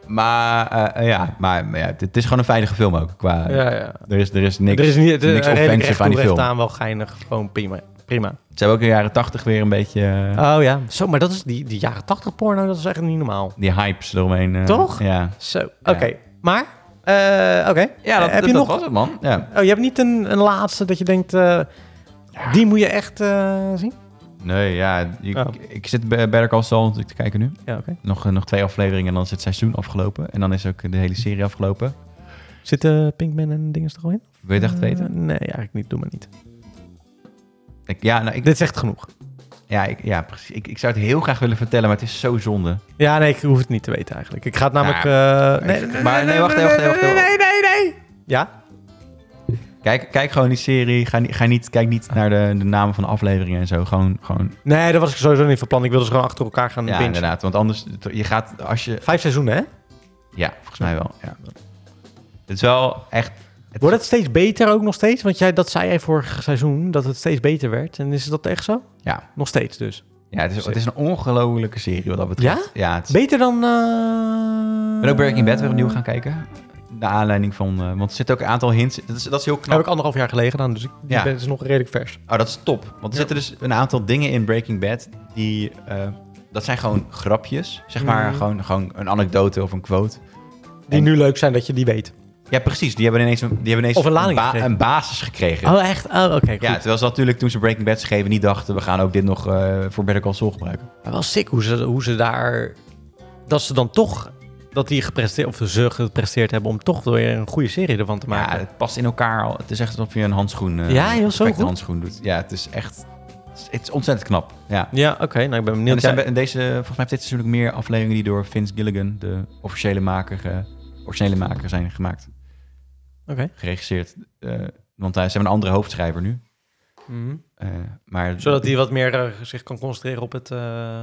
maar eh, ja, maar, maar ja, het, het is gewoon een veilige film ook. Qua,
Ja, ja.
er, is, er is niks,
er is niet, het,
niks offensive aan die film.
aan, wel geinig. Gewoon prima. prima.
Ze hebben ook in de jaren tachtig weer een beetje eh,
Oh ja, zo, maar dat is die, die jaren 80 porno, dat is echt niet normaal.
die hypes eromheen. eh,
Toch?
Ja,
Zo, oké.
Ja.
Maar, eh, oké.
ja dat,
Eh, heb je nog...
was het, man. Ja.
Oh, je hebt niet een, een laatste dat je denkt, eh, die moet je echt eh, zien?
Nee, ja. je-
Oh.
Ik zit bij Better Call Saul natuurlijk te kijken nu.
Ja, oké.
Nog, eh, nog twee afleveringen en dan is het seizoen afgelopen. En dan is ook de hele serie afgelopen.
Zitten Pinkman en dingen er al in?
Wil je het echt weten?
Eh, nee, eigenlijk niet. Doe maar niet.
Ik, ja, nou, ik,
Dit is echt genoeg.
ja, ik, ja, precies. Ik, ik zou het heel graag willen vertellen, maar het is zo zonde.
Ja, nee, ik hoef het niet te weten eigenlijk. Ik ga het namelijk... eh, nee, nee,
maar nee, wacht even, wacht even, wacht even.
nee, nee, nee. Ja?
Kijk, kijk gewoon die serie. Ga, niet- ga niet, kijk niet naar de, de namen van de afleveringen en zo. Gewoon, gewoon
Nee, dat was ik sowieso niet van plan. Ik wilde ze gewoon achter elkaar gaan
ja,
bingen.
inderdaad. Want anders, je gaat, als je...
Vijf seizoenen, hè?
Ja, volgens mij wel. Ja. Het is wel echt... Het,
Wordt het steeds beter ook nog steeds? Want jij, dat zei jij vorig seizoen, dat het steeds beter werd. En is dat echt zo?
Ja.
Nog steeds dus.
ja, het is, het is een ongelofelijke serie wat dat betreft. Ja? het is-
Beter dan...
Ik
eh
ben ook Breaking Bad weer opnieuw gaan kijken. Naar aanleiding van... eh, want er zitten ook een aantal hints. Dat is, dat is heel knap.
Heb ik anderhalf jaar geleden gedaan, dus ik
Ja.
ben, het is nog redelijk vers.
Oh, dat is top. Want er zitten dus een aantal dingen in Breaking Bad die... eh, dat zijn gewoon grapjes. Zeg maar
Mhm.
gewoon, gewoon een anekdote of een quote.
Die
En-
nu leuk zijn dat je die weet.
Ja, precies. Die hebben ineens, een- die hebben ineens
Of een lading gekregen.
een basis gekregen.
Oh, echt? Oh, oké.
ja,
goed.
terwijl ze natuurlijk toen ze Breaking Bad schreven niet dachten... we gaan ook dit nog eh, voor Better Call Saul gebruiken.
Maar wel sick hoe ze, hoe ze daar... Dat ze dan toch... Dat die gepresteerd, of ze gepresteerd hebben om toch weer een goede serie ervan te
Maar ja,
maken.
het past in elkaar al. Het is echt alsof je een handschoen... eh,
Ja, heel zo
perfecte
goed.
handschoen doet. Ja, het is echt... is- Het is ontzettend knap. Ja.
Ja, oké. nou, ik ben
En er
benieuwd.
zijn
Ja,
bij- en deze, volgens mij heeft dit seizoen ook meer afleveringen die door Vince Gilligan, de officiële maker, eh, originele maker, zijn gemaakt.
Oké.
Geregisseerd. eh, want hij ze hebben een andere hoofdschrijver nu.
Mhm.
Eh, maar
Zodat hij wat meer eh, zich kan concentreren op het... eh,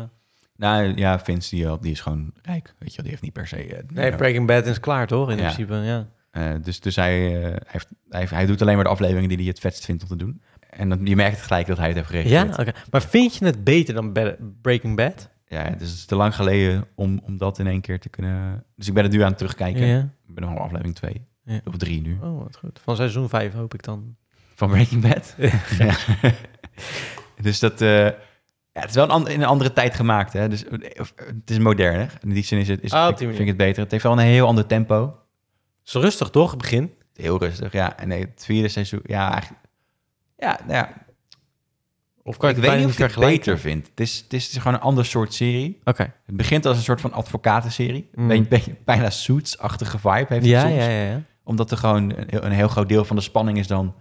Nou ja, Vince die, die is gewoon rijk. Weet je, wel, die heeft niet per se. eh,
Nee, Breaking Bad is klaar, toch? In
Ja.
principe, ja.
Eh, dus dus hij, eh, hij, heeft, hij, hij doet alleen maar de afleveringen die hij het vetst vindt om te doen. En dan, je merkt gelijk dat hij het heeft
Ja,
geregisseerd.
oké. Maar vind je het beter dan Bad- Breaking Bad?
Ja, het is te lang geleden om, om dat in één keer te kunnen... Dus ik ben het nu aan het terugkijken.
Ja.
Ik ben nog op aflevering 2
Ja.
of 3 nu.
Oh, wat goed. Van seizoen 5 hoop ik dan.
Van Breaking Bad. ja. dus dat... eh, ja, het is wel een, an- in een andere tijd gemaakt. Hè? Dus, eh, of, eh, het is moderner. In die zin is het, is,
Ah, op
vind,
die
ik-
manier.
vind ik het beter. Het heeft wel een heel ander tempo.
Is rustig, toch? Het begin?
Heel rustig, ja. En nee, het vierde seizoen... Ja, eigenlijk... Ja, nou ja,
Of kan je
ik
het bijna
weet niet of ik het
vergelijken?
beter vind. Het is, het, is, het is gewoon een ander soort serie.
Oké.
Het begint als een soort van advocatenserie.
Mm.
Beetje, beetje, bijna Suits-achtige vibe heeft het
Ja,
soms.
ja, ja, ja.
Omdat er gewoon een heel, een heel groot deel van de spanning is dan...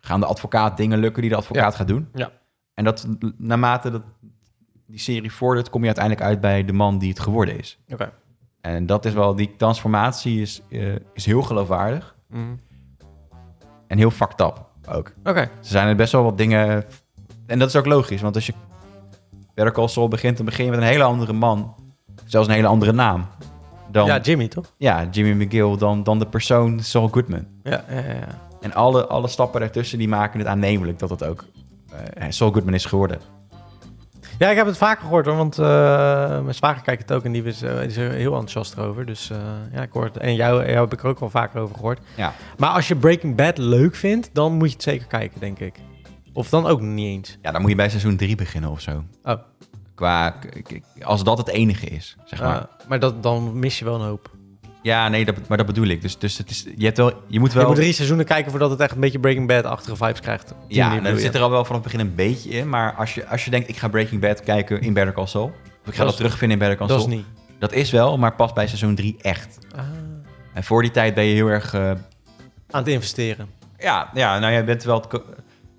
gaan de advocaat dingen lukken die de advocaat gaat doen?
Ja.
En dat naarmate dat die serie vordert... kom je uiteindelijk uit bij de man die het geworden is.
Oké.
En dat is wel... Die transformatie is, eh, is heel geloofwaardig.
Mhm.
En heel fucked up ook.
Oké.
Ze zijn er best wel wat dingen. En dat is ook logisch, want als je Better Call Saul begint, dan begin je met een hele andere man. Zelfs een hele andere naam. Dan,
Ja,
ja,
Jimmy, toch?
Jimmy McGill, dan, dan de persoon Saul Goodman.
Ja, ja, ja, ja.
En alle, alle stappen daartussen die maken het aannemelijk dat het ook eh, Saul Goodman is geworden.
Ja, ik heb het vaker gehoord, hoor. Want eh, mijn zwager kijkt het ook en die is, eh, die is er heel enthousiast over. Dus eh, ja, ik hoor het. En jou, jou heb ik er ook wel vaker over gehoord.
Ja.
Maar als je Breaking Bad leuk vindt, dan moet je het zeker kijken, denk ik. Of dan ook niet eens.
Ja, dan moet je bij seizoen 3 beginnen of zo.
Oh.
Qua, k- k- als dat het enige is, zeg maar.
Eh, maar dat, dan mis je wel een hoop.
Ja, nee, dat, maar dat bedoel ik. Dus, dus het is, je, hebt wel, je moet wel...
Je moet drie seizoenen kijken voordat het echt een beetje Breaking Bad-achtige vibes krijgt. Op die
Ja, nou,
manier
dat
bedoel je.
zit er al wel vanaf het begin een beetje in. Maar als je, als je denkt, ik ga Breaking Bad kijken in Better Call Saul. Of ik ga
Dat
dat,
is-
terugvinden in Better Call
Dat is
Saul.
niet. Ah.
Dat is wel, maar pas bij seizoen 3 echt. En voor die tijd ben je heel erg... eh,
aan het investeren.
ja, ja, nou, je bent wel... het ko-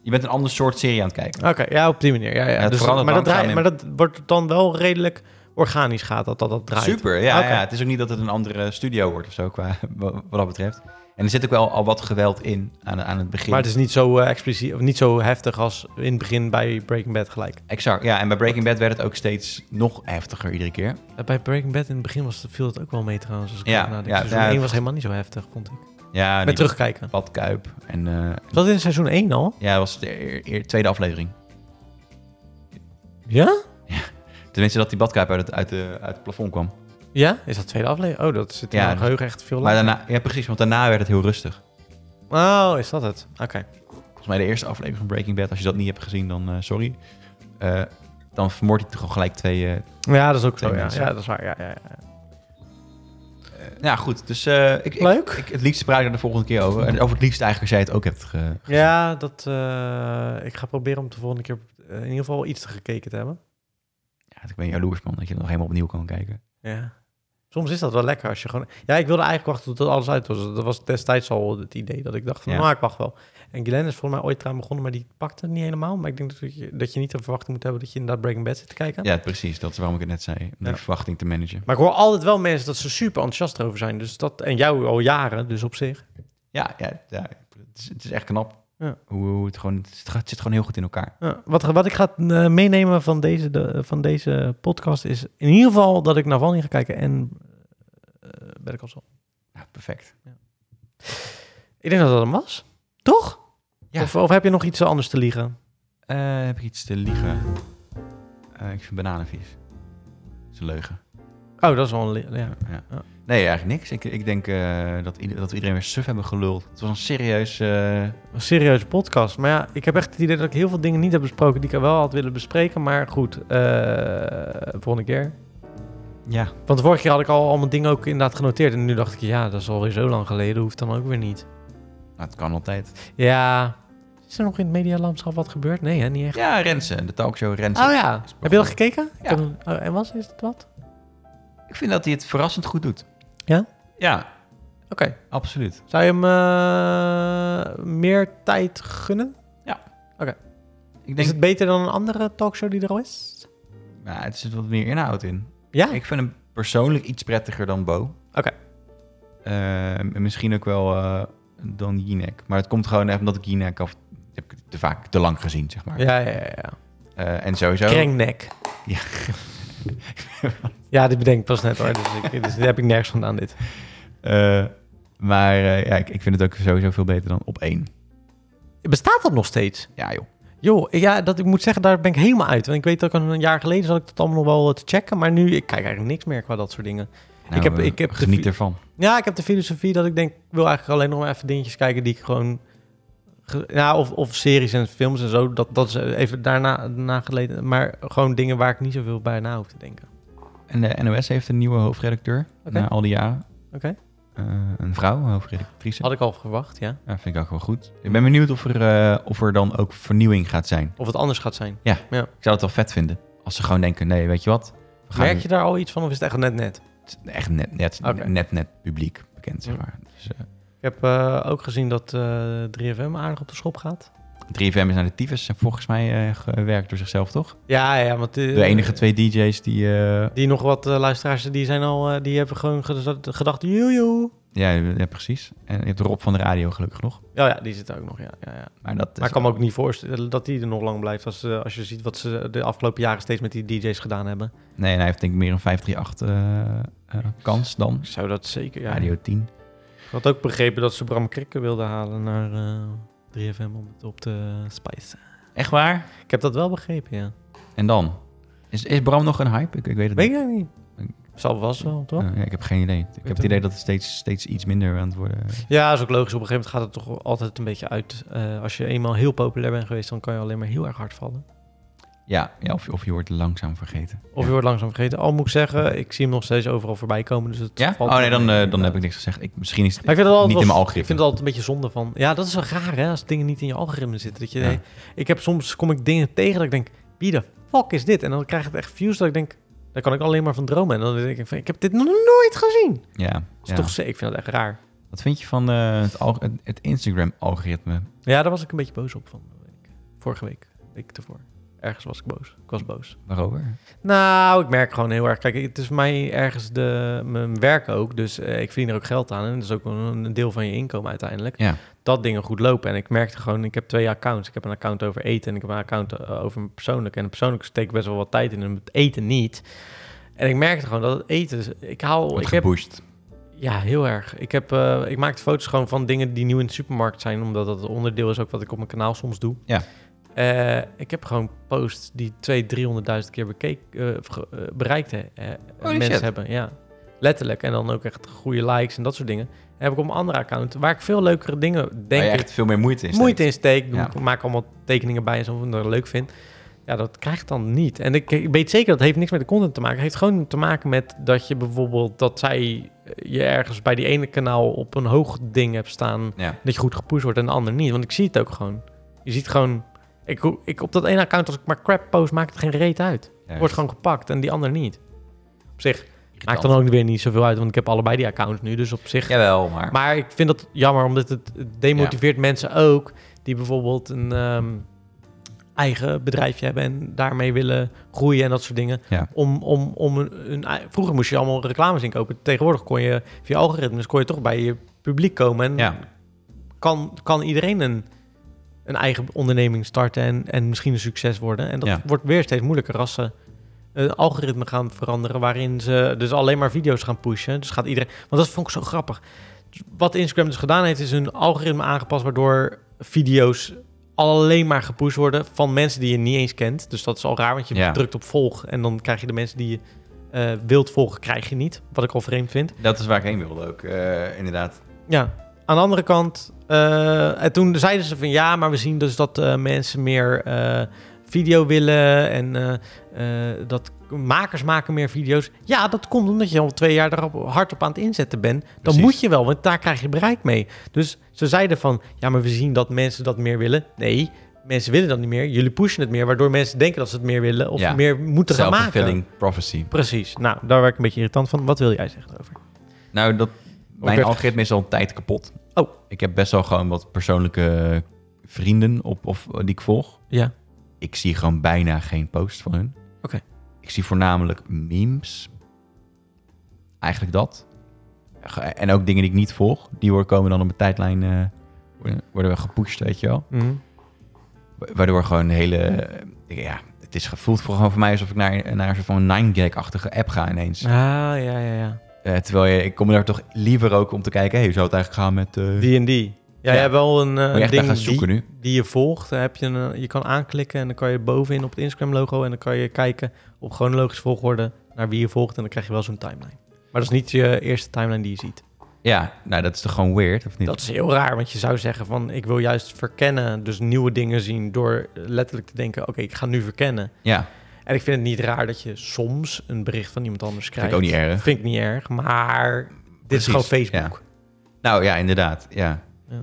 Je bent een ander soort serie aan het kijken.
Oké, ja, op die manier. Ja, ja.
het
dus,
verandert
maar, dat
langzaam
draai- maar
in-
dat wordt dan wel redelijk organisch gaat, dat dat, dat draait.
Super, ja,
Oké.
ja. Het is ook niet dat het een andere studio wordt of zo, qua, wat wat dat betreft. En er zit ook wel al wat geweld in aan, aan het begin.
Maar het is niet zo eh, expliciet, of niet zo heftig als in het begin bij Breaking Bad gelijk.
Exact, ja. En bij Breaking Bad werd het ook steeds nog heftiger iedere keer.
Bij Breaking Bad in het begin was, viel het ook wel mee trouwens. Als ik
Ja,
erover nadenk.
ja,
seizoen
ja,
1
het-
was helemaal niet zo heftig, vond ik.
Ja, die
Met terugkijken.
Badkuip en... eh,
Was dat in seizoen 1 al?
Ja, dat was de eer- eer- tweede aflevering.
Ja?
Tenminste, dat die badkuip uit het, uit de, uit het plafond kwam.
Ja? Is dat tweede aflevering? Oh, dat zit in
Ja,
mijn
dat-
geheugen echt veel
Maar
langer.
daarna, ja, precies, want daarna werd het heel rustig.
Oh, is dat het? Oké.
Volgens mij de eerste aflevering van Breaking Bad, als je dat niet hebt gezien, dan eh, sorry. Eh, dan vermoord hij toch gewoon gelijk twee. eh,
Ja, dat is ook
Twee
zo. Ja.
mensen.
ja, dat is waar. Ja, ja, ja.
eh, ja, goed. Dus eh, ik, ik,
Leuk.
ik- het liefst praat ik er de volgende keer over. En over het liefst eigenlijk als jij het ook hebt ge...
Ja, dat, eh, ik ga proberen om de volgende keer eh, in ieder geval iets te gekeken te hebben.
Ja, ik ben jaloers, man, dat je het nog helemaal opnieuw kan kijken.
Ja. Soms is dat wel lekker als je gewoon... Ja, ik wilde eigenlijk wachten tot alles uit was. Dat was destijds al het idee dat ik dacht van,
Ja.
nou, ik wacht wel. En Glenn is volgens mij ooit eraan begonnen, maar die pakte het niet helemaal. Maar ik denk dat je, dat je niet de verwachting moet hebben dat je inderdaad Breaking Bad zit te kijken.
Ja, precies. Dat is waarom ik het net zei. Om die
Ja.
verwachting te managen.
Maar ik hoor altijd wel mensen dat ze super enthousiast erover zijn. Dus dat, en jou al jaren, dus op zich.
Ja, ja, ja het, is, het is echt knap.
Ja.
Hoe, hoe het, gewoon, het, gaat- het zit gewoon heel goed in elkaar.
Ja, wat, wat ik ga eh, meenemen van deze, de, van deze podcast is in ieder geval dat ik naar Vanny ga kijken en eh Better Call Saul.
Ja, Nou, perfect.
Ik denk dat dat hem was. Toch?
Ja.
Of, of heb je nog iets anders te liegen?
Eh, heb ik iets te liegen? Eh, ik vind bananen vies. Dat is een leugen.
Oh, dat is wel een... li- Ja.
Ja.
Ja.
Nee, eigenlijk niks. Ik, ik denk eh, dat, ieder- dat we iedereen weer suf hebben geluld. Het was een serieus... eh,
Een serieuze podcast. Maar ja, ik heb echt het idee dat ik heel veel dingen niet heb besproken die ik wel had willen bespreken. Maar goed, eh volgende keer.
ja.
Want vorige keer had ik al allemaal dingen ook inderdaad genoteerd. En nu dacht ik, ja, dat is alweer zo lang geleden. Hoeft dan ook weer niet.
Nou, het kan altijd.
Ja. Is er nog in het medialandschap wat gebeurd? Nee, hè? Niet echt.
Ja, Rensen. De talkshow Rensen.
Oh ja. Heb je dat gekeken? Ik
Ja.
heb hem- oh, en was is het wat?
Ik vind dat hij het verrassend goed doet.
Ja?
Ja,
Oké.
absoluut.
Zou je hem eh, meer tijd gunnen?
Ik
Is
denk,
het beter dan een andere talkshow die er al is?
nou, het zit wat meer inhoud in.
Ja?
Ik vind hem persoonlijk iets prettiger dan Bo.
Oké.
Eh, en misschien ook wel eh, dan Jinek. Maar het komt gewoon echt omdat ik Jinek af... heb ik te vaak, te lang gezien, zeg maar.
Ja, ja, ja. ja.
Eh, en sowieso...
Krengnek.
Ja.
ja, dit bedenk ik pas net hoor. Dus, ik, dus daar heb ik nergens vandaan dit.
Eh, maar eh, ja, ik, ik vind het ook sowieso veel beter dan op één.
Bestaat dat nog steeds?
Ja, joh.
Joh, ja, dat, ik moet zeggen, daar ben ik helemaal uit. Want ik weet ook een jaar geleden zat ik dat allemaal nog wel eh, te checken. Maar nu, ik kijk eigenlijk niks meer qua dat soort dingen.
Nou,
heb-
eh,
ik heb de
geniet
vi-
ervan.
Ja, ik heb de filosofie dat ik denk, ik wil eigenlijk alleen nog maar even dingetjes kijken die ik gewoon... ge- ja, of, of series en films en zo, dat, dat is even daarna nageleden. Maar gewoon dingen waar ik niet zoveel bij na hoef te denken.
En de NOS heeft een nieuwe hoofdredacteur
Oké.
na al die jaren.
Oké.
Eh, een vrouw, een hoofdredactrice.
Had ik al verwacht, ja.
Ja, vind ik ook wel goed. Ik ben benieuwd of er, eh, of er dan ook vernieuwing gaat zijn.
Of het anders gaat zijn.
Ik zou het wel vet vinden als ze gewoon denken, nee, weet je wat? We gaan
Merk je daar al iets van of is het echt net net?
het echt net net,
Oké.
net, net publiek bekend, zeg
Ja.
maar. Dus, eh,
Ik heb eh, ook gezien dat eh 3FM aardig op de schop gaat.
3FM is naar de tyfus en volgens mij eh, gewerkt door zichzelf, toch?
Ja, ja, want... eh,
De enige twee DJ's die... eh,
Die nog wat eh, luisteraars, die zijn al... eh, die hebben gewoon gez- gedacht, joejoe.
ja, ja, precies. En je hebt Rob van de radio, gelukkig nog.
Oh Ja, ja, die zit ook nog, ja. ja, ja.
Maar dat
Maar
is
ik kan me ook niet voorstellen dat die er nog lang blijft... Als, eh, als je ziet wat ze de afgelopen jaren steeds met die DJ's gedaan hebben.
Nee, en hij heeft denk ik meer een 538 eh, eh, kans dan.
Ik zou dat zeker, ja.
Radio 10.
Ik had ook begrepen dat ze Bram Krikke wilden halen naar eh, 3FM om het op te spijzen.
Echt waar?
Ik heb dat wel begrepen, ja.
En dan? Is, is Bram nog een hype? Ik, ik weet het
Weet
niet.
ik eigenlijk niet. Zal vast wel, toch?
Eh, ja, ik heb geen idee. Ik heb
het
het idee dat het steeds, steeds iets minder aan het worden is.
Ja, is ook logisch. Op een gegeven moment gaat het toch altijd een beetje uit. Eh, als je eenmaal heel populair bent geweest, dan kan je alleen maar heel erg hard vallen.
Ja, ja of, je- of je wordt langzaam vergeten.
Of je wordt langzaam vergeten. Al moet ik zeggen, ik zie hem nog steeds overal voorbij komen. Dus het
Ja?
valt
Oh nee, dan,
mee.
eh, dan heb ik niks gezegd. Ik, misschien is het...
Maar ik vind het altijd
Niet
wel-
in mijn algoritme.
Ik vind het altijd een beetje zonde van. Ja, dat is wel raar hè, als dingen niet in je algoritme zitten. Dat je,
Ja.
ik heb soms kom ik dingen tegen dat ik denk, wie de fuck is dit? En dan krijg ik echt views dat ik denk, daar kan ik alleen maar van dromen. En dan denk ik van, ik heb dit nog nooit gezien. Dat
Ja,
is
ja.
toch ze- ik vind dat echt raar.
Wat vind je van eh, het, al- het- het Instagram-algoritme?
Ja, daar was ik een beetje boos op van. week. Vorige week, week ervoor. Ergens was ik boos. Ik was boos.
Waarover?
Nou, ik merk gewoon heel erg. Kijk, het is voor mij ergens de, mijn werk ook. Dus eh, ik verdien er ook geld aan. En dat is ook een, een deel van je inkomen uiteindelijk.
Ja.
Dat dingen goed lopen. En ik merkte gewoon, ik heb twee accounts. Ik heb een account over eten en ik heb een account eh, over mijn persoonlijk. En het persoonlijk steek ik best wel wat tijd in. En het eten niet. En ik merkte gewoon dat het eten... Ik haal...
Wordt
Ik heb,
gepusht.
ja, heel erg. Ik, heb, eh, ik maak foto's gewoon van dingen die nieuw in de supermarkt zijn, omdat dat een onderdeel is ook wat ik op mijn kanaal soms doe.
Ja.
Eh, ik heb gewoon posts die 200, 300.000 keer bekeken, eh, of ge- eh, bereikt hè, eh,
Holy
mensen
shit.
hebben. Ja, letterlijk. En dan ook echt goede likes en dat soort dingen. En heb ik op een andere account, waar ik veel leukere dingen
Waar
denk
je
ik
echt veel meer moeite in steekt.
moeite in steek. doe
Ja.
Ik maak allemaal tekeningen bij en zo, omdat ik dat leuk vind. Ja, dat krijg ik dan niet. En ik, ik weet zeker, dat heeft niks met de content te maken. Het heeft gewoon te maken met dat je bijvoorbeeld... dat zij eh, je ergens bij die ene kanaal op een hoog ding hebt staan...
Ja.
dat je goed gepusht wordt en de ander niet. Want ik zie het ook gewoon. Je ziet gewoon... Ik, ik, op dat ene account, als ik maar crap post, maakt het geen reet uit.
Ja,
Wordt gewoon gepakt en die ander niet. Op zich maakt dan
irritant.
ook weer niet zoveel uit... want ik heb allebei die accounts nu, dus op zich...
Jawel, maar...
Maar ik vind dat jammer, omdat het het demotiveert mensen ook die bijvoorbeeld een ehm, eigen bedrijfje hebben en daarmee willen groeien en dat soort dingen.
Ja.
Om, om, om een, een- vroeger moest je allemaal reclames inkopen. Tegenwoordig kon je via algoritmes kon je toch bij je publiek komen en
Ja.
kan, kan iedereen een, een eigen onderneming starten en, en misschien een succes worden. En dat
Ja.
wordt weer steeds moeilijker als ze een algoritme gaan veranderen waarin ze dus alleen maar video's gaan pushen. Dus gaat iedereen... Want dat vond ik zo grappig. Wat Instagram dus gedaan heeft, is hun algoritme aangepast waardoor video's alleen maar gepusht worden van mensen die je niet eens kent. Dus dat is al raar, want je
Ja.
drukt op volg en dan krijg je de mensen die je eh, wilt volgen, krijg je niet. Wat ik al vreemd vind.
Dat is waar ik heen wilde ook, eh, inderdaad.
Ja, aan de andere kant, eh, en toen zeiden ze van ja, maar we zien dus dat eh, mensen meer eh, video willen en eh, eh, dat makers maken meer video's. Ja, dat komt omdat je al twee jaar erop hard op aan het inzetten bent. Dan
Precies.
moet je wel, want daar krijg je bereik mee. Dus ze zeiden van ja, maar we zien dat mensen dat meer willen. Nee. Mensen willen dat niet meer. Jullie pushen het meer, waardoor mensen denken dat ze het meer willen of
Ja.
meer moeten gaan maken.
Self-fulfilling prophecy.
Precies. Nou, daar werd ik een beetje irritant van. Wat wil jij zeggen over?
Nou, dat, mijn
werd-
algoritme is al een tijd kapot.
Oh.
Ik heb best wel gewoon wat persoonlijke vrienden op, of, die ik volg.
Ja.
ik zie gewoon bijna geen posts van hun.
Oké.
Ik zie voornamelijk memes. Eigenlijk dat. En ook dingen die ik niet volg. Die worden- komen dan op mijn tijdlijn eh, worden- worden we gepusht, weet je wel.
Mhm.
Wa- Waardoor gewoon de hele... eh, ja, het is gevoeld voor, gewoon voor mij alsof ik naar, naar een soort van 9gag-achtige app ga ineens.
Ah, ja, ja, ja.
Eh, terwijl je, ik kom daar toch liever ook om te kijken... Hé, hoe zou het eigenlijk gaan met... eh die,
D&D. Ja,
Ja.
je hebt wel een eh,
moet je echt naar
ding
gaan
die,
zoeken nu.
die je volgt. Daar heb je, een, je kan aanklikken en dan kan je bovenin op het Instagram-logo... en dan kan je kijken op chronologische volgorde naar wie je volgt... en dan krijg je wel zo'n timeline. Maar dat is niet je eerste timeline die je ziet.
Ja, nou dat is toch gewoon weird, of niet?
Dat is heel raar, want je zou zeggen van... ik wil juist verkennen, dus nieuwe dingen zien... door letterlijk te denken, oké, ik ga nu verkennen.
Ja,
En ik vind het niet raar dat je soms een bericht van iemand anders
vind
krijgt.
ik ook niet erg.
Vind ik niet erg, maar dit is
Precies,
gewoon Facebook.
Nou ja, inderdaad. Ja.
Ja.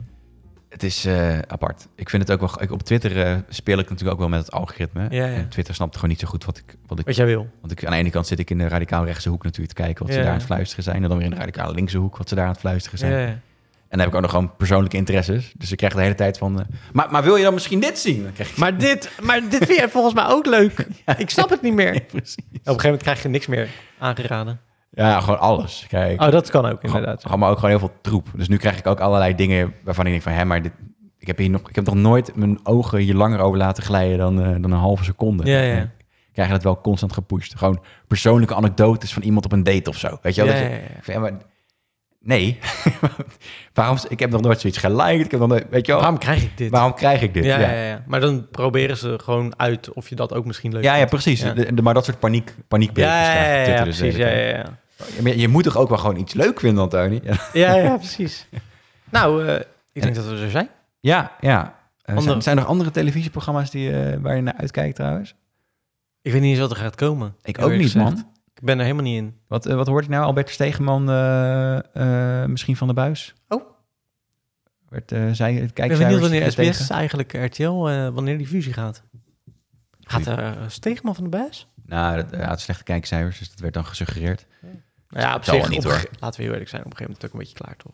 Het is eh, apart. Ik vind het ook wel. Ik, op Twitter eh, speel ik natuurlijk ook wel met het algoritme.
Ja, ja.
En Twitter snapt gewoon niet zo goed wat ik. Wat ik
Wat jij wil.
want ik, aan de ene kant zit ik in de radicaal rechtse hoek natuurlijk te kijken wat ze
Ja.
daar aan het fluisteren zijn. En dan weer in de radicaal linkse hoek wat ze daar aan het fluisteren zijn.
Ja, ja.
En dan heb ik ook nog gewoon persoonlijke interesses. Dus ik krijg de hele tijd van. eh, maar, maar wil je dan misschien dit zien? Dan krijg ik
Maar dit, maar dit vind jij volgens mij ook leuk. Ik snap het niet meer. Op een
precies.
gegeven moment krijg je niks meer aangeraden.
Ja, gewoon alles. Kijk.
Oh, dat kan ook inderdaad.
Inderdaad. Maar ook gewoon heel veel troep. Dus nu krijg ik ook allerlei dingen waarvan ik denk van... Hé, maar dit, ik, heb hier nog, ik heb nog nooit mijn ogen hier langer over laten glijden dan, eh, dan een halve seconde.
Ja, ja.
En ik Krijg je dat wel constant gepusht. Gewoon persoonlijke anekdotes van iemand op een date of zo. Weet je wel?
Ja,
Dat
ja,
je-
ja.
ik zeg, ja, maar, nee. waarom, ik heb nog nooit zoiets geliked. Ik heb nog nooit, weet je wel? Waarom,
Waarom krijg ik dit?
krijg ik dit?
ja, ja. Ja, ja. Maar dan proberen ze gewoon uit of je dat ook misschien leuk
Ja, ja,
vindt.
precies.
Ja.
De- de- maar dat soort paniek, paniekberichten
ja,
krijg
ja,
ik op
ja,
Twitter dus de
precies. Ja,
hele tijd.
ja, ja.
Maar Je, je moet toch ook wel gewoon iets leuk vinden, Antoni? Ja,
ja, ja, precies. Nou, eh, ik denk dat we er zijn.
Ja, ja. Eh,
Andere-
zijn, zijn er andere televisieprogramma's die, eh, waar je naar uitkijkt trouwens?
Ik weet niet eens wat er gaat komen. eerlijk gezegd. Ik ben er helemaal niet in.
Wat, eh, wat hoort ik nou? Albert Stegeman, eh, eh, misschien van de buis?
Oh.
Werd, eh zij, het
Ik ben benieuwd wanneer SBS
kijkcijfers tegen?
eigenlijk RTL, eh, wanneer die fusie gaat. Gaat er eh, Stegeman van de Buis?
Nou, dat eh, had slechte kijkcijfers, dus dat werd dan gesuggereerd.
Nou ja, op
Zal
zich.
wel niet,
op een
hoor.
ge- Laten we heel eerlijk zijn, op een gegeven moment is het ook een beetje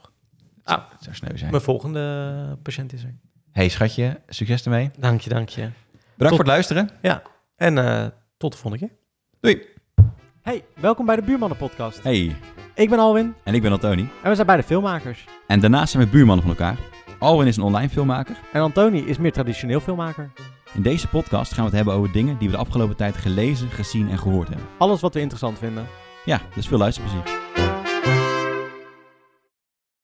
klaar, toch?
Dat zou sneu zijn.
Ah, Mijn volgende patiënt is er.
hey, schatje, succes ermee.
Dank je, dank je.
Bedankt voor het luisteren.
En eh, tot de volgende keer.
Doei.
Hey, welkom bij de Buurmannen Podcast.
Hey,
Ik ben Alwin
en ik ben Antoni.
en we zijn beide filmmakers.
En daarnaast zijn we buurmannen van elkaar. Alwin is een online filmmaker.
En Antoni is meer traditioneel filmmaker.
In deze podcast gaan we het hebben over dingen die we de afgelopen tijd gelezen, gezien en gehoord hebben.
Alles wat we interessant vinden.
Ja, dus veel luisterplezier.